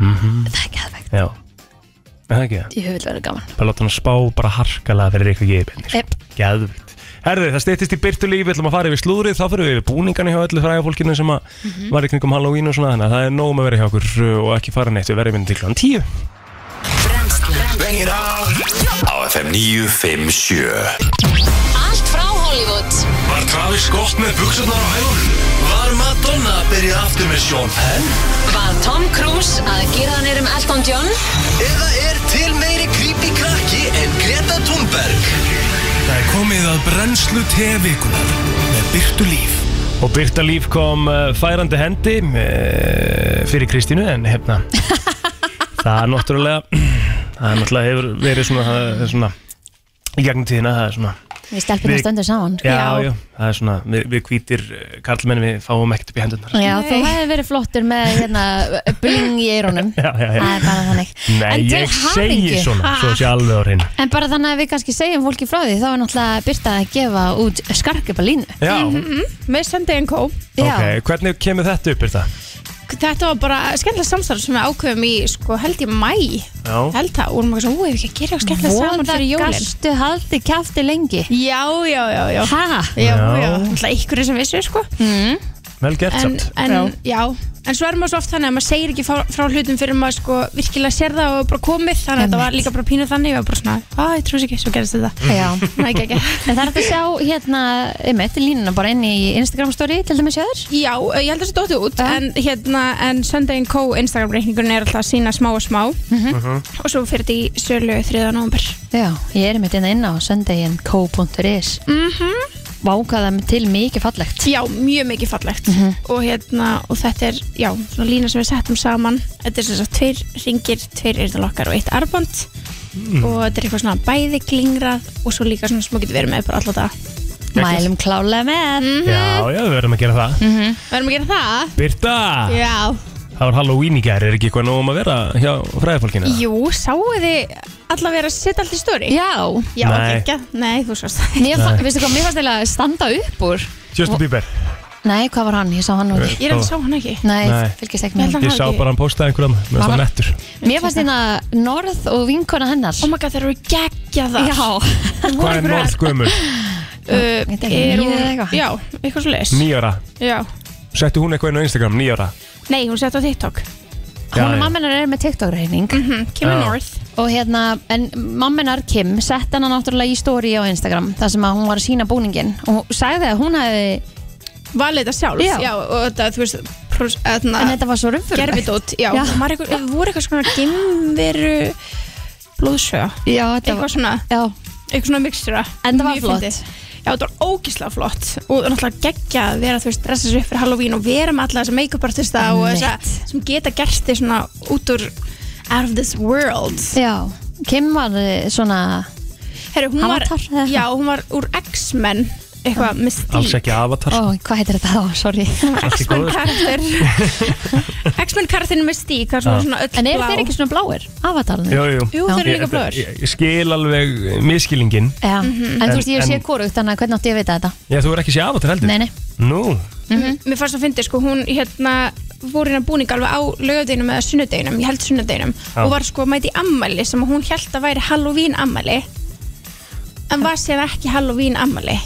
S3: Mm-hmm. Það er geðvegt,
S1: Já Er Það ekki það
S3: ég vil vera gaman
S1: Bara láta hann spá bara harkalega fyrir Rikka G í beinni
S3: Epp,
S1: Gæðvikt Herðu, það steyttist í byrtulíf Við ætlum að fara yfir slúðrið Þá fyrir við yfir búningana hjá öllu fræga fólkinu sem að
S3: Mhm.
S1: var í kringum Halloween og svona Þannig að það er nóg um að vera hjá okkur uh, og ekki fara neitt Við verðum inn til klán 10
S2: Bengir á Á FM 957
S9: Allt frá Hollywood
S2: Var Travis gott með buksunar á hægunum? Var Madonna að byrja aftur með Sean Penn?
S9: Var Tom Cruise að gera hann erum Elton John
S2: Eða er til meiri creepy krakki en Greta Thunberg? Það er komið að brennslu tevikunar með byrtu líf
S1: Og byrtalíf kom uh, færandi hendi uh, fyrir Kristínu En hefna Það er náttúrulega Það er náttúrulega hefur verið svona, það er svona Í gegnum tíðina það er svona
S3: við stelpum
S1: Við-
S3: það stöndum saman
S1: Já, já, það er svona, við, við hvítir eh, karlmenn við fáum ekkert upp í hendunar
S3: Já, þú hefði verið flottur með hérna, bling í eyrunum
S1: Já, já, já
S3: Það er bara þannig
S1: Nei,
S3: En til
S1: ég segi
S3: hamingju.
S1: svona, svo sé alveg á reyna
S3: En bara þannig að við kannski segjum fólki frá því þá er náttúrulega Birta að gefa út skarkjöpa línu
S1: Já,
S3: mhm,
S10: með Sunday Co.
S1: ok, hvernig kemur þetta upp, Birta?
S10: Þetta var bara skemmtilega samstarf sem við ákveðum í, sko, held ég mæ
S1: Já,
S10: held það, og hún var svona, ú, ef við ekki að gera eitthvað skemmtilega saman fyrir jólin
S3: gastu haldi kæfti lengi
S10: Já, já, já, já
S3: Hæ?
S10: Já,
S1: Já.
S10: já, alltaf ykkur sem vissu, sko
S1: vel gert
S10: en,
S1: samt
S10: en, já. en svo er maður svo oft þannig að maður segir ekki frá, frá hlutum fyrir maður sko virkilega sér það og er bara komið þannig að þetta var líka bara pínu þannig og bara svona, að ég trúi ekki, svo gerist þetta
S3: Já
S10: Nei, ekki, ekki.
S3: En það er hægt að sjá hérna, einmitt, línuna bara inn í Instagram story til dæmis hjá þér
S10: Já, eh, ég held að það sé dótið út en, hérna, en Sunday Co. Instagram reikningun er alltaf að sína smá og smá og svo fyrir þetta í sölu 3. november
S3: Já, ég er einmitt hérna inn á sundayinco.is mm -hmm. Vákaða til mikið fallegt
S10: Já, mjög mikið fallegt
S3: Mhm.
S10: og, hérna, og þetta er, já, svona lína sem við settum saman Þetta er sem sagt tveir ringir, tveir eyrnalokkar og eitt arband
S1: Mm.
S10: og þetta er eitthvað svona bæði klingrað og svo líka svona sem maður getur verið með bara alltaf það
S3: Mælum klálega með
S1: Já, já, við verðum að gera það
S10: Verðum að gera það?
S1: Birta,
S10: Mm. Já
S1: það var Halloween í gær, er ekki eitthvað nóg um að vera hjá fræðafólkinu?
S10: Jú, sáu þið allavega vera að setja allt í stóri?
S3: Já,
S10: Já,
S1: Nei.
S10: ekki, ekki Nei, þú sást það
S3: mér fann, veistu hvað, mér fannst eiginlega að standa upp úr
S1: Justin Bieber
S3: Nei, hvað var hann, ég sá hann úr
S10: Ég er alveg að sá hann ekki
S3: Nei,
S1: Nei.
S3: fylgist ekki
S10: Ég
S3: með
S10: held
S3: hann
S10: að
S1: Ég
S10: hann
S1: sá
S10: hafi ekki
S1: bara hann postaði einhverjum, mér finnst
S3: Hvað
S1: það
S3: var-
S1: nettur
S3: Mér fannst hérna Norð og vinkona hennar
S10: Oh my god, þeir eru geggjað það
S3: Já,
S1: Hvað er norð gömur?
S10: Uh,
S3: Þetta er
S10: er
S3: níu eða
S10: hún,
S3: eitthvað.
S10: já, eitthvað svo leis
S1: Nýjára
S10: Já,
S1: Settu hún eitthvað inn á Instagram, nýjára
S10: nei, hún sett á TikTok
S3: hún og mammenar er með TikTok-reining
S10: hm, Kimi
S1: Já.
S10: North
S3: og hérna, en mammenar Kim sett hana náttúrulega í story á Instagram þar sem að hún var að sína búningin og hún sagði að hún hefði,
S10: Valið þetta sjálf
S3: Já.
S10: og þetta, þú veist pros-
S3: en
S10: þarna,
S3: þetta var svo rumfurlegt
S10: Gerfidót, já,
S3: Já.
S10: já. Maður, eitthvað, voru eitthvað svona Gimveru Blóðsöga
S3: Já, þetta
S10: Eitthvað
S3: var
S10: svona
S3: Já,
S10: eitthvað svona mixtura
S3: En það var
S10: Mjög
S3: flott.
S10: fyndið. Já, þetta var ógislega flott og náttúrulega geggja að vera, þú veist, dressa sér upp fyrir Halloween og vera með alla þessa make-up artista og þessa sem geta gert þig svona út úr out of this world
S3: já Kim var eh, svona
S10: Herru, hún var,
S3: Avatar, eða?
S10: já, hún var úr X-Men eitthvað
S1: Alls
S10: mystík
S1: ekki avatar
S3: Ó, hvað heitir þetta þá, sorry
S1: allt í
S10: X-Men
S1: góðu, sko.
S10: karakter X-Men karakterin mystík, það er
S1: Já.
S10: svona, svona öll
S3: En eru
S10: blá.
S3: þeir ekki svona bláir, avatarnir?
S1: Jú, jú
S10: Jú, þeir eru
S1: Ég-
S10: líka blöður
S1: ég, ég skil alveg miskilingin
S3: Já, en þú veist ég
S1: En-
S3: sé
S1: en-
S3: korugt þannig að hvernig átti ég að vita þetta?
S1: Já, þú er ekki sé avatar heldur
S3: Nei, nei,
S1: Nú,
S3: Mhm.
S10: Mér fannst að fyndi, sko, hún hérna voru hérna búning alveg á lögadeginum eða sunnudeginum, ég held sunnudeginum
S1: Já.
S10: og var sko að mæti ammæli sem hún held að væri Halloween ammæli en var sér ekki Halloween ammæli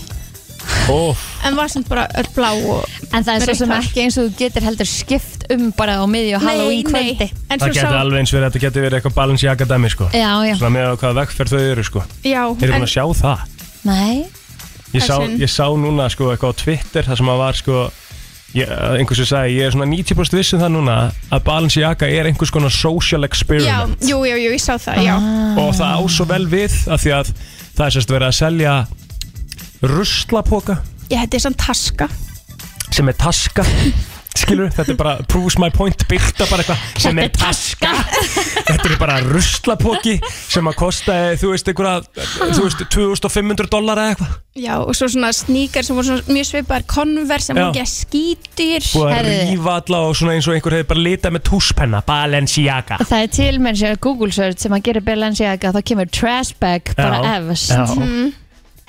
S1: óf
S10: en var sem bara öll blá og
S3: En það er svo sem
S10: Reykdal.
S3: ekki eins og þú getur heldur skipt um bara á miðju
S10: Nei,
S3: Halloween
S10: nei.
S3: kvöldi
S10: En
S1: það
S10: svo
S1: getur
S10: sá-
S1: alveg eins verið að þetta getur verið eitthvað balans í akademi sko.
S3: Já, já.
S1: Svona með á hvaða vegferð þau eru sko.
S10: Já,
S1: Þeir eru búin að sjá það
S3: Nei
S1: Ég sá,
S10: Það er synd.
S1: ég sá núna sko, eitthvað á Twitter þar sem að var sko, ég- að einhver sem sagði ég er svona 90% vissin um það núna að Balenciaga er einhvers konar social
S10: Já,
S1: experiment
S10: jú, jú, jú, ég sá það, já
S3: Ah.
S1: og það á svo vel við af því að það er sérst verið að selja ruslapoka
S10: Ég hætti þessan taska
S1: sem er taska skilur, þetta er bara proves my point byrta bara eitthvað sem er taska þetta er bara ruslapoki sem að kosta, eh, þú veist, einhverja þú veist, 2500 dollara eða eitthvað
S10: Já, og svo svona sníkar sem voru svona mjög svipaðar konver
S1: Já.
S10: sem voru ekki að skýtir
S1: búið að rífa alla og svona eins og einhver hefur bara litað með túspenna, Balenciaga
S3: Það er til menn sem Google search sem að gera Balenciaga þá kemur trash bag bara
S1: Já,
S3: efst
S1: já.
S3: Mhm.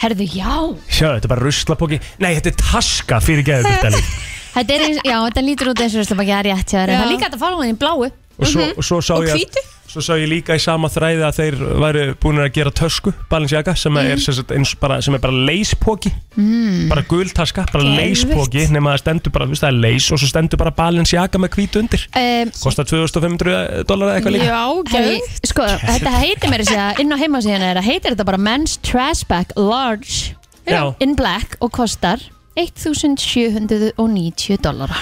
S3: Herðu, já
S1: sjá, þetta er bara ruslapoki nei, þetta er taska fyrir geðubyrtali
S3: Þetta, er, eins- já, þetta lítur út eins og þess að maður er rétt hjá þér en
S10: Já.
S3: það er líka hægt að fá hann í bláu
S1: og svo,
S3: Mhm.
S1: og svo sá
S10: Og
S1: ég
S10: hvítu?
S1: Svo sá ég líka í sama þræði að þeir væru búin að gera tösku, Balenciaga, sem, mm. er, sem, sagt, eins, bara, sem er bara leispoki,
S3: Mhm. mm.
S1: bara gultaska, bara
S3: Geðveikt.
S1: leispoki, nema það stendur bara, þú veist, það er leis og svo stendur bara Balenciaga með hvítu undir.
S3: um,
S1: Kostar 2500 dólar eitthvað líka.
S10: Já,
S3: Hei,
S10: geðveikt.
S3: sko, þetta heitir mér að segja inn á heimasíðan er að heitir þetta bara Men's Trash Bag Large
S1: Já.
S3: in Black og kostar 1790 dollara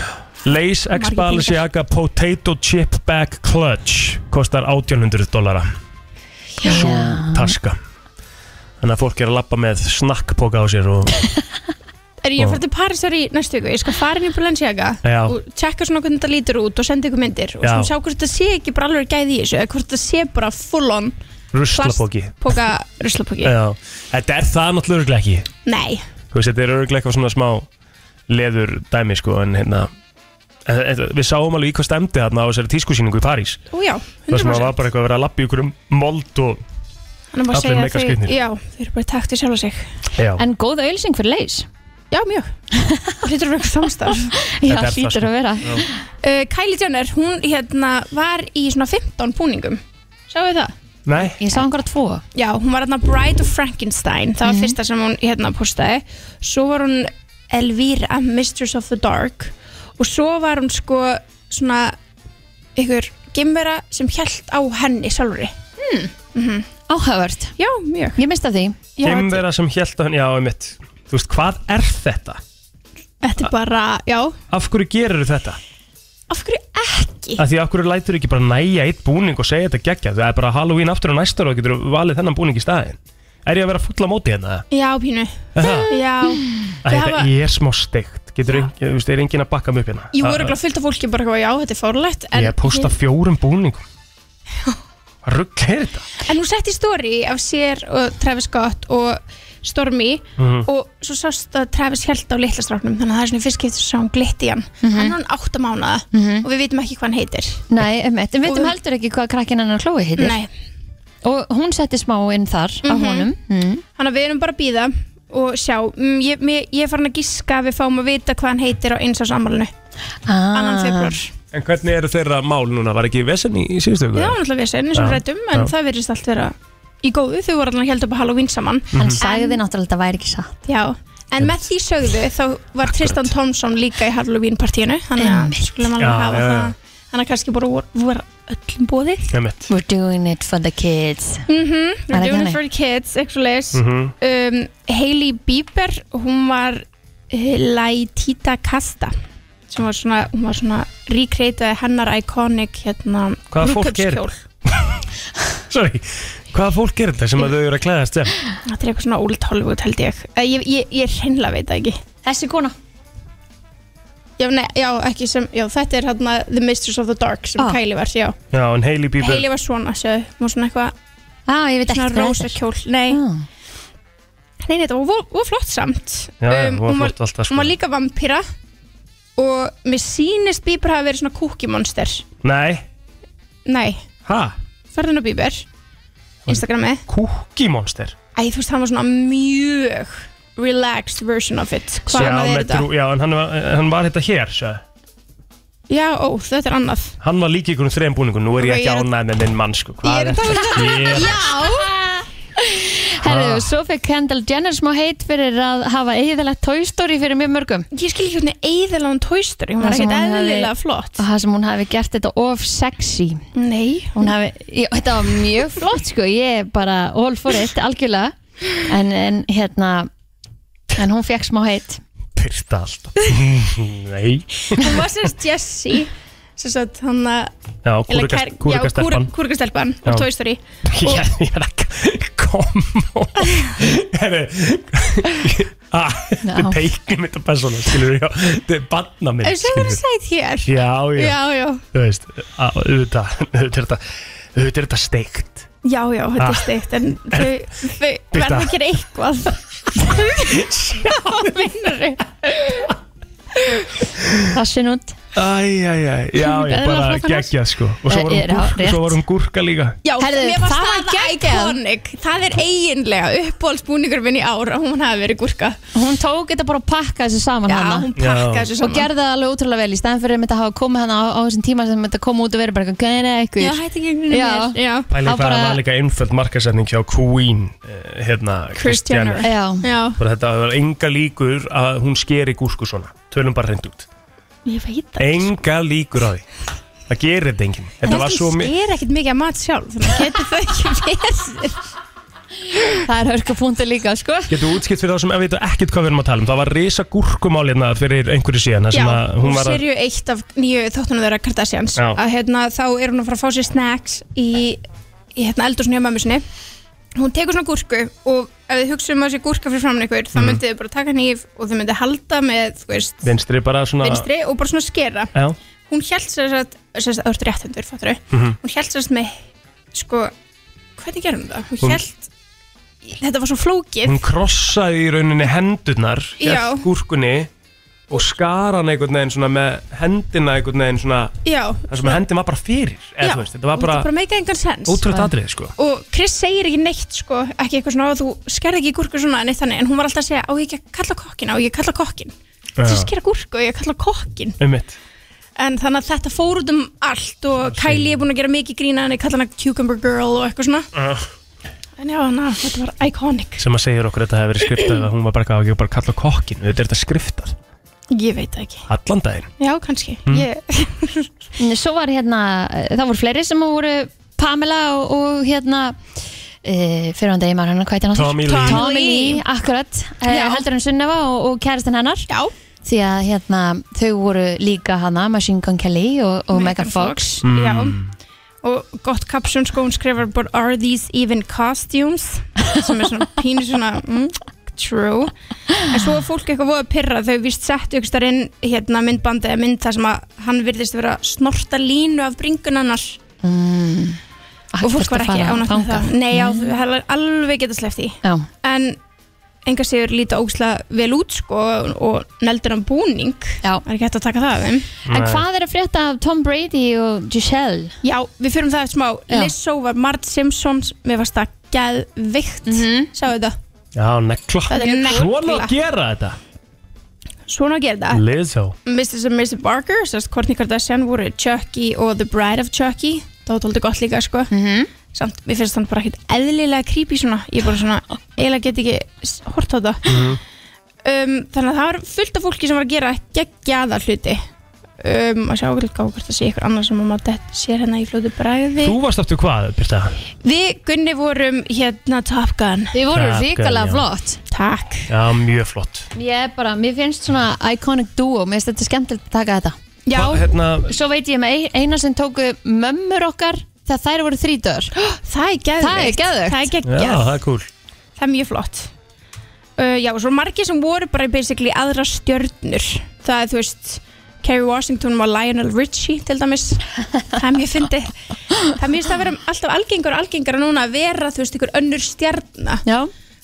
S1: Leis x
S3: Margir
S1: Balenciaga Potato Chip Bag Clutch kostar 1800 dólara. Svo taska. Þannig að fólk er að lappa með snakkpoka á sér og...
S10: Er ég að fara til Paris þar í næstu viku? Ég skal fara inn í Balenciaga
S1: Já.
S10: og tjekka svona hvernig þetta lítur út og senda ykkur myndir og
S1: Já.
S10: svona sjá hvort þetta sé ekki bara alveg gæði í þessu eða hvort þetta sé bara full on
S1: Ruslapoki.
S10: plastpoka ruslapóki
S1: Já, þetta er það náttúrulega örugglega ekki.
S10: Nei,
S1: þú veist, þetta er örglega eitthvað svona smá leður dæmi, sko, en hérna en, en, við sáum alveg í hvað stemdi þarna á þessari tískusýningu í París
S10: og já,
S1: það sem
S10: 100%
S1: að var bara eitthvað að vera að lappa í ykkur um mold og,
S10: Hann er bara að
S1: allir
S10: segja
S1: mega
S10: að
S1: skrýtnir.
S10: þau, já, þau eru bara í takt við sjálfa sig
S1: já,
S3: En góð auðlýsing fyrir leis
S10: Já, mjög. Hlýtur að vera eitthvað samstarf.
S3: Já,
S1: Þetta er það,
S3: hlýtur
S1: sko.
S3: að vera
S10: Uh, Kylie Jenner, hún hérna var í svona 15 búningum. Sjáu þið það?
S1: nei,
S3: Ég sá einhverja tvo
S10: Já, hún var hérna Bride of Frankenstein. Það var fyrsta sem hún hérna postaði. Svo var hún Elvira, Mistress of the Dark. Og svo var hún sko svona ykkur gimmera sem hjælt á henni sjálfri.
S3: Áhævart,
S10: Já, mjög.
S3: ég mista því
S10: Já,
S1: þeim vera sem held að hann, já, einmitt þú veist, hvað er þetta?
S10: Þetta er bara, já,
S1: Af hverju gerir þetta?
S10: af hverju ekki?
S1: Af því af hverju lætur ekki bara næja eitt búning og segja þetta geggja, það er bara Halloween aftur og næstur og getur valið þennan búning í staðin Er ég að vera fulla móti hérna?
S10: Já, pínu.
S1: Er það?
S10: Já.
S1: Að Þetta
S10: hafa-
S1: er smá steikt, getur ein, þú veist, er enginn að bakka mig upp hérna
S10: Jú,
S1: Það-
S10: öruglega fullt af fólki bara, eitthvað, já, þetta er fárlegt. en-
S1: Ég að posta fjórum búningum Hvað rugg er þetta?
S10: En hún setti stóri af sér og Travis Scott og Stormy
S1: Mhm.
S10: og svo sást að Travis held á litla stráknum þannig að það er svona fyrst skipti sem sá hún glitt í hann hann er hann átta mánuða og við vitum ekki hvað hann heitir
S3: Nei, um eitt, við veitum
S10: Og-
S3: heldur ekki hvað krakkin hennar Chloe heitir
S10: Nei,
S3: Og hún setti smá inn þar á honum mm.
S10: hann að við erum bara að býða og sjá, mm, ég, mér, ég er farin að giska að við fáum að vita hvað hann heitir á eins á sammálinu
S3: Ah.
S10: annan februar
S1: En hvernig eru þeirra mál núna? Var ekki vesen í, í síðustu
S10: Það
S1: viku?
S10: var náttúrulega við eins og
S1: Já,
S10: rættum um, en
S1: já.
S10: það verðist allt vera í góðu þau voru allan held upp á Halloween saman
S3: Hann sagði náttúrulega að þetta væri ekki satt
S10: Já, en með því sögðu þá var Tristan Thompson líka í Halloween partíinu þannig að
S3: Einmitt.
S10: skulum alveg
S1: Já,
S10: hafa
S1: já, já.
S10: það þannig að kannski bara vor, vor öllum bóðið
S1: Nei, mitt
S3: We're doing it for the kids
S10: mm -hmm.
S3: Er það
S10: We're doing
S3: þannig?
S10: it for the kids, eitthvað leis
S1: Mhm.
S10: um, Hailey Bieber hún var uh, Laitita Kasta sem var svona, hún var svona recreataði hennar iconic hérna
S1: Hvaða fólk
S10: brúðkaupskjól.
S1: gerir Sorry, hvaða fólk er þetta sem að þau eru að klæðast sem?
S10: Þetta er eitthvað svona old Hollywood held ég Eh, Ég, ég, ég hreinlega veit það ekki
S3: Þessi kona
S10: Já, nei, já, ekki sem, já, þetta er hérna The Mistress of the Dark sem
S3: Ah.
S10: Kylie var, já.
S1: Já, en Hailey Bieber
S10: Hailey var svona, sjáðu, hún var svona eitthvað,
S3: Á, ég veit ekki
S10: svona
S3: hvað
S10: rosa
S3: þetta er.
S10: kjól, nei,
S3: Ah.
S10: nei, nei, þetta var vo- vo flott samt. Um,
S1: Já, já, hún var
S10: hún var,
S1: flott alltaf sko
S10: hún var líka vampýra og mér sýnist Bieber hafa verið svona kúkimonster.
S1: Nei,
S10: Nei,
S1: ha?
S10: farðin á Bieber, Instagrami,
S1: Kúkimonster
S10: æ, þú veist, hann var svona mjög relaxed version of it. Hvað
S1: Já,
S10: annað
S1: með
S10: er þetta?
S1: drú- Já, en hann var, hann var þetta hér, sjá
S10: Já, ó, þetta er annað.
S1: Hann var líka í einhverjum þrejum búningum Nú er ég
S10: Ok,
S1: ekki
S10: ég er-
S1: ánægð með minn mann sko Hvað
S10: Ég er að
S1: þetta?
S10: tala um
S1: Ég-
S10: Já,
S3: Herðu, svo fekk Kendall Jenner smá heit fyrir að hafa eigðilegt Toy Story fyrir mjög mörgum.
S10: Ég skil ekki hvernig eigðilegan Toy Story, hún var ekkert eðlilega flott.
S3: Og það sem hún hafi gert þetta of sexy.
S10: Nei.
S3: Hún hafi, já, þetta var mjög flott sko, ég er bara all for it, algjörlega. En, en hérna, en hún fekk smá heit.
S1: Pyrta alltaf Nei
S10: Hún var sérst Jessie sem sagt hann að
S1: Já,
S10: Eller
S1: kúrukast-
S10: kær-
S1: kúrukastelpan.
S10: Já, kúr- kúrukastelpan
S1: Já.
S10: úr Toy Story
S1: Ég er ég er að Herri Ah, Þetta er teiknum þetta persóna, skilur við Þetta er banna minn,
S10: Ef sem verður sætt hér
S1: Já, já,
S10: já, já,
S1: þú veist á- Auðvitað, auðvitað er þetta Auðvitað er þetta steikt
S10: já, já, þetta
S1: Ah.
S10: er steikt en þau, þau
S1: Birta.
S10: verða að gera eitthvað Já, vinnur
S3: Passin út.
S1: Æj, æj, æj, já,
S3: Eðlilega
S1: ég bara
S3: flott annars.
S1: geggja sko Og svo
S3: Eh,
S1: var hún,
S3: já,
S1: gúr,
S3: rétt.
S1: svo var hún gúrka líka
S10: Já,
S3: Herðu,
S10: mér
S3: það var
S10: var það
S3: geggjað.
S10: iconic Það er eiginlega uppbólsbúningur minn í ára hún hafi verið gúrka
S3: Hún tók þetta bara og pakkaði þessu saman
S10: Já,
S3: hana.
S10: hún pakkaði
S1: Já.
S10: þessu
S3: og
S10: saman
S3: gerði það alveg útrúlega vel í stæðan fyrir að þetta hafa komið hana á, á þessum tíma sem þetta kom út og verið bara eitthvað gæna eitthvað
S10: Já, hætti gegnum
S3: Já.
S10: mér Já,
S3: Á
S1: Pæling hvað það
S3: bara-
S1: var líka einföld markasetning hjá Queen eh, Hérna, Kristjana
S3: Já,
S10: já
S1: Bara þetta var enga líkur að hún skeri gúrsku svona Tölum bara hreint út
S10: Ég veit það
S1: Enga líkur á því Það gerir þetta enginn Þetta var svo
S10: mikið
S1: mi-
S10: Ég er ekkert mikið að mat sjálf þannig að getur það ekki verið
S3: það er hörkupunktu líka sko.
S1: Getur þú útskipt fyrir þá sem ef við þetta ekkert hvað við erum að tala um Það var risa gúrkumál hérna fyrir einhverju síðan þar
S10: Já,
S1: sem að
S10: hún
S1: hún var að
S10: serju eitt af nýju þóttunum þeirra Kardashians
S1: Já.
S10: að hérna þá er hún að fara að fá sér snacks í, í hérna eldursunni hjá mömmu sinni hún tekur svona gúrku og ef þið hugsa um að sé gúrka fyrir framann ykkur þá
S1: Mhm.
S10: myndið þið bara taka nýf og þið myndið halda með, þú veist,
S1: vinstri bara svona
S10: vinstri og bara svona skera
S1: Já,
S10: hún held sér að, sér að þú ert réttendur fattru,
S1: Mhm.
S10: hún held sér að með sko, hvernig gerum það? hún
S1: Hún-
S10: held, þetta var svo flókið
S1: hún krossaði í rauninni hendurnar
S10: Já.
S1: Hér gúrkunni Og skar hann einhvern veginn svona með hendina einhvern veginn svona
S10: já,
S1: Það sem að hendin var bara fyrir eða,
S10: já,
S1: þú veist, Þetta var
S10: þetta
S1: bara
S10: meika engan sens
S1: ótrúlega atrið sko
S10: og Chris segir ekki neitt sko, ekki eitthvað svona, "Ó, þú skerði ekki gúrku svona neitt þannig, en hún var alltaf að segja, á ég ekki að kalla kokkin á ég að kalla kokkin, þess að
S1: Já.
S10: skera gúrku á ég að kalla kokkin,
S1: Um mitt
S10: en þannig að þetta fór út um allt og Kylie er búin að gera mikið grína hann, ég kalla hana Cucumber Girl og eitthvað svona, en já, na, þetta var iconic,
S1: Sem að segir okkur að þetta hefði verið skriftað að Hún var bara eitthvað ekki bara kalla kokkin Þetta er þetta skriftað
S10: ég veit það ekki
S1: Allan daginn
S10: já, kannski,
S1: Mm.
S10: ég,
S3: Svo var hérna, það voru fleiri sem voru Pamela og, og hérna e, fyrir hann deymar hennar, hvað heitir hann? aftur?
S1: Tommy Lee.
S3: Tommy Lee, akkurat e,
S10: Já.
S3: heldur hann Sunneva og, og kæristinn hennar
S10: já,
S3: því að hérna, þau voru líka hana Machine Gun Kelly og, og Megan Fox,
S10: já og gott kapsjón sko, hún skrifar bara are these even costumes sem er svona pínu svona mm, true, en svo er fólk eitthvað voða að pyrra, þau víst settu ykkur starf inn hérna myndbandi eða mynd þar sem að hann virðist vera að snorta línu af bringun annars og fólk var ekki ánægt með það nei, já, þau hefðu alveg geta sleppt í
S3: Já,
S10: en enga sigur líta ógslag vel út sko og neldur hann búning
S3: já.
S10: það er ekki hægt að taka það af þeim
S3: En hvað er að frétta af Tom Brady og Giselle?
S10: Já, við fyrir það eftir smá
S3: Já.
S10: Lizzo var Mart Simpsons Mér varst það geðvikt mm -hmm. Sáðu þetta?
S1: Já, negla
S10: Þetta er negla.
S1: Svona að gera Mm. þetta
S10: Svona að gera þetta
S1: Lizzo
S10: Mrs. and Mrs. Barker, sérst Kourtney Kardashian voru Chucky og The Bride of Chucky Það var tóldi gott líka sko
S3: Mhm.
S10: Samt, mér finnst þannig bara ekkert eðlilega creepy svona Ég bara svona, eiginlega get ekki s- hort á þetta um, Þannig að það var fullt af fólki sem var að gera geggjaða hluti um, að sjá okkur líka hvort það sé ykkur annað sem að maður dett sér hérna í fljótu bræði
S1: Þú varst aftur hvað, Birta?
S10: Við Gunni vorum hérna Top Gun
S3: Þið voru
S1: Takk,
S3: ríkala
S1: já.
S3: flott
S10: Takk
S1: Já, mjög flott
S3: Ég er bara, mér finnst svona iconic duo Mér finnst þetta skemmtilegt að taka þetta
S10: Já,
S1: Hva- hérna,
S3: Svo veit ég með ein- eina sem tóku mömmur okkar Þegar þær voru þrítur
S10: það er geðveikt
S3: Það er geðveikt.
S10: Það er
S1: Já,
S10: geggjað.
S1: það er cool
S10: Það er mjög flott uh, Já, svo margir sem voru bara basically aðra stjörnur Það er, þú veist, Kerry Washington og Lionel Richie til dæmis Það er mjög fyndið Það er mjög stað að vera alltaf algengar og algengar núna að vera, þú veist, ykkur önnur stjarna
S3: Já,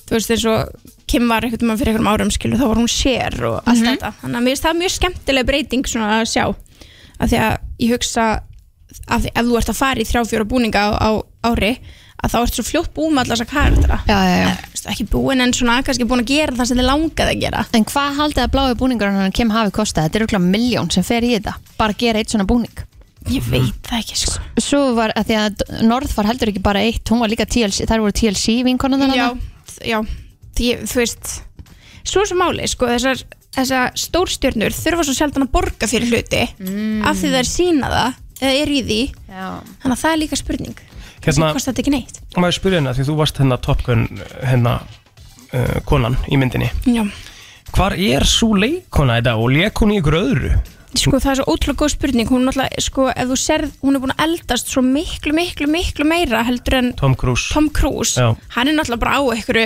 S10: Þú veist, eins og Kim var einhvern veginn fyrir einhverjum árum skilu, þá var hún sér og allt þetta Þannig að mér finnst það mjög skemmtileg breyting svona að sjá af því að ég hugsa af því ef þú ert að fara í þrjá fjóra búninga á, á ári að þá ert svo fljótt búin með allasa kardra
S3: já, já, já.
S10: ekki búin en svona kannski búin að gera það sem þið langaði að gera
S3: En hvað haldið að blái búningur hann kem hafi kostað? Þetta er okkur miljón sem fer í þetta Bara að gera eitt svona búning
S10: ég veit það ekki sko
S3: Svo var að því að Norð var heldur ekki bara eitt Hún var líka TLC, þær voru TLC vinkonan
S10: já, já, því, þú veist svo er sem máli, sko, þessar, þessar stórstjörnur þurfa svo sjaldan að borga fyrir hluti af því það er sína það eða er í því,
S3: já.
S10: þannig að það er líka spurning þess
S1: Hérna-
S10: að kostar þetta ekki neitt
S1: Má ég spyrja hérna, því þú varst hérna Top Gun hérna uh, konan í myndinni
S10: já.
S1: Hvar er svo leikona í dag og leik hún í ykkur öðru?
S10: Sko það er svo ótrúlega góð spurning Hún, náttúrulega, sko, ef þú serð, hún er búin að eldast svo miklu, miklu, miklu meira heldur en
S1: Tom Cruise
S10: Tom Cruise
S1: Já.
S10: Hann er náttúrulega bara á einhverju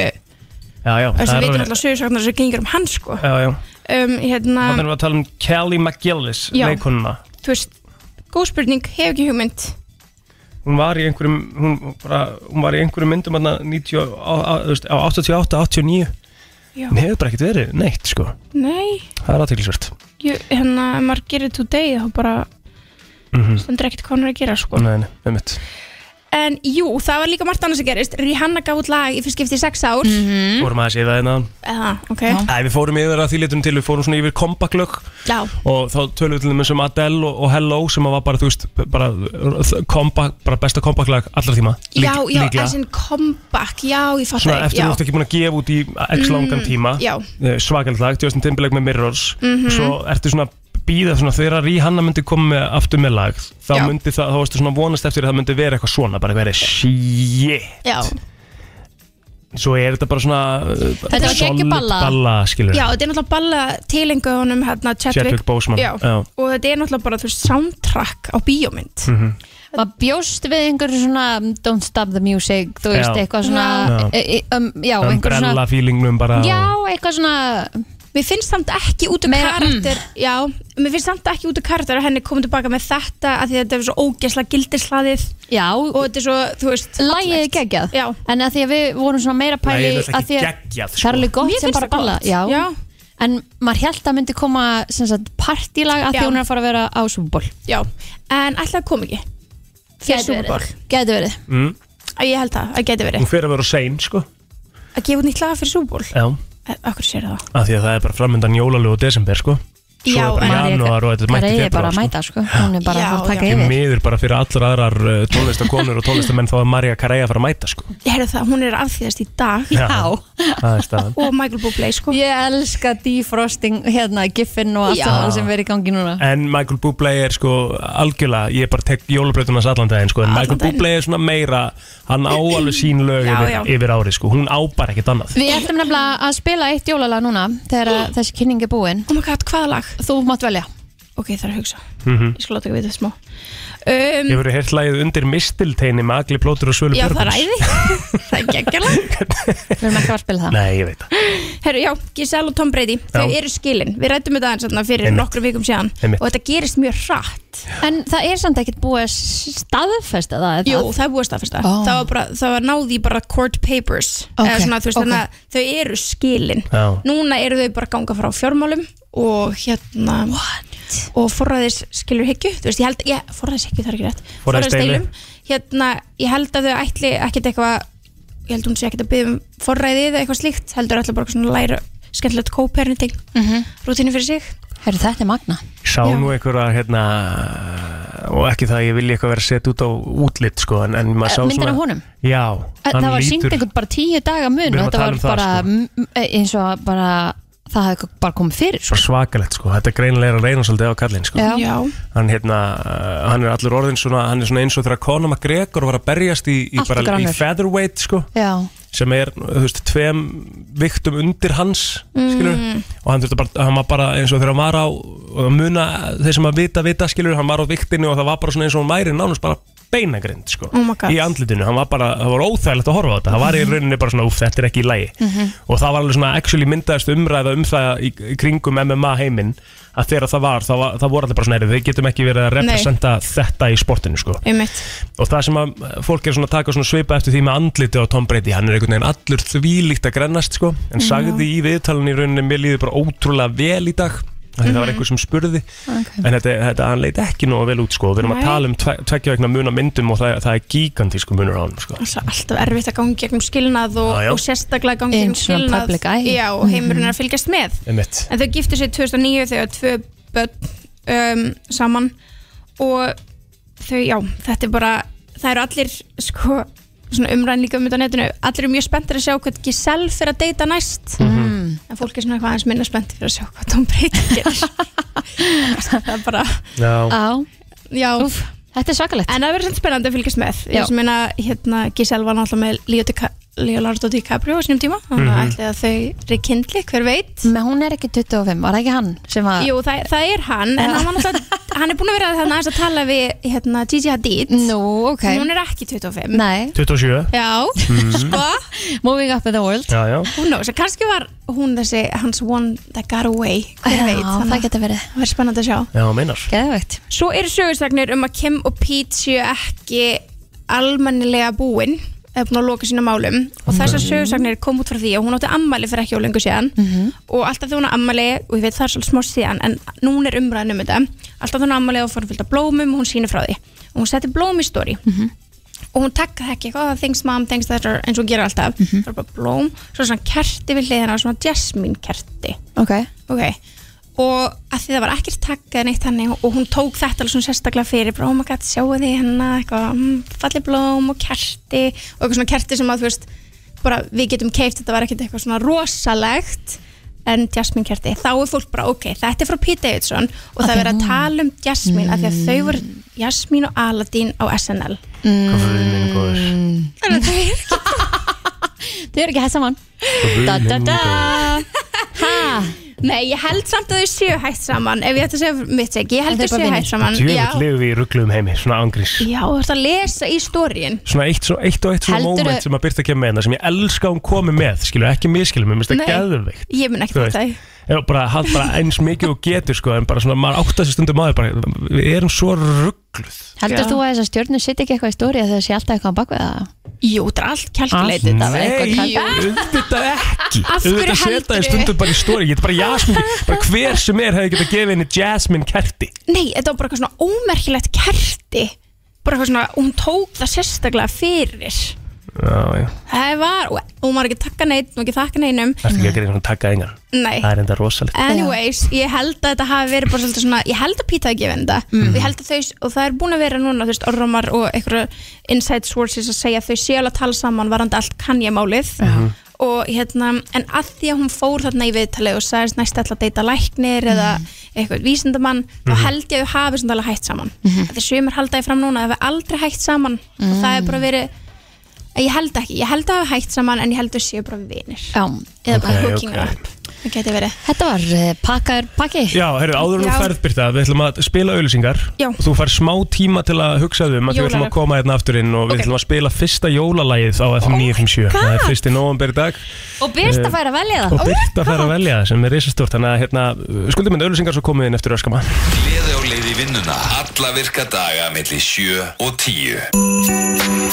S1: Já, já,
S10: Þess að við veitum
S1: alveg-
S10: alltaf sögursagnar sem gengur um hann sko
S1: Já, já,
S10: um, hérna,
S1: þannig erum við að tala um Kelly McGillis,
S10: Já.
S1: leikonuna
S10: Þú veist, góð spurning, hef ekki hugmynd
S1: Hún var í einhverjum, hún, bara, hún var í einhverjum myndum hérna 90 og- á- á- þú veist, á 88, 89
S10: Já.
S1: Hún hefur bara ekkert verið neitt, sko
S10: Nei,
S1: Það er aðteglisvert
S10: jú, hérna, ef maður gerir today þá bara
S1: mm
S10: stendur ekkert hvað hann er að gera sko
S1: Nei, nei, um mitt
S10: En jú, það var líka margt annars sem gerist Rihanna gaf út lag í fyrst skipti í sex ár
S1: mm. Fórum aðeins yfir það hérna
S10: Eða, ok
S1: Æ, við fórum yfir að því litum til, við fórum svona yfir kompaklökk
S10: Já.
S1: og þá tölum við til þeim sem Adele og, og Hello sem var bara, þú veist, bara, uh, kompa, bara besta kompaklag allra tíma
S10: Já, já,
S1: líklega.
S10: þessin comeback, já, ég fatt
S1: Svona
S10: það
S1: eftir þú ert ekki búin að gefa út í x langan
S10: Mm,
S1: tíma
S10: já.
S1: Svakallag, Eh, Justin Timberlake með Mirrors
S10: Mhm.
S1: Svo ertu svona að bíða svona þegar Rihanna myndi koma með aftur með lag þá
S10: Já.
S1: myndi það, þá varstu svona að vonast eftir að það myndi vera eitthvað svona, bara verið shit
S10: Já,
S1: svo er þetta bara svona uh,
S10: Þetta var
S1: solid
S10: geggjum balla.
S1: balla skilur
S10: já, þetta er náttúrulega balla tilengu honum hérna Chadwick,
S1: Chadwick Boseman,
S10: já.
S1: já.
S10: og þetta er náttúrulega bara þú veist soundtrack á bíómynd
S1: Mhm.
S3: maður bjóst við einhverju svona um, don't stop the music, þú veist,
S1: Já.
S3: eitthvað svona
S1: Já.
S3: e, e, um, já, einhverju
S1: umbrella
S3: svona
S1: feelingnum bara
S3: já,
S1: og-
S3: eitthvað svona
S10: Mér finnst samt ekki út um
S3: mm.
S10: karakter Já, mér finnst samt ekki út um karakter að henni komið tilbaka með þetta að því að þetta er svo ógesla gildislaðið
S3: já,
S10: og þetta er svo, þú veist
S3: lægið er geggjað
S10: Já.
S3: en að því að við vorum svona meira pæli
S10: Lagið er
S3: að
S10: ekki
S3: því að
S10: geggjað,
S3: það er alveg
S10: sko. Mér
S3: gott sem
S10: finnst
S3: bara
S10: það
S3: balla
S10: gott.
S3: já.
S10: Já.
S3: en maður held að myndi koma sem sagt, partílag að því
S10: Já.
S3: hún er að fara að vera á Superból
S10: Já, en alltaf það kom ekki fyrir
S3: Gæti verið.
S10: Superból
S3: gæti verið
S1: mm.
S10: Ég held það, það gæti
S1: hún
S10: verið
S1: fyrir að vera sein sko
S10: Að gefa út nýtt laga fyrir Superból
S1: já,
S10: Akkur sér það
S1: af því að það er bara framöndan jólalög og desember sko Svo
S10: Já,
S1: er bara
S10: en-
S1: janúar og þetta er mætt í
S3: María er bara
S1: februar
S3: að mæta sko. hún er bara
S10: Já,
S3: að fara að taka
S1: Því
S3: yfir
S1: miður bara fyrir allar aðrar uh, tónlistakonur og tónlistamenn þá er Marja Karæja að fara að mæta sko
S10: Ég heyrði það, hún er aðþýðast í dag
S1: Það er staðan
S10: Og Michael Bublé sko
S3: Ég elska defrosting, hérna, giffin og allt
S1: Já.
S3: það sem verið í gangi núna
S1: En Michael Bublé er sko algjörlega, ég bara tek jólabrautunas allan daginn sko, en Michael
S3: daginn.
S1: Bublé er svona meira, hann á alveg sín lög
S3: Já,
S1: yfir,
S3: já.
S1: yfir árið sko, hún á bara ekkert annað.
S3: Við ætlum nefnilega að spila eitt jólalag núna þegar að þessi kynning er búin
S10: Oh my god, hvaða lag?
S3: Þú mátt velja
S10: Ok, það er að hugsa
S1: Mm
S10: Ég skal láta ekki vita smá um,
S3: Mm.
S1: Ég verið heyrt lagið undir mistilteini með agli plótur og svölu
S10: Já,
S1: Björgvins.
S10: það er æði Það er geggjala
S3: Við erum ekki að spila það
S1: Nei, ég veit það.
S10: Herru, já, Giselle og Tom Brady Þau
S1: Já.
S10: eru skilin Við rættum þetta aðeins þarna fyrir
S1: Einmitt.
S10: nokkrum vikum síðan
S1: Einmitt.
S10: Og þetta gerist mjög hratt
S3: En það er samt ekkert búið að staðfesta það, er það?
S10: Jú, það er búið að staðfesta
S3: Ó.
S10: það, var bara, það var náði bara court papers
S3: Ok,
S10: Eða svona, þú veist,
S3: ok.
S10: þannig að Þau eru skilin
S1: Já.
S10: Núna eru þau bara að ganga frá fjármálum Og hérna What? Og forræðis skilur hyggju Þú veist, ég held ég, Forræðis hyggju, það er ekki rétt
S1: Forræðisdeilu.
S10: Forræðisdeilum. Hérna, ég held að þau ætli ekkert eitthvað Ég held hún sé ekkert að byggja um forræðið eða eitthvað slíkt Heldur ætla bara svona að læra skemmtilegt co-parenting mm
S3: Mhm.
S10: Rútinu fyrir sig
S3: Herru, þetta er magna
S1: Sá
S10: Já.
S1: nú einhverja, hérna, og ekki það að ég vilja eitthvað vera sett út á útlitt sko, en, en maður sá
S3: Eh,
S1: svona...
S3: myndin af honum?
S1: Já,
S3: Eh, Það var sínd
S1: lítur-
S3: einhvern bara tíu daga mun
S1: Við erum
S3: og
S1: að
S3: Þetta
S1: tala
S3: var
S1: um það,
S3: bara
S1: sko.
S3: m- eh, eins og bara það hafði bara komið fyrir
S1: Svo svakalegt sko, þetta er greinilega að reyna svolítið á kallinn sko
S3: Já. Já.
S1: Hann, hérna, uh, hann er allur orðin svona, hann er svona eins og þegar Conor McGregor var að berjast í, í,
S3: Allt og
S1: bara, í
S3: grannur.
S1: featherweight sko
S3: Já,
S1: sem er, þú veist, tveim viktum undir hans skilur
S3: Mm.
S1: og hann þurfti bara, hann var bara eins og þegar hann var á að muna þeir sem að vita, vita skilur hann var á viktinu og það var bara svona eins og hann væri nánast bara beinagrind sko
S10: Oh my God.
S1: í andlitinu, hann var bara, það var óþægilegt að horfa á þetta það var í rauninni bara svona, úff, þetta er ekki í lagi
S10: Mhm.
S1: og það var alveg svona actually myndaðist umræða um það í, í kringum MMA heiminn að þegar það var, það, var, það voru allir bara svona "Heyrðu, við getum ekki verið að
S10: Nei.
S1: representa þetta í sportinu sko.
S10: Einmitt.
S1: og það sem að eh, fólk er svona að taka svona svipa eftir því með andliti á Tom Brady, hann er einhvern veginn allur þvílíkt að grennast sko, en
S10: Já.
S1: sagði í viðtalinu í rauninni, mér líður bara ótrúlega vel í dag af því það var
S10: Mhm.
S1: einhver sem spurði
S10: Ok.
S1: en þetta, þetta, hann leit ekki nógu vel út sko, við erum
S10: Nei.
S1: að tala um tve, tveggja vegna muna myndum og það, það er gigantísku munur á hann sko.
S10: Alltaf, alltaf erfitt að gangi gegnum skilnað og,
S1: Já, já.
S10: og sérstaklega gangi gegnum
S3: Eins og
S10: skilnað
S3: public eye.
S10: Já, og heimurinn er að fylgjast með
S1: Einmitt.
S10: En þau giftu sér 2009 þegar tvö börn um, saman og þau, já, þetta er bara það eru allir, sko svona umræðin líka um þetta á netinu allir eru mjög spenntir að sjá hvað Giselle fyrir að deyta næst
S3: Mhm.
S10: en fólk er svona eitthvað aðeins minna spenntir fyrir að sjá hvað Tom Brady gerir það er bara
S1: Já,
S3: Já,
S10: já
S3: Úf, þetta er svakalegt
S10: en það verður svona spennandi að fylgjast með
S3: Já.
S10: ég sem meina hérna Giselle var náttúrulega með Leo Dica- Leonardo DiCaprio á sínum tíma þannig að
S3: Mhm.
S10: ætli að þau rekindli hver veit
S3: Men hún er ekki 25, var það ekki hann sem að
S10: Jú, það, það er hann,
S3: Ah.
S10: en hann, var náttúrulega- hann er búin að vera þannig aðeins að tala við hérna, Gigi Hadid
S3: Nú, Mm, ok
S10: Hún er ekki 25
S3: Nei
S1: 27
S10: Já,
S1: Mhm.
S10: sko
S3: Moving up in the world
S1: Já, já
S10: Hún knows, kannski var hún þessi hans one that got away Hver
S3: Já,
S10: veit, þannig
S3: það
S10: að
S3: getur verið
S10: það er spennandi að sjá
S1: Já, meinar
S3: Geðvegt
S10: Svo eru sögursagnir um að Kim og Pete séu ekki almennilega búin eða búin að loka sína málum og þessar sögursagnir kom út frá því að hún átti ammæli fyrir ekki ólengu síðan og alltaf þegar hún á ammali og ég veit það er svolítið smá síðan en núna er umræðan um þetta alltaf þegar hún á ammali og fór fylgta blómum og hún sýnir frá því og hún setti blóm í stóri og hún takkaði ekki eitthvað things mom, things that are eins og hún gerir alltaf það er bara blóm, svo svona kerti við hliðina svona jasmine kerti
S3: Ok
S10: ok og að því það var ekkert takkað neitt þannig og hún tók þetta alveg svona sérstaklega fyrir bara, oh my god, sjáu því hennar eitthvað, mm, falli blóm og kerti og eitthvað svona kerti sem að þú veist bara við getum keift, þetta var ekkert eitthvað svona rosalegt en Jasmine kerti, þá er fólk bara, ok, þetta er frá Pete Davidson og það
S3: Ok,
S10: er verið að
S3: nú.
S10: tala um Jasmine mm. af því að þau voru Jasmine og Aladdin á SNL
S1: mm.
S10: Þannig að þau eru ekki
S3: Þau eru ekki hætt saman Da da da Ha
S10: Nei, ég held samt að þau séu hægt saman ef ég ætti að segja mitt ekki, ég held
S3: En þau
S10: að þau
S3: bara
S10: séu
S3: vinir.
S10: hægt saman
S1: Djöfell lifum við í ruggluðum heimi, svona angrís
S10: Já, þú ert að lesa í stórin
S1: Svona eitt, svo, eitt og eitt svona
S10: Heldurðu-
S1: moment sem að byrta ekki með hérna sem ég elska að hún komi með, skilur, ekki miskilum, mér finnst það
S10: Nei.
S1: geðveikt
S10: Ég mun ekki
S1: Þú
S10: þetta
S1: veist. Já, bara, hald bara eins mikið og getur sko, en bara svona, maður átt að þessu stundum aður bara, við erum svo ruggluð
S3: Heldur þú að þessar stjórnur sitt ekki eitthvað í stóri að þau sé alltaf eitthvað á bakvið það?
S10: Jú, þetta er allt calculated
S3: það var eitthvað
S1: Nei, auðvitað ekki
S10: Af hverju
S1: Auðvitað setja
S10: heldurðu?
S1: þið stundum bara í stóri Ég get bara Jasmine bara Hver sem er hefði getað gefið henni Jasmine kerti
S10: Nei, þetta var bara eitthvað svona ómerkilegt kerti Bara eitthvað svona, hún tók það sérstaklega fyrir
S1: Já, já
S10: Það var, og hún var ekki að takka neitt og ekki þakka neinum
S1: Það er ekki að gera svona taka engan
S10: Nei.
S1: Það er enda rosalegt
S10: Anyways, ég held að þetta hafi verið bara svolítið svona Ég held að Pete hafi gefið henni þetta
S3: Mm.
S1: Mhm.
S10: og, ég held að þau, og það er búin að vera núna, þú veist, orrumar og einhverja inside sources að segja að Þau séu alveg að tala saman varandi allt kannja málið
S1: Mhm.
S10: og hérna, en að því að hún fór þarna í viðtalið og sagðist næst ætla að deyta læknir eða
S3: Mhm.
S10: eitthvað vísindamann þá
S1: Mhm.
S10: held ég að þau hafi svona alveg hægt saman mm
S3: Mhm.
S10: -hmm. því sömur haldaði fram núna að þau hafi aldrei hægt saman og það er bara verið ég held ekki, ég held að hafi hægt saman en ég held að þau séu bara vinir
S3: Já.
S10: eða bara
S1: Ok,
S10: hooking
S1: ok.
S10: up það geti verið
S3: Þetta var eh, pakkaður pakki
S1: Já, heyrðu, áður en
S10: Já.
S1: þú ferð Birta Við ætlum að spila auðlýsingar
S10: Já.
S1: Og þú fær smá tíma til að hugsa þau um að Við ætlum
S10: Jólalag.
S1: að koma hérna aftur inn Og við
S10: Ok.
S1: ætlum að spila fyrsta jólalagið á
S3: Oh
S1: FM 957 Það er fyrsti nóvember í dag
S3: Og Birta
S1: Eh,
S3: fær að velja það
S1: Og Birta fær að velja það sem er risastort Þannig að hérna, skuldum minn auðlýsingar svo komið inn eftir öskama
S2: Gleði á leið í vinnuna Alla virka daga melli 7 og 10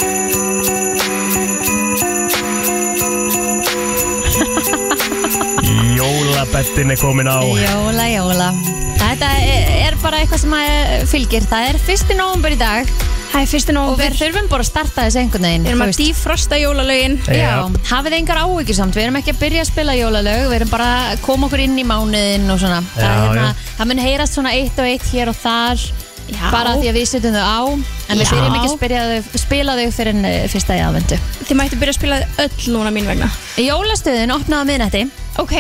S1: Jólabettin er komin á
S3: Jóla, jóla Þetta er er bara eitthvað sem að eh, fylgir Það er fyrsti nóvumber í dag
S10: Það er fyrsti
S3: Og við þurfum bara að starta þessu einhvern veginn
S10: Við erum
S3: þú
S10: að
S3: veist.
S10: defrosta jólalögin
S3: Já, hafið engar áhyggjur samt, við erum ekki að byrja að spila jólalög, við erum bara að koma okkur inn í mánuðin og svona. það,
S10: Já,
S3: er hérna,
S10: já.
S3: það mun heyrast svona eitt og eitt hér og þar, já. bara því að við setjum þau á, en við
S10: Já.
S3: byrjum ekki að spila þau, spila þau fyrir en eh, fyrsta í aðvendu.
S10: Þið mættu byrja að spila öll núna mín vegna.
S3: Jólastöðin opnaði á miðnætti.
S10: Ok.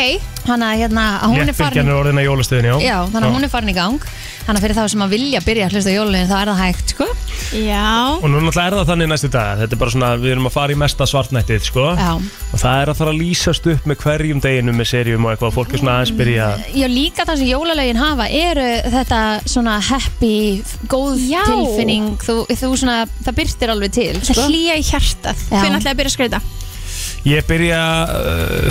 S3: Hanna, hérna, hún er
S1: Léttbylgjan
S3: farin.
S1: er orðin að jólastöðin, já
S3: Já, þannig að hún er farin í gang Þannig að fyrir þá sem að vilja byrja að hlusta á jólalögin þá er það hægt, sko
S10: Já
S1: Og nú náttúrulega er það þannig næstu dag Þetta er bara svona, við erum að fara í mesta svartnættið sko.
S3: Já.
S1: Og það er að fara að lýsast upp með hverjum deginu með serjum og eitthvað Fólk er svona aðeins byrja
S3: Já, líka það sem jólalögin hafa eru þetta svona happy, góð
S10: Já.
S3: tilfinning þú, þú svona, það byrtir alveg til sko.
S10: Það hlýja í hjartað Hvernig ætlaði að byrja að skreita?
S1: Ég byrja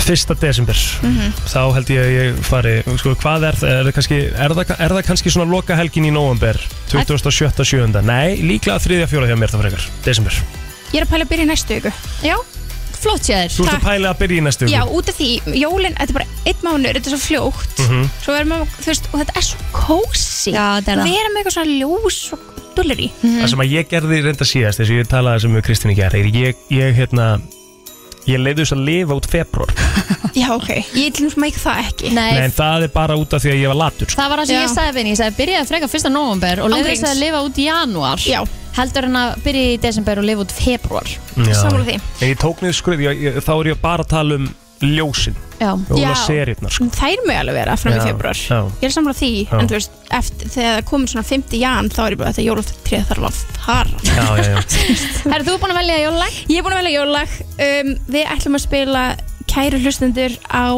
S1: uh, 1. desember
S10: Mhm.
S1: Þá held ég að ég fari sko, Hvað er það? Er, það kannski, er, það, er það kannski svona loka helgin í november 27.7. Nei, líklega 3.4. hjá mér það frekar Desember
S10: Ég er að pæla að byrja í næstu viku
S3: Já, flott sér
S1: Þú ert að pæla að byrja í næstu
S10: Já, út af því, jólin, þetta er bara einn mánuður, þetta er svo fljótt
S1: Mhm.
S10: Svo verðum við, þú veist, og þetta er svo kósi
S3: Já, þetta er það.
S10: Við erum með eitthvað svona ljós og dulleri
S1: Það sem að ég gerði reynda síðast þess að ég talaði sem við Kristín í gerð ég, ég, hérna, ég leiði þess að lifa út februar
S10: Já, ok, ég til náttúrulega ekki það ekki
S1: Nei, en það er bara út af því að ég var latur sko.
S3: Það var það sem
S10: Já.
S3: ég sagði við henni, ég sagði byrjaði frekar fyrsta november og
S10: Án
S3: leiði þess
S10: gríns.
S3: að lifa út í janúar
S10: Já,
S3: heldur en að byrja í desember og lifa út februar Sammála því
S1: En ég tók niður skröf, ég, ég, þá er ég bara að tala um ljósin
S3: Já.
S1: Jóla
S10: Já.
S1: serirnar sko.
S10: Þær mög alveg vera fram í februar
S1: Já,
S10: Ég er samlega því,
S1: Já.
S10: en þú veist, eftir, þegar það komur svona 5. jan, þá er ég bara þetta jólatrið þarf að fara.
S1: já, já, já.
S10: Er þú búin að velja jólag? Ég er búin að velja jólag. Um, við ætlum að spila kæru hlustendur á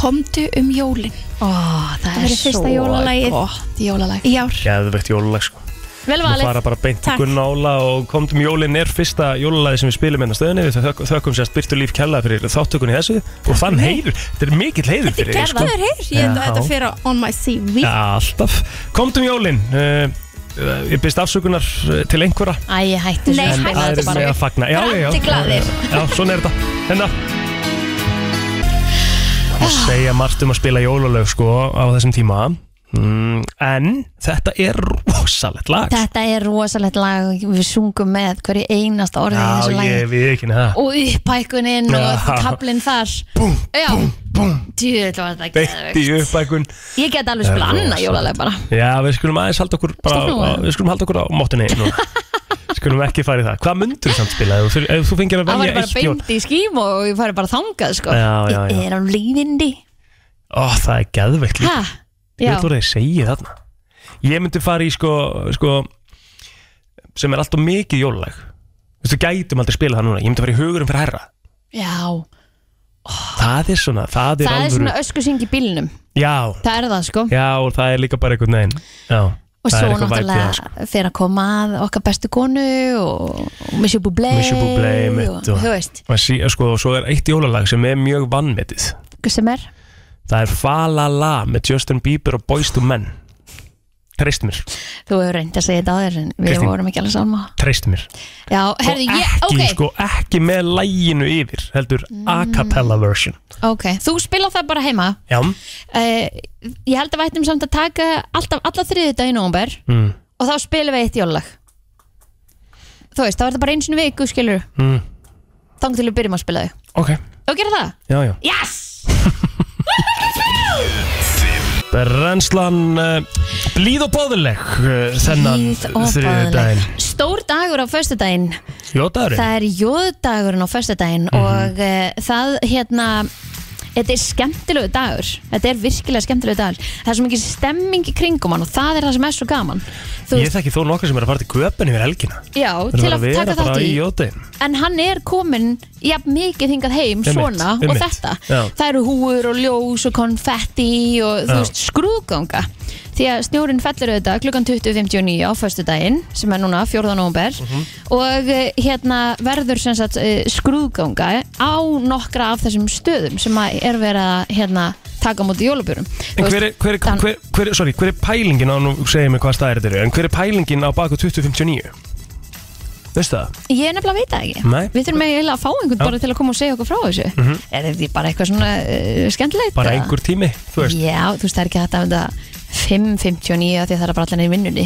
S10: Komdu um jólin.
S3: Ó, það,
S10: það verður fyrsta jólalagið.
S3: gott jólalag
S10: í ár.
S1: Geðvegt jólulag sko
S3: Vel
S1: Nú
S3: valið.
S1: fara bara beint til
S3: Takk.
S1: Gunn Ála og komdum jólinn er fyrsta jólulagi sem við spilum hérna á stöðinni við þök, þökkum sérst Byrtu Líf Kjalla fyrir þáttökunni í þessu og þann heiður, þetta er mikill heiður
S10: Þetta er
S1: fyrir þig, sko.
S10: gerðaður heyr. Ég held að
S1: Já.
S10: þetta fyrir á On My CV.
S1: Já, alltaf Komdum jólinn uh, uh, Ég byrst afsökunar uh, til einhverja
S3: Æ, ég hætti þessu
S1: En
S3: spilaðu þetta
S1: aðrir
S3: bara
S1: með að fagna Já, já, já
S3: Allir glaðir.
S1: Já, svona er þetta Hérna Má segja margt um að spila jóluleg sko á þessum tíma mm, En þetta er rosalegt lag sko.
S3: Þetta er rosalegt lag við sungum með hverju einasta orðið í þessu
S1: Já,
S3: lagi
S1: ég við ekki neða
S3: og uppækunin og
S1: Já.
S3: kaplinn þar búm, já, búm, djúðið var þetta
S1: Beitt í
S3: geðveikt.
S1: uppækun
S3: ég get alveg spila
S1: Það er
S3: annað
S1: rosalegt.
S3: jólaleg bara
S1: Já, við skulum aðeins halda okkur bara,
S3: Stoppum
S1: á,
S3: við.
S1: Við skulum halda okkur á móttunni núna. Skulum ekki fara í það Hvað myndur þú samt spila ef, þú- ef þú fengir að
S3: það
S1: velja
S3: var bara
S1: eitt jól?
S3: beint í skím og ég fari bara þangað sko.
S1: Já, já, já.
S3: ég er á lífindi
S1: Ó, það er geðveikt líka
S3: ha,
S1: Ég
S3: já,
S1: veit voru að ég segi þarna Ég myndi fara í sko, sko sem er alltaf mikið jólulag Þú gætum aldrei spila það núna Ég myndi fara í hugurum fyrir herra
S3: já
S1: Það er svona,
S3: það
S1: það er
S3: er
S1: alvöru
S3: svona öskusing í bílnum
S1: Já,
S3: það er það sko
S1: já, og það er líka bara einhvern veginn Já,
S3: og svo
S1: það er eitthvað væpið það sko.
S3: náttúrulega fyrir að koma að okkar bestu konu og, og Monsieur Bublé
S1: Mission Bublé mitt
S3: og,
S1: og,
S3: þú veist,
S1: og, sí, sko, og svo er eitt jólalag sem er mjög vannmetið
S3: hvað sem er
S1: það er Falala með Justin Bieber og Boyz II Men treyst mér,
S3: þú hefur reyndi að segja þetta aðeins en við
S1: Kristín.
S3: vorum ekki alveg sálma
S1: treyst mér
S3: já, herði, ég,
S1: ekki,
S3: ok Mm.
S1: sko, ekki með læginu yfir heldur a cappella version
S3: Ok, þú spila það bara heima
S1: já,
S3: uh, Ég held að við ættum samt að taka alltaf, alla þriði dag í nómber
S1: mm.
S3: og þá spilum við eitt jólag Þú veist, þá er það bara eins og viku skilur
S1: Mm.
S3: Þang til við byrjum að spila þau
S1: ok,
S3: Og gera það?
S1: já, já
S3: Yes!
S1: Renslan uh, blíð og boðuleg uh, þennan
S3: Blíð og
S1: þriðið daginn
S3: Stór dagur á föstudaginn
S1: Jótaðurinn?
S3: Það er jóðdagurinn á föstudaginn
S1: Mhm.
S3: og uh, það hérna Þetta er skemmtilegu dagur, þetta er virkilega skemmtilegu dagur Það er svo mikið stemming í kringum hann og það er það sem er svo gaman Þú
S1: Ég þekki þó nokkar sem er að fara til köpun yfir helgina
S3: Já,
S1: Það er
S3: til
S1: bara
S3: að
S1: vera
S3: taka
S1: bara
S3: þátt í
S1: í jótaðin
S3: En hann er komin jafn mikið hingað heim
S1: Einmitt,
S3: svona og
S1: einmitt.
S3: þetta
S1: Já.
S3: Það eru húur og ljós og konfetti og þú
S1: Já.
S3: veist skrúðganga Því að snjórin fellur auðvitað klukkan 20.59 á föstudaginn sem er núna 14. november
S1: Mhm.
S3: og eh, hérna verður sem sagt eh, skrúðganga á nokkra af þessum stöðum sem að er verið að hérna taka á móti jólubjörum
S1: En hver er, hver, er, hver, hver, sorry, hver er pælingin á, nú segir mér hvað staðir þetta eru, en hver er pælingin á baku 2059? Veistu það?
S3: Ég er nefnilega að veita það ekki
S1: Nei.
S3: Við þurfum eiginlega að fá einhvern bara til að koma og segja okkur frá þessu
S1: Mhm.
S3: Er þetta bara eitthvað svona uh, skemmtilegt?
S1: Bara
S3: eða?
S1: einhver tími, þú veist?
S3: Já, þú veist, það er ekki hægt að þetta 5.59 af því að það er bara allan í vinnunni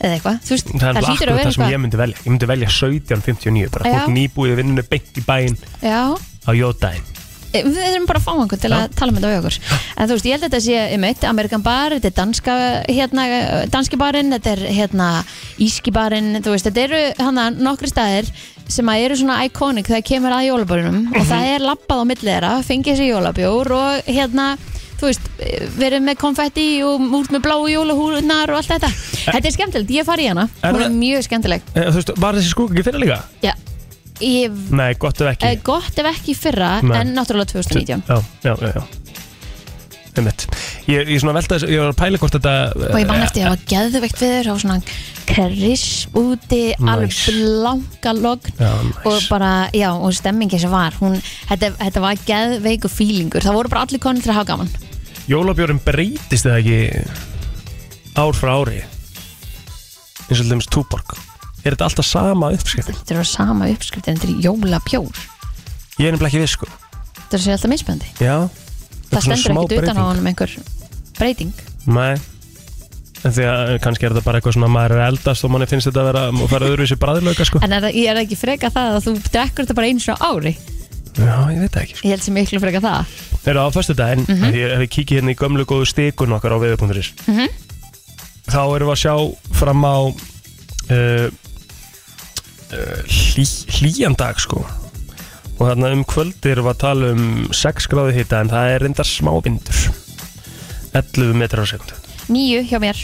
S3: eða eitthvað, þú veist,
S1: Það er
S3: hlýtur að
S1: bara akkurat
S3: vera
S1: það sem
S3: eitthvað
S1: ég myndi velja. Ég myndi velja 1759, bara
S3: Já.
S1: fólk nýbúið vinnunni beint í bæinn
S3: Já,
S1: á jótaðin.
S3: e, við erum bara að fá einhvern til að tala með þetta á okkur en þú veist, ég held að þetta sé um eitt Amerikan bar, þetta er danska hérna, danski barinn, þetta er hérna íski barinn, þú veist, þetta eru hana nokkri staðir sem að eru svona iconic þegar kemur að jólabörunum
S1: Mhm.
S3: og það er lappað á milli þeirra, fengið sér jólabjór og hérna þú veist, verið með konfetti og út með bláu jólahúlunar og allt þetta Þetta er skemmtilegt, ég fari í hana
S1: Er
S3: Hún er
S1: það-
S3: mjög skemmtileg
S1: Eh, þú veist, var þessi skrúk ekki fyrir líka?
S3: Já, ég,
S1: Nei, gott ef ekki.
S3: eh, gott ef ekki í fyrra
S1: Nei.
S3: en náttúrulega 2019
S1: Já, já, já, já. Einmitt. Ég, ég svona velta þessu, ég var að pæla hvort þetta... eh,
S3: og ég man eftir að það var geðveikt viður og svona krisp úti alveg
S1: Nice.
S3: blanka logn
S1: Já, nice.
S3: og bara, já, og stemmingi sem var hún, þetta, þetta var geðveiku fílingur það voru bara allir konir til að hafa gaman
S1: Jólabjörn breytist það ekki ár frá ári eins og til dæmis túborg er þetta alltaf sama uppskriftin?
S3: þetta eru sama uppskrift en þetta er jólabjór
S1: ég er nefnilega ekki við sko
S3: þetta er sér alltaf mismöndi
S1: já,
S3: það stendur ekkit utan á honum einhver breyting
S1: nei En því að eh, kannski er þetta bara eitthvað svona maður er að eldast og manni finnst þetta að vera að fara öðruvísi bræðilöka sko.
S3: en er, það- ég er ekki freka það að þú drekkur þetta bara einu sinni á ári
S1: Já, ég veit það ekki.
S3: ég held sem miklu freka það
S1: Þegar á fyrstu daginn, mm
S3: Mhm.
S1: ef ég kíkja hérna í gömlu góðu stikun okkar á veðu.is,
S3: mm
S1: þá erum við að sjá fram á uh, uh, hlý, hlýjan dag sko og þarna um kvöldi erum við að tala um 6 gráði hita en það er reyndar smá vindur 11 metrar á sekundu
S3: Nýju hjá mér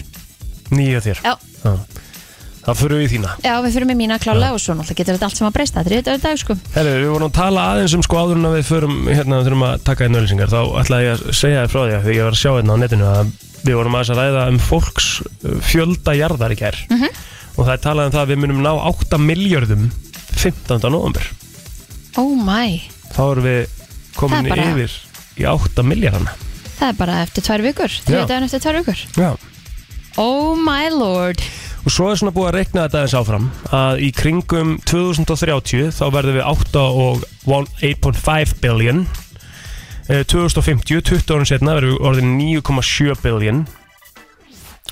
S1: 9 þér
S3: Já.
S1: Það fyrir við í þína
S3: Já, við fyrir með mína klála og svo náttúrulega getur þetta allt sem að breysta Þetta er þetta dag sko
S1: Herru, við vorum að tala aðeins um sko áður en að við förum hérna við þurfum að taka einn öllisingar þá ætlaði ég að segja þér frá því að því ég var að sjá hérna á netinu að við vorum aðeins að ræða um fólks uh, fjölda jarðar í kær
S3: Mhm.
S1: og það er talað um það að við munum ná 8 miljörðum 15. november
S3: Oh my,
S1: þá erum við komin
S3: Það er bara-
S1: yfir í 8 miljardana
S3: það er bara eftir tvær vikur
S1: Já.
S3: Þriðið daginn eftir tvær vikur
S1: Já.
S3: Oh my lord
S1: og svo er svona búið að reikna þetta aðeins áfram að í kringum 2030 þá verðum við 8 og 8.5 billion Eh, 2050, 20 árum setna verðum við orðin 9,7 billion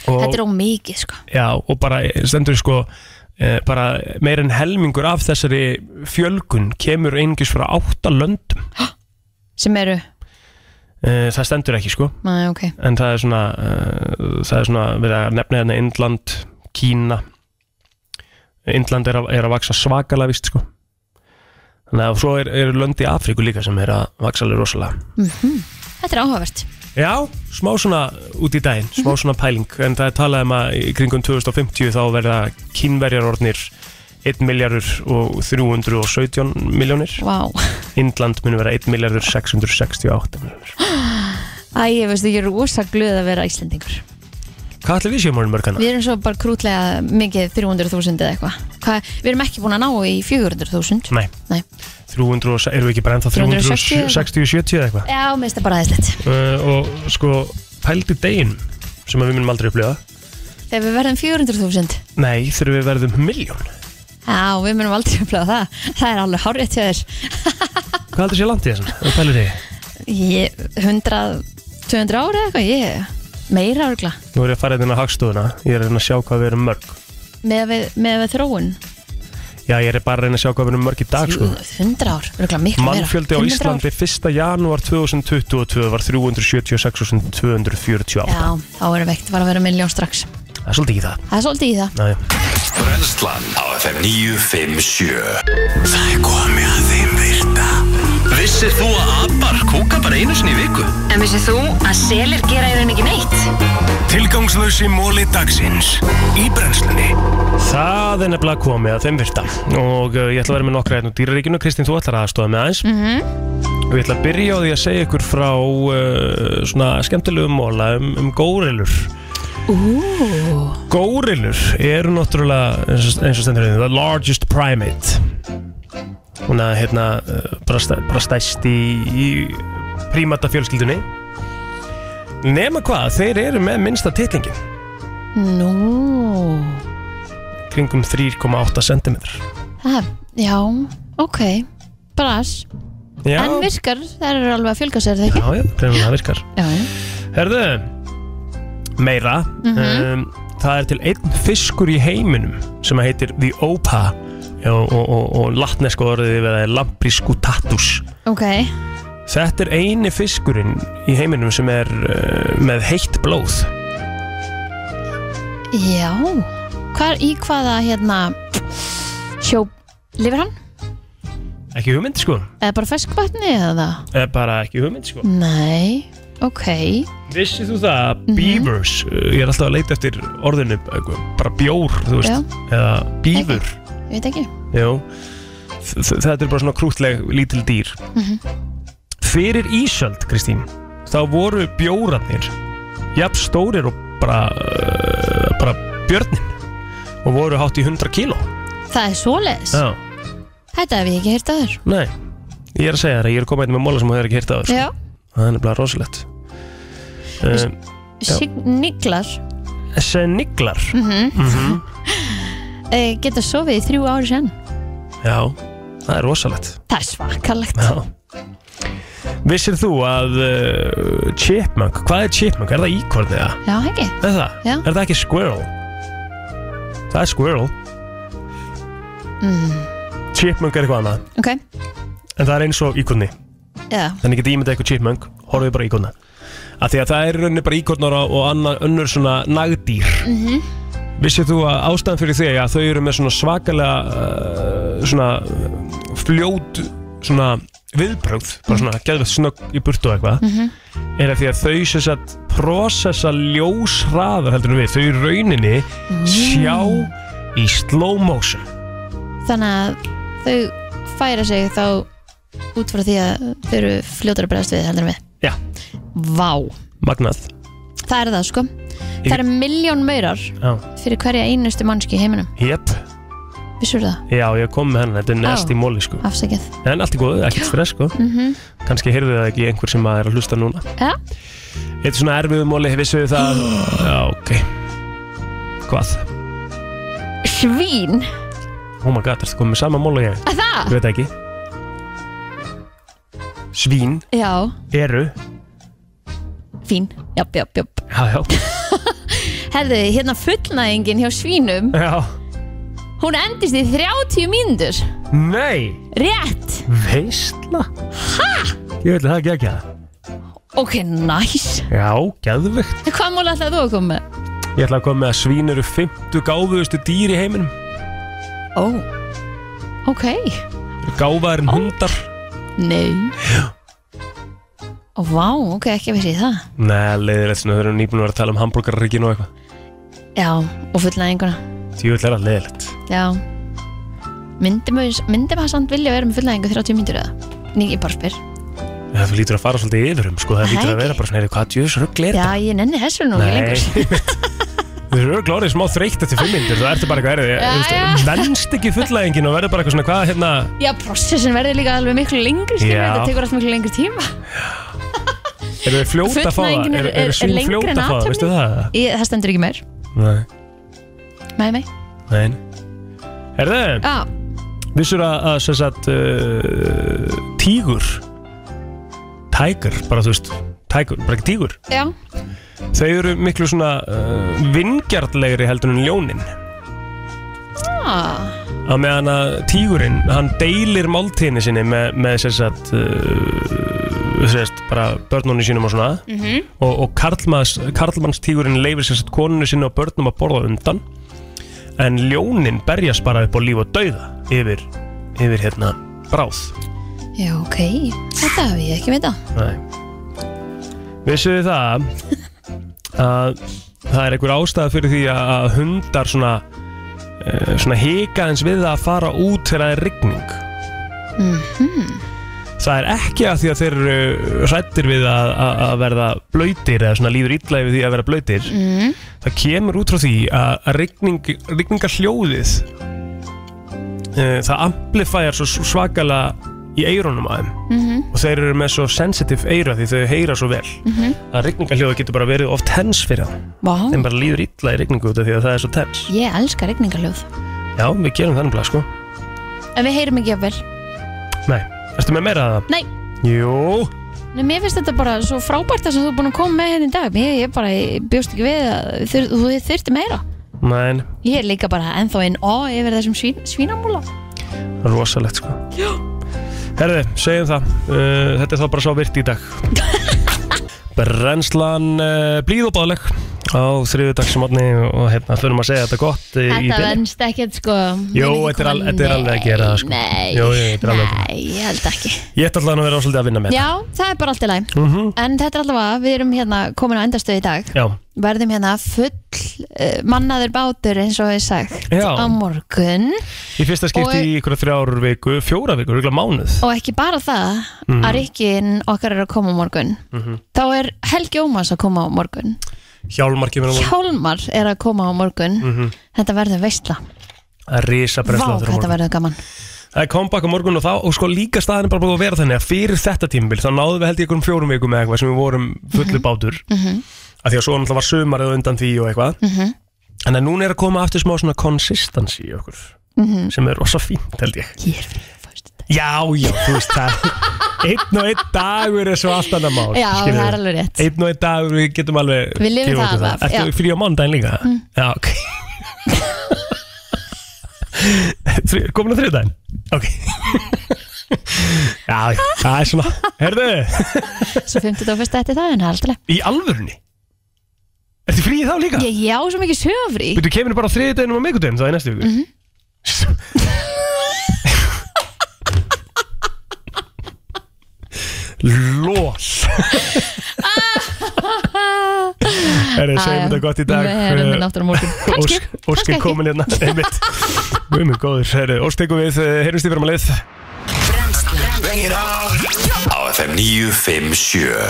S3: Þetta er ómikið sko
S1: Já, og bara stendur sko eh, bara meir en helmingur af þessari fjölgun kemur einungis frá átta löndum
S3: Sem eru,
S1: Eh, það stendur ekki sko
S3: næ ok
S1: en það er svona uh, það er svona verið að nefna hérna Indland, Kína Indland er að, er að vaksa svakalega vist sko þannig að svo er- eru er lönd í Afríku líka sem er að vaksa alveg rosalega
S3: Mhm. Þetta er áhugavert
S1: Já, smá svona út í daginn, smá svona pæling en það er talað um að í kringum 2050 þá verða kínverjarornir 1 miljardur og 317 miljónir
S3: Vá.
S1: Indland muni vera 1 miljardur 668 miljónir
S3: Æ, ég veist ekki, ég er rosa glöð að vera Íslendingur
S1: Hvað ætlum við séum hérna? orðin mörgana?
S3: Við erum svo bara krútlega mikið 300.000 eða eitthvað Hva- Við erum ekki búin að ná í 400.000
S1: Nei,
S3: Nei.
S1: 300 og, erum við ekki bara ennþá
S3: 360?
S1: 360-70 eða eitthvað?
S3: Já, mér finnst það bara aðeinslegt
S1: Uh, og sko, pældi deginn sem að við munum aldrei upplifa
S3: Þegar við verðum 400.000
S1: Nei, þegar við verðum miljón
S3: Já, við munum aldrei upplega það Það er alveg hárétt hjá þér
S1: Hvað heldur sé landið þessan? Pældi deginn?
S3: Ég, 100, 200 ára eða eitthvað, ég meira örgla
S1: Nú er ég að fara hérna á hagstofuna Ég er að reyna að sjá hvað við erum mörg
S3: með, við, með við þróun
S1: Já, ég er bara að reyna að sjá hvað við erum mörg í dag sko.
S3: 100 ár, örgla miklu meira
S1: Mannfjöldi á
S3: 500 ár.
S1: Íslandi 1. janúar 2022 var 376.248
S3: Já, þá erum við ekkert bara að vera miljón strax
S1: Það er svolítið ekki það
S3: Það er svolítið í það
S1: Nei.
S2: Brennslan á FM 957 Það er komið að þeim virta Vissir þú að abar kúka bara einu sinni í viku?
S9: En vissið þú að selir gera í raun ekki neitt?
S2: Tilgangslösi móli dagsins Í brennslunni
S1: Það er nefnilega komið að þeim virta og uh, ég ætla að vera með nokkra hérna úr dýraríkinu Kristín, þú ætlar að aðstofa með aðeins og ég ætla að byrja á því að segja ykkur frá uh, svona skemmtilegum móla um, um górilur
S3: Ú,
S1: Górilur eru náttúrulega eins og- eins og stendur hérna, the largest primate hún að hérna uh, bara, stæ, bara stæst í, í prímata fjölskyldunni nema hvað, þeir eru með minnsta titlingin
S3: nú
S1: kringum 3,8 cm
S3: Það, já, ok Bras,
S1: Já,
S3: en virkar þær eru alveg að fjölga sér þegar ekki
S1: já, já, greinilega það virkar
S3: Já, já.
S1: Herðu, meira
S3: Mhm.
S1: um, Það er til einn fiskur í heiminum sem að heitir the opa og, og, og, og latneska orðið við það lambriscutatus
S3: ok
S1: Þetta er eini fiskurinn í heiminum sem er uh, með heitt blóð
S3: Já, Hvar, í hvaða hérna sjó, lifir hann?
S1: Ekki hugmynd sko
S3: Eða bara ferskvatni eða?
S1: Eða bara ekki hugmynd sko
S3: Nei, ok
S1: Vissið þú það að
S3: Mhm.
S1: beavers uh, Ég er alltaf að leita eftir orðinu uh, bara bjór, þú veist
S3: Já.
S1: eða beaver
S3: Ég veit ekki
S1: Jú. Þ- þ- Þetta er bara svona krútleg lítil dýr Fyrir Ísöld, Kristín þá voru bjórarnir jafn stórir og bara uh, bara björnin og voru hátt í 100 kíló
S3: Það er svoleiðis
S1: Já, Sko.
S3: Þetta hef ég ekki heyrt að þér
S1: nei Ég er að segja þér að ég er að koma einn með móla sem þú hefur ekki heyrt af
S3: Já,
S1: Það er nefnilega rosalegt um, Já.
S3: Signiklar
S1: Eh, Seniglar
S3: mm -hmm.
S1: mm
S3: eh, Geta sofið í þrjú ári sen
S1: Já, það er rosalegt
S3: Það er svakalegt
S1: Já Vissir þú að uh, chipmunk, hvað er chipmunk? Er það íkorn eða?
S3: Já, ekki
S1: Er það?
S3: Já.
S1: Er það ekki squirrel? Það er squirrel
S3: mm.
S1: Chipmunk er eitthvað annað
S3: Ok,
S1: En það er eins og íkorni
S3: já,
S1: Þannig getið ímyndað eitthvað chipmunk Horfið bara á íkorna Af því að það er í rauninni bara íkornar og og annar önnur svona nagdýr
S3: mhm
S1: Vissið þú að ástæðan fyrir því að þau eru með svona svakalega uh, svona fljót svona viðbrögð bara svona geðvett snögg í burtu og eitthvað
S11: Mhm.
S1: er að því að þau sem sagt prosessa ljós hraðar heldur en við þau í rauninni sjá í slow motion
S3: Þannig að þau færa sig þá út frá því að þau eru fljótar að bregðast við heldur en við.
S1: Já,
S3: Vá,
S1: magnað
S3: það er það sko. Það eru miljón maurar
S1: Já,
S3: fyrir hverja einustu mannski í heiminum.
S1: Jep.
S3: Vissur það?
S1: Já, ég kom með hennar, þetta er nest í
S3: Já.
S1: móli sko
S3: Afsakið.
S1: En allt í góðu, ekkert stress sko
S3: Mhm.
S1: Kannski heyrðu það ekki einhver sem að er að hlusta núna
S3: Já,
S1: Eitt svona erfiðu móli, vissu þið það Já, ok Hvað?
S3: svín.
S1: Oh my god, ertu komið með sama mól og ég?
S3: Að það?
S1: Ég veit ekki Svín
S3: Já,
S1: eru
S3: fín. Japp, japp, japp.
S1: Já, já
S3: Herðu, hérna fullnæðingin hjá svínum,
S1: Já.
S3: hún endist í 30 mínútur.
S1: Nei
S3: Rétt.
S1: Veistla? Ég veit að það er ekki það
S3: Ok, næs.
S1: Já, geðvegt
S3: En Hvað múl ætlaði þú að koma með?
S1: Ég ætla að koma með að svín eru 50 gáfuðustu dýr í heiminum
S3: Ó. Ok.
S1: Gáfaðir en hundar
S3: Nei. Ó, vá, ok, ekki vissi ég það.
S1: Nei, leiðilegt svona, þau eru nýbúin að vera að tala um hambúrgarrikin og eitthvað
S3: Já, og fullnæðinguna.
S1: Tjóðlega er það leiðilegt
S3: Já Myndi maður, myndi maður samt vilja vera með fullnæðingu 30 mínútur eða? Nei, ég bara spyr
S1: Það þú lítur að fara svolítið yfir um, sko, það
S3: Það
S1: lítur
S3: ekki.
S1: að vera bara svona, heyrðu, hvað djöðs rugg er
S3: Já, ég nenni þessu nú ekki lengur
S1: Nei Þú eru örugglega orðið smá þreytt eftir fimm myndir Þú ertu bara eitthvað erfið
S3: Já,
S1: Þú veist, Venst ekki fullæðingin og verður bara eitthvað svona Hvað hérna
S3: Já, prosessin verður líka alveg miklu lengri skilur,
S1: Já.
S3: þetta tekur allt miklu lengri tíma
S1: Eru þið fljóta að fá það?
S3: Fullnægingin er-
S1: Eru-
S3: er-
S1: Eru
S3: er
S1: svín
S3: lengri en
S1: fljóta að fá það?
S3: athöfnin.
S1: Veistu það?
S3: ég, Það stendur ekki meir
S1: Nei,
S3: Nei, nei
S1: nein Herðu,
S3: Já,
S1: vissur að, að sem sagt uh, Tígur Tiger, bara þú veist Tiger, bara ekki tígur
S3: já,
S1: Þau eru miklu svona uh, vingjartlegri heldur en ljónin
S3: ah,
S1: að meðan að tígurinn hann deilir máltíðinni sinni með, með sérsagt uh, sérst, bara börnunni sínum og svona
S11: Mhm.
S1: og, og karlmanns, karlmanns tígurinn leifir sérsagt konunni sinni og börnum að borða á undan en ljónin berjast bara upp á líf og dauða yfir, yfir hérna bráð
S3: já, ok Þetta hef ég ekki veita
S1: Nei. Vissuð þið það að það er einhver ástæða fyrir því að að hundar svona, eh, svona hika eins við það að fara út þegar það er rigning.
S3: mm
S1: Það er ekki að því að þeir eru hrættir við að, að, að verða blöytir eða svona líður illa yfir því að vera blöytir.
S3: Mm.
S1: Það kemur út frá því að, að rigning, rigningar hljóðið eh, það amplifæjar svo svakala í eyrunum aðeim
S11: Mhm.
S1: og þeir eru með svo sensitive eyra því þau heyra svo vel
S11: Mhm.
S1: að rigningarhljóðu getur bara verið oft hens fyrir það
S3: Vá.
S1: þeim bara líður illa í rigningu út af því að það er svo tens
S3: Ég elska regningarljóð
S1: Já, við gerum þannig blað sko
S3: En við heyrum ekki að vel
S1: Nei, erstu með meira að það?
S3: Nei,
S1: Jú,
S3: Nei, mér finnst þetta bara svo frábært það sem þú er búin að koma með hérna í dag Ég, ég bara ég bjóst ekki við að þur, þú þurfti meira
S1: nein,
S3: Ég er líka bara ennþá inn á yfir þessum svín, svínamúla
S1: rosalegt sko Herði, segjum það uh, Þetta er þá bara svo virt í dag Brennslan uh, blíð og báðleg á þriðudagsmotni og hérna þurfum að segja þetta gott eh, í
S3: Þetta
S1: bili.
S3: venst ekkert sko
S1: Jó,
S3: Ég veit
S1: þetta er, al,
S3: ekki
S1: þetta er
S3: hvað-
S1: alveg að gera það sko.
S3: Nei,
S1: Jó, jú, þetta er alveg að gera
S3: nei, ég held ekki
S1: það. Ég ætti alltaf að vera svolítið að vinna með
S3: Já, það er bara allt í læm
S1: Mhm.
S3: En þetta er allavega, við erum hérna komin á endastöð í dag
S1: það Já,
S3: Verðum hérna full uh, mannaður bátur eins og ég sagt
S1: Já.
S3: á morgun
S1: í fyrsta skipti
S3: Og-
S1: í ykkur þrjár viku, fjóra viku, ykkur mánuð
S3: Og ekki bara það
S1: Mhm.
S3: að Rikkin okkar er að koma á morgun
S1: Mhm.
S3: Þá er Helgi Ómars að koma á morgun
S1: Hjálmar kemur á morgun
S3: Hjálmar er að koma á morgun
S1: Mhm.
S3: Þetta verður veistla
S1: Það er risa
S3: Vá,
S1: brennsla
S3: hvað þetta verður gaman
S1: Það er comeback á morgun og þá, og sko líka staðin er bara búin að vera þannig að fyrir þetta tímbil þá náðum við held ég ykkur fjórum vikum með eitthvað sem við vorum fullu bátur
S3: Mhm.
S1: af því að svo náttúrulega var sömarið á undan því og eitthvað
S3: Mhm.
S1: en að núna er að koma aftur smá svona consistency í okkur
S3: Mhm.
S1: sem er rosa fínt held ég
S3: Ég er fín
S1: Já, já, þú veist það einn og einn dagur er svo allt annað mál
S3: Já,
S1: skilurðu.
S3: það er alveg rétt.
S1: Einn og einn dagur, við getum alveg
S3: Við lifum
S1: gefið
S3: það
S1: okkur
S3: af, já.
S1: Ertu frí á mándaginn líka?
S3: Mm.
S1: Já, ok Þri- Komin á þriðdaginn? Ok Já, já, það er svona Herðu,
S3: Svo 50 eftir það en það er alltaf leið.
S1: í alvörunni Ertu frí þá líka?
S3: Ég, ég á svo mikið sögafrí
S1: Býttu kemur bara á þriðdaginum og miðgudaginum þá í næstu viku
S3: Mhm.
S1: Lól Herri, segjum þetta gott í dag
S3: Við erum með náttúrulega morgun Kanski, kannski
S1: Óskir
S3: ekki
S1: komin hérna Einmitt Við erum góður Herri, óstekum við eh, Heyrjumst í fyrir maður leið
S2: Á FM 957